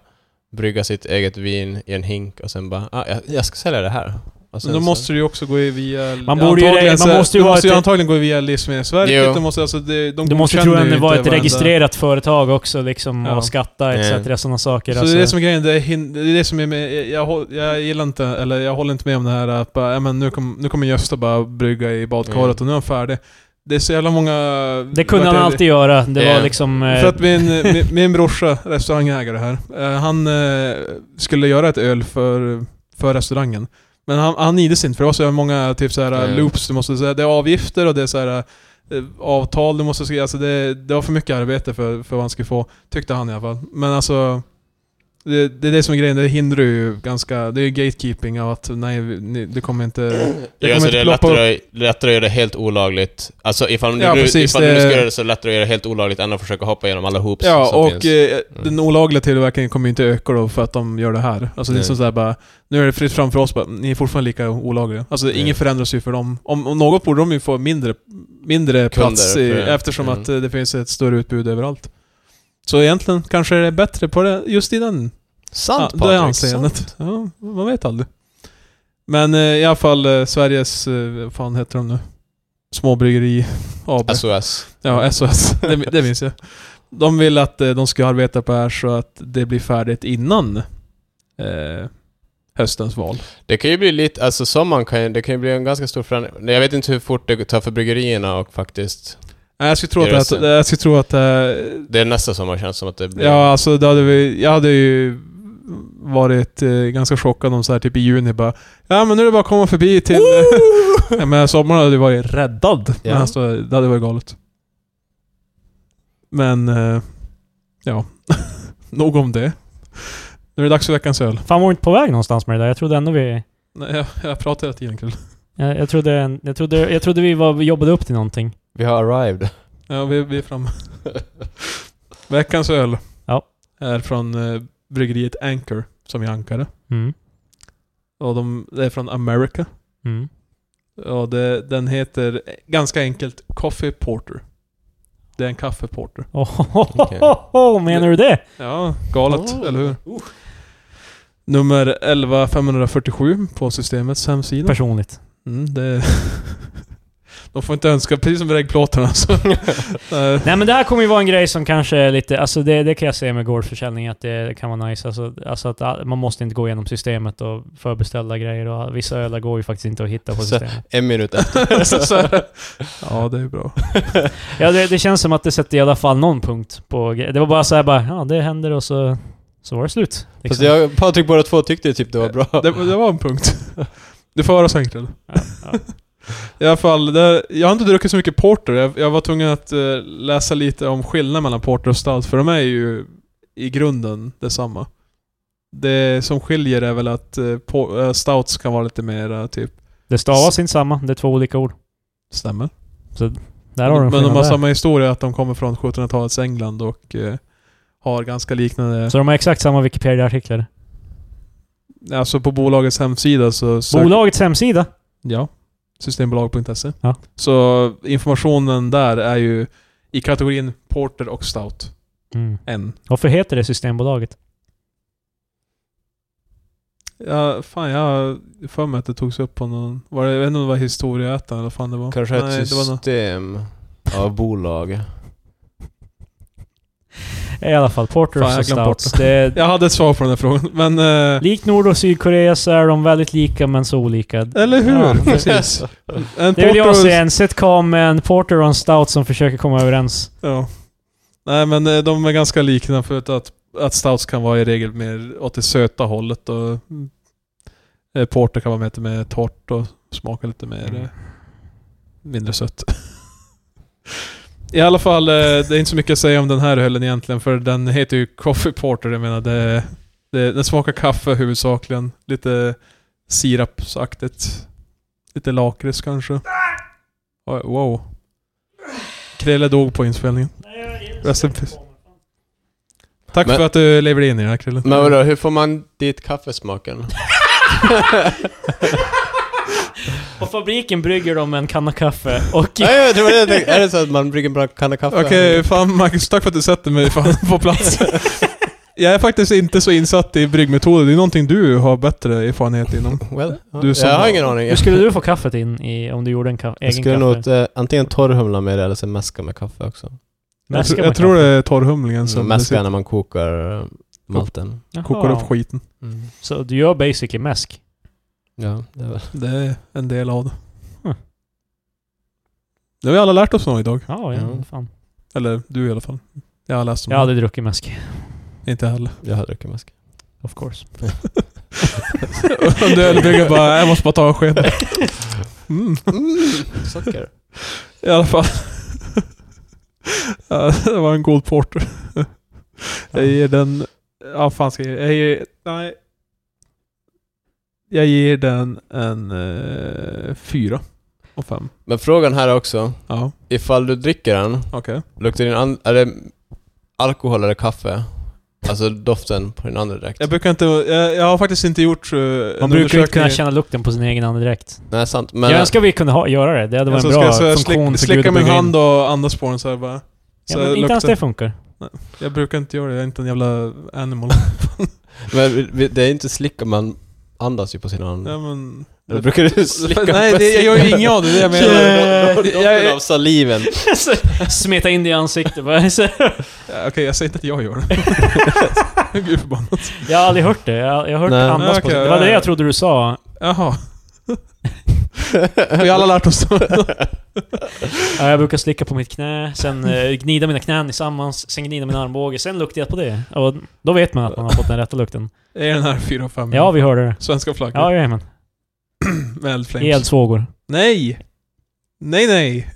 brygga sitt eget vin i en hink och sen bara, ah, jag, jag ska sälja det här. Och sen
men då
så-
måste du ju också gå i via...
Alltså, Man borde ju-
antagligen så-
man måste ju
du
ha
måste ju
ett-
antagligen gå via Livsmedelsverket.
Jo.
Du måste, alltså, det, de
Du måste
godkänner
tro att
ju
det var
inte
ett
varenda-
registrerat företag också liksom
Ja.
och skatta etc.
Nej.
sådana saker.
Så
alltså.
det är det som är grejen, det är, hin- det är det som är med, jag, jag, håll- jag gillar inte, eller jag håller inte med om det här att bara, ja, men nu, kom, nu kommer Gösta bara brygga i badkaret
Mm.
och nu är han färdig. Det är så jävla många...
Det kunde han
vart är-
alltid göra. Det
Ja.
var liksom... eh,
För att min, min, min brorsa, restaurangägare här, eh, han eh, skulle göra ett öl för, för restaurangen. Men han, han ides inte för det var så många typ så här,
Mm.
loops du måste säga. Det är avgifter och det är så här eh, avtal du måste skriva. Alltså det, det var för mycket arbete för, för vad han skulle få. Tyckte han i alla fall. Men alltså... Det, det är det som är grejen, det hindrar ju ganska... Det är ju gatekeeping av att nej, ni, det kommer inte...
Det,
kommer
alltså,
inte
det är
ploppa
lättare, lättare att göra det helt olagligt. Alltså ifall nu,
Ja,
du,
precis,
ifall du
det-
ska göra det så är det lättare att göra det helt olagligt än att försöka hoppa igenom alla hoops
Ja,
som
och
finns. Mm.
eh, den olagliga tillverkningen kommer ju inte öka då för att de gör det här. Alltså det är
Nej.
som sådär bara, nu är det fritt fram för oss bara, ni är fortfarande lika olagliga. Alltså
Nej.
inget förändras ju för dem. Om, om något borde de ju få mindre, mindre plats i,
för-
eftersom
mm.
att eh, det finns ett större utbud överallt. Så egentligen kanske det är bättre på det, just i den
Sant
ja, det är
Patrik, sant.
anseendet. Ja, man vet aldrig. Men eh, i alla fall eh, Sveriges, eh, vad fan heter de nu? Småbryggeri AB.
Alltså, SOS.
Ja, SOS. Det, det minns jag. De vill att eh, de ska arbeta på det här så att det blir färdigt innan eh, höstens val.
Det kan ju bli lite, alltså sommaren kan ju, det kan ju bli en ganska stor förändring. Nej, Jag vet inte hur fort det tar för bryggerierna och faktiskt.
Nej, Jag skulle tro
Är det
att...
så?
Jag, jag skulle tro att eh,
Det är nästa sommar känns som att det blir.
ja, alltså, det hade vi, jag hade ju varit eh, ganska chockad om så här typ i juni bara Ja men nu är det bara att komma förbi till... ja, men sommaren hade ju varit räddad.
Ja.
Men alltså, det hade varit galet. Men... Eh, ja. Nog om det. Nu är det dags för veckans öl.
Fan, var vi inte på väg någonstans med det där? Jag trodde ändå vi...
Nej, jag, jag pratar hela tiden kul.
Jag, jag, trodde, jag, trodde, jag trodde vi var, vi jobbade upp till någonting.
Vi har arrived.
Ja, vi, vi är framme. Veckans öl.
Ja.
Är från eh, bryggeriet Anchor, som är ankare.
Mm.
Och de, det är från America.
Mm.
Och det, den heter eh, ganska enkelt Coffee Porter. Det är en kaffeporter.
Oh, menar du det?
Ja, galet,
Oh.
eller hur? Nummer 11547 på systemets hemsida.
Personligt.
Mm, det De får inte önska, precis som väggplåtarna. så. Eh,
Nej men det här kommer ju vara en grej som kanske är lite, alltså det, det kan jag säga med gårdsförsäljning att det kan vara nice. Alltså, alltså att all- man måste inte gå igenom systemet och förbeställa grejer och vissa ölar går ju faktiskt inte att hitta på
Så-
systemet.
En minut efter.
så, så här. Ja, det är bra.
Ja det, det känns som att det sätter i alla fall någon punkt på gre- Det var bara såhär bara, ja det händer och så, så var det slut.
Fast
Liksom.
jag och Patrik båda två tyckte typ det var bra.
Det, det var en punkt. Du får höra sen Krille.
Ja, ja.
I alla fall, det, jag har inte druckit så mycket porter. Jag, jag var tvungen att eh, läsa lite om skillnaden mellan porter och stout, för de är ju i grunden detsamma. Det som skiljer är väl att eh, po- eh, stouts kan vara lite mera typ...
Det stavas inte samma, det är två olika ord.
Stämmer.
Där har du
Men de
en skillnad
har
där.
samma historia, att de kommer från 1700-talets England och eh, har ganska liknande...
Så de har exakt samma Wikipedia-artiklar.
Alltså på bolagets hemsida så... söker-
Bolagets hemsida.
Ja. Systembolag.se.
Ja.
E. Så informationen där är ju i kategorin Porter och Stout.
Mm.
En.
Varför heter det Systembolaget?
Ja, fan jag har för mig att det togs upp på någon... Var det, jag vet inte om det var historieätaren eller vad fan det var.
Kanske
Nej,
ett
det var någon-
system av bolag.
I alla fall, Porter
Fan, jag
och
har glömt
Stouts. Det,
Jag hade ett svar på den här frågan, men... Eh,
Likt Nord och Sydkorea så är de väldigt lika men så olika.
eller hur?
Ja.
Precis. En
Det vill
Eh, porter
jag
och-
se, en sitcom med en porter och en stout som försöker komma överens.
Ja. Nej men eh, de är ganska liknande förutom att, att Stouts kan vara i regel mer åt det söta hållet och... mm, eh, Porter kan vara med lite mer torrt och smaka lite mer...
Mm.
eh, mindre sött. I alla fall, eh, det är inte så mycket att säga om den här ölen egentligen, för den heter ju Coffee Porter. Jag menar, det, det, den smakar kaffe huvudsakligen. Lite sirapsaktigt. Lite lakrits kanske. Oj, Wow. Krille dog på inspelningen. Rest in peace. Tack
Men-
för att du lever in i det här Krille.
Men vadå, hur får man dit kaffesmaken?
På fabriken brygger de en kanna kaffe och...
Nej, jag tror det. jag tänkte. Är det så att man brygger en bra kanna kaffe?
Okej, fan Marcus, tack för att du sätter mig fan på plats. Jag är faktiskt inte så insatt i bryggmetoder. Det är någonting du har bättre erfarenhet inom.
Well,
Du
jag
som-
har ingen aning.
Hur skulle du få kaffet in i, om du gjorde en ka-
Jag
egen
skulle
kaffe?
nog eh, antingen torrhumla med det eller så mäska med kaffe också.
Jag,
Mäska
tr-
med
jag tror det
kaffe.
är torrhumlingen som
Mm, mäska när man kokar eh, malten.
Jaha.
kokar upp skiten.
Så du gör basically mäsk?
Ja, det är väl.
Det är en del av det.
Huh.
Det har vi alla lärt oss något idag.
Ja, ja,
Mm.
fan.
Eller du i alla fall. Jag har läst om
Jag har aldrig druckit mäsk.
det. Inte heller.
Jag har druckit mäsk.
Of course.
Om du ölbrygger bara, jag måste bara ta en sked. Mm.
Socker.
I alla fall. Eh, det var en god porter. jag ger den... Ja, fan ska jag ge? Jag ger... Nej. Jag ger den en eh, fyra och fem.
Men frågan här är också,
Ja,
ifall du dricker den,
okej.
luktar din an- är det alkohol eller kaffe? Alltså doften på din andedräkt?
Jag brukar inte... Jag, jag har faktiskt inte gjort... eh, en
Man brukar ju inte
undersökning.
kunna känna lukten på sin egen andedräkt.
Nej, sant. Men,
Jag önskar vi kunde ha, göra det. Det hade varit
Alltså,
en
ska
bra
jag så här
funktion
slick,
för Gud
slicka
att
min
bygga in.
hand och andas på den så här bara.
Ja,
Så
men inte
luktar-
ens det funkar.
Jag brukar inte göra det, jag är inte en jävla animal.
Mm. men vi- vi- det är inte slicka, man andas ju på sin andedräkt.
ja, men...
Eller brukar du slicka
Nej,
på
det, jag gör
cigaretten?
ju inget av det, det är det jag menar.
Yeah.
Jag- jag-
Doften av saliven.
Smeta in det i ansiktet bara. Så-
Ja, Okej, jag säger inte att jag gör det. Gud förbannat.
Jag har aldrig hört det. Jag, jag har hört
Nej.
andas
Nej,
på
okej,
det. Det var det
nej.
jag trodde du sa.
Jaha. Vi har alla lärt oss det.
Ja, Jag brukar slicka på mitt knä, sen eh, gnida mina knän tillsammans, sen gnida min armbåge, sen luktar jag på det. Och då vet man att man har fått den rätta lukten.
Är den här 4 och 5?
Ja, vi hörde det.
Svenska flaggor.
Ja, jajamän.
Med eldflames.
Eldsvågor.
Nej! Nej, nej.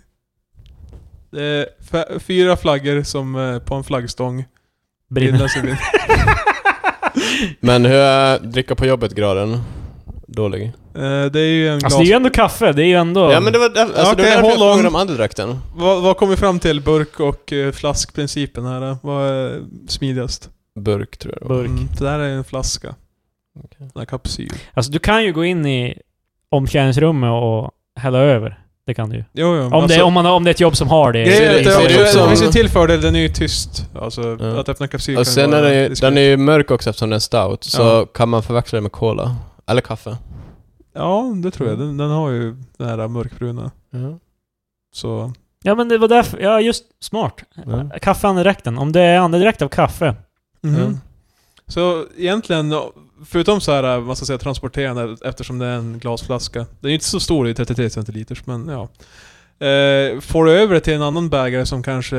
Det är f- fyra flaggor som eh, på en flaggstång
Brinner.
bildas i vind.
Men hur är dricka på jobbet-graden? Dålig.
Eh, Det är ju en glas...
Alltså det är ju ändå kaffe, det är ju ändå...
Ja men det var, där- alltså, det
Okej,
var därför jag
hold on.
frågade om andedräkten.
Vad, vad kom vi fram till? Burk och eh, flaskprincipen här. eh? Vad är smidigast?
Burk tror jag det var.
Burk.
Mm, det där är en flaska.
Okej.
Den här kapsyl.
Alltså du kan ju gå in i omklädningsrummet och hälla över. Det kan du ju.
Jo, jo.
Om,
Alltså-
det, om, man, om det är ett jobb som har det.
Grejen är
det-
att
ser
det,
det
det,
ut som-
finns en till fördel, den är ju tyst. Alltså,
Ja.
att öppna kapsyl
Och
ju
sen är
vara
den ju,
diskret.
den är ju mörk också eftersom den är stout, så
Ja.
kan man förväxla det med cola. Eller kaffe.
Ja, det tror
Mm.
jag. Den, den har ju den här mörkbruna. Så...
Ja men det var därför, ja just smart.
Ja.
Kaffeandedräkten. Om det är andedräkt av kaffe.
mhm.
Mm.
Så egentligen, förutom så här, vad ska jag säga, transporterande eftersom det är en glasflaska. Den är ju inte så stor, det är 33 centiliters, men ja. Eh, får du över det till en annan bägare som kanske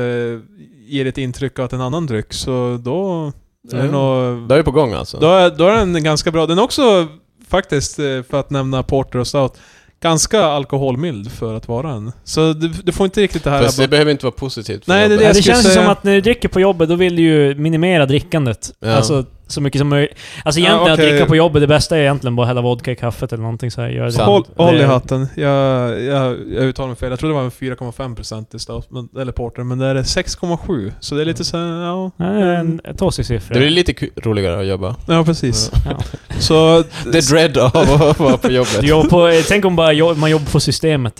ger ett intryck av att det är en annan dryck, så då... Är det
Mm.
nog,
Det är ju på gång alltså.
då, är, då är den ganska bra. Den är också faktiskt, eh, för att nämna Porter och Stout, ganska alkoholmild för att vara en. Så du, du får inte riktigt det här...
Fast det behöver inte vara positivt för
Nej, det är
jobbet.
det
Ja,
jag
det
skulle
känns ju
säga-
som att när du dricker på jobbet, då vill du ju minimera drickandet.
Ja.
Alltså så mycket som möjligt. Alltså
Ja,
egentligen att
okej.
dricka på jobbet, det bästa är egentligen bara att hälla vodka i kaffet eller någonting så här. Gör det.
Sant.
Håll, håll i
Det-
hatten. Jag, jag, jag uttalar mig fel. Jag trodde det var en 4,5% i stout, men, eller porter, men det är 6,7. Så det är lite så här, ja...
Ja, det är en tossig siffra.
Det är lite ku- roligare att jobba.
Ja, precis.
Ja.
Så...
Det är dread av att vara på jobbet.
Du jobbar på, eh, tänk om bara jobb, man jobbar på systemet.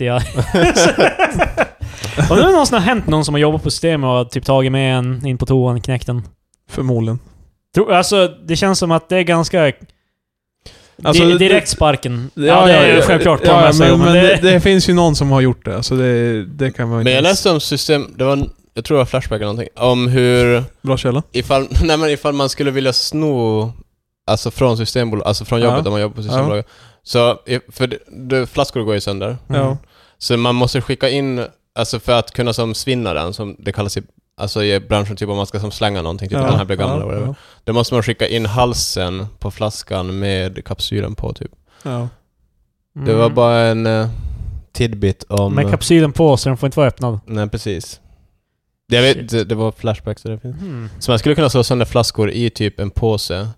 Ja. Undrar om det någonsin har hänt någon som har jobbat på systemet och har typ tagit med en in på toan, knäckt den.
Förmodligen.
Tror- Alltså, det känns som att det är ganska...
Alltså,
di
det-
direkt sparken. Ja, det är självklart på de
ja,
här
men,
ställen,
men
men
det, det finns ju någon som har gjort det, så det, det kan man ju
Men jag
inte...
läste om system, det var, en- jag tror det var Flashback eller någonting, om hur
Bra källa.
Ifall, nej men ifall man skulle vilja sno Alltså från systembolag, alltså från jobbet
Ja.
om man jobbar på systembolaget. Så, i- för det- det, flaskor går ju sönder.
Mm.
Ja.
Så man måste skicka in, alltså för att kunna som svinna den, som det kallas i, alltså i branschen, typ om man ska som slänga någonting, typ
ja,
den här blir gammal
ja,
eller whatever. Då måste man skicka in halsen på flaskan med kapsylen på typ.
Ja, ja.
Mm.
Det var bara en eh, tidbit om...
Med kapsylen på, så den får inte vara öppnad.
nej precis. Jag vet,
Shit.
det, det var flashback så det finns.
Mm.
Så man skulle kunna slå sönder flaskor i typ en påse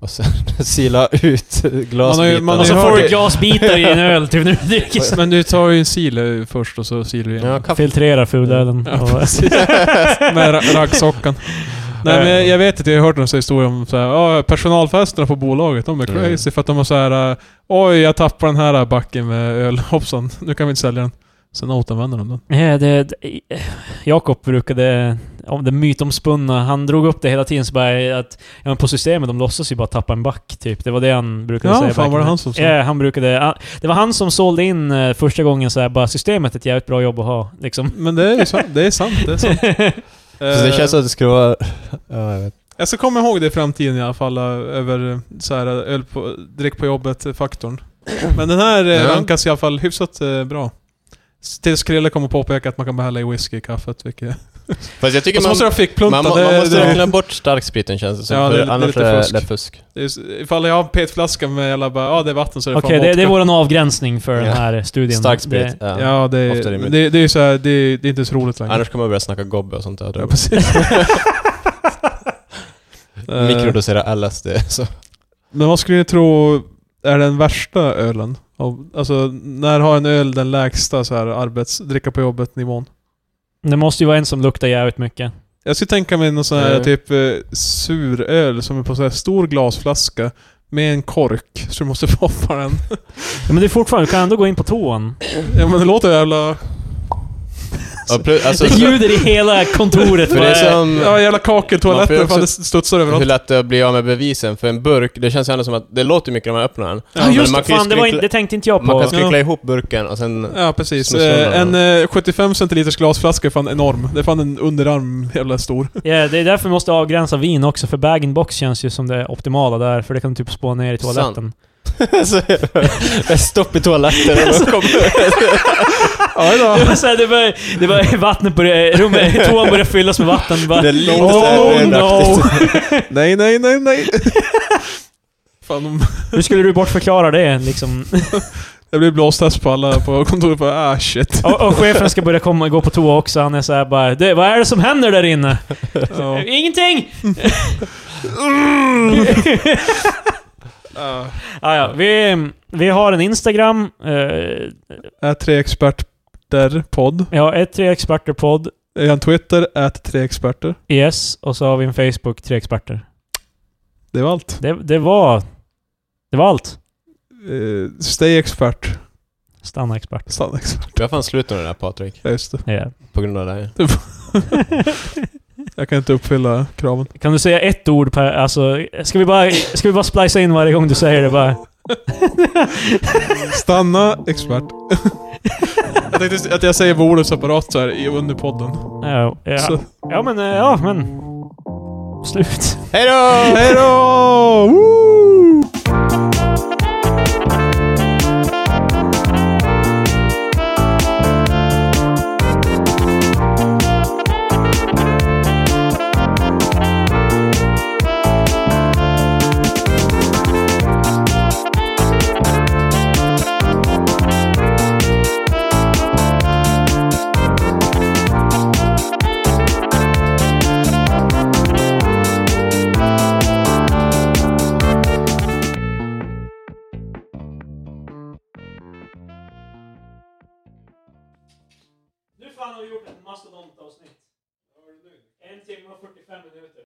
och sen sila ut Alltså, glasbitarna.
Man har ju- man har
Och
ju
så
hört
får
det.
du glasbitar i en öl typ när du dricker.
Men du tar ju en sil eh, först och så silar du igen.
Ja, kaffe.
Filtrerar fulölen.
Ja,
och-
Med ra- raggsockan. Nej
Eh.
men jag- jag vet att jag har hört någon sån här historia om så här, "Ja, personalfesterna på bolaget, de är
Mm.
crazy för att de har så här äh, Oj, jag tappar den här eh, backen med öl, hoppsan, nu kan vi inte sälja den. Sen återanvänder de den.
Eh, det, det, eh, Jakob brukade, om det mytomspunna, han drog upp det hela tiden så bara att ja, men på systemet, de låtsas ju bara tappa en back typ. Det var det han brukade
Ja,
säga.
fan
back
var det
in-
han som sa?
Ja, han brukade... han- Det var han som sålde in eh, första gången så här, bara systemet är ett jävligt bra jobb att ha. Liksom.
Men det är ju sant, det är sant. Det är sant.
Så det
Eh,
känns som att det skulle vara... Ja, jag vet.
Jag ska komma ihåg det i framtiden i alla fall, eh, över eh, så här, eh, öl på, drick på jobbet-faktorn. Men den här eh,
Ja.
rankas i alla fall hyfsat eh, bra. Tills Krille kommer påpeka att man kan bara hälla i whisky i kaffet, vilket...
Fast jag tycker
Och så måste
man,
jag fickplunta.
man, må- man
det-
måste
det-
räkna bort starkspriten känns det som,
Ja, det-
för
det är
annars
lite
är
fusk.
det fusk.
det är så- Ifall jag har en petflaska med jävla bara, ja det är vatten så är det
Okej,
fan
det, det är
vodka.
vår avgränsning för
Ja.
den här studien.
Starksprit,
Det-
ja.
Ja, det,
Ofta är det
är-
mitt.
det, det är ju såhär, det, det är inte så roligt längre.
Annars kommer man börja snacka gobbe och sånt där.
Ja,
då
precis. Eh,
Mikrodosera LSD. Så.
Men vad skulle ni tro är den värsta ölen? Av- Alltså, när har en öl den lägsta så här arbets... dricka på jobbet-nivån?
Det måste ju vara en som luktar jävligt mycket.
Jag skulle tänka mig någon sån här
Mm.
typ eh, suröl som är på så här stor glasflaska med en kork, så du måste poppa den.
Ja, Men det är fortfarande, du kan ändå gå in på toan.
ja men det låter jävla...
Ja, plus, alltså,
Det ljuder i hela kontoret.
för det är som...
Ja jävla
Mm. Man får ju
kakeltoaletter, fan det
också-
studsar
Hur
överallt.
lätt det är att bli av med bevisen, för en burk, det känns ju ändå som att det låter mycket när man öppnar den.
Ja, just
man
det.
kan ju
Fan, det, var in,
skrynkla-
det tänkte inte jag på.
Man kan skrynkla
Ja.
ihop burken och sen...
Ja precis.
Smutsar undan
Eh, en eh, 75 centiliters glasflaska är fan enorm. Det är fan en underarm jävla stor.
Ja, det är därför vi måste avgränsa vin också, för bag-in-box känns ju som det optimala där, för det kan du typ spå ner i toaletten.
så- Stopp i toaletten och då kommer...
Ja, då.
Det var såhär, det var, det var vattnet började, rummet, toan började fyllas med vatten. Bara,
Det är lite
Oh,
såhär
no.
rödaktigt.
nej, nej, nej, nej. fan, de,
hur skulle du bortförklara det liksom?
det blir blåstest på alla på kontoret. Bara, ah shit.
Och, och chefen ska börja komma, gå på toa också, han är såhär bara "Du, Vad är det som händer där inne?
Ja.
Ingenting!
Ja.
ah, ja, vi, vi har en Instagram, eh,
Är tre experter podd.
ja, ett tre experter podd,
Jag har en Twitter, ät tre experter.
yes, och så har vi en Facebook, tre experter.
Det var allt.
Det, det var... Det var allt.
Eh, stay expert.
Stanna expert.
Stanna expert.
Vi har fan slut med det där Patrik,
Ja, just det.
Ja.
på grund av dig.
Jag kan inte uppfylla kraven.
Kan du säga ett ord per... Alltså, ska vi bara, ska vi bara splicea in varje gång du säger det bara?
Stanna expert. jag tänkte att jag säger vad ordet separat så här i- under podden.
Ja, ja.
Så.
ja men... eh, Ja, men... Slut.
Hejdå!
Hej då! Woo!
Nu fan har vi gjort ett mastodontavsnitt. En timme och 45 minuter.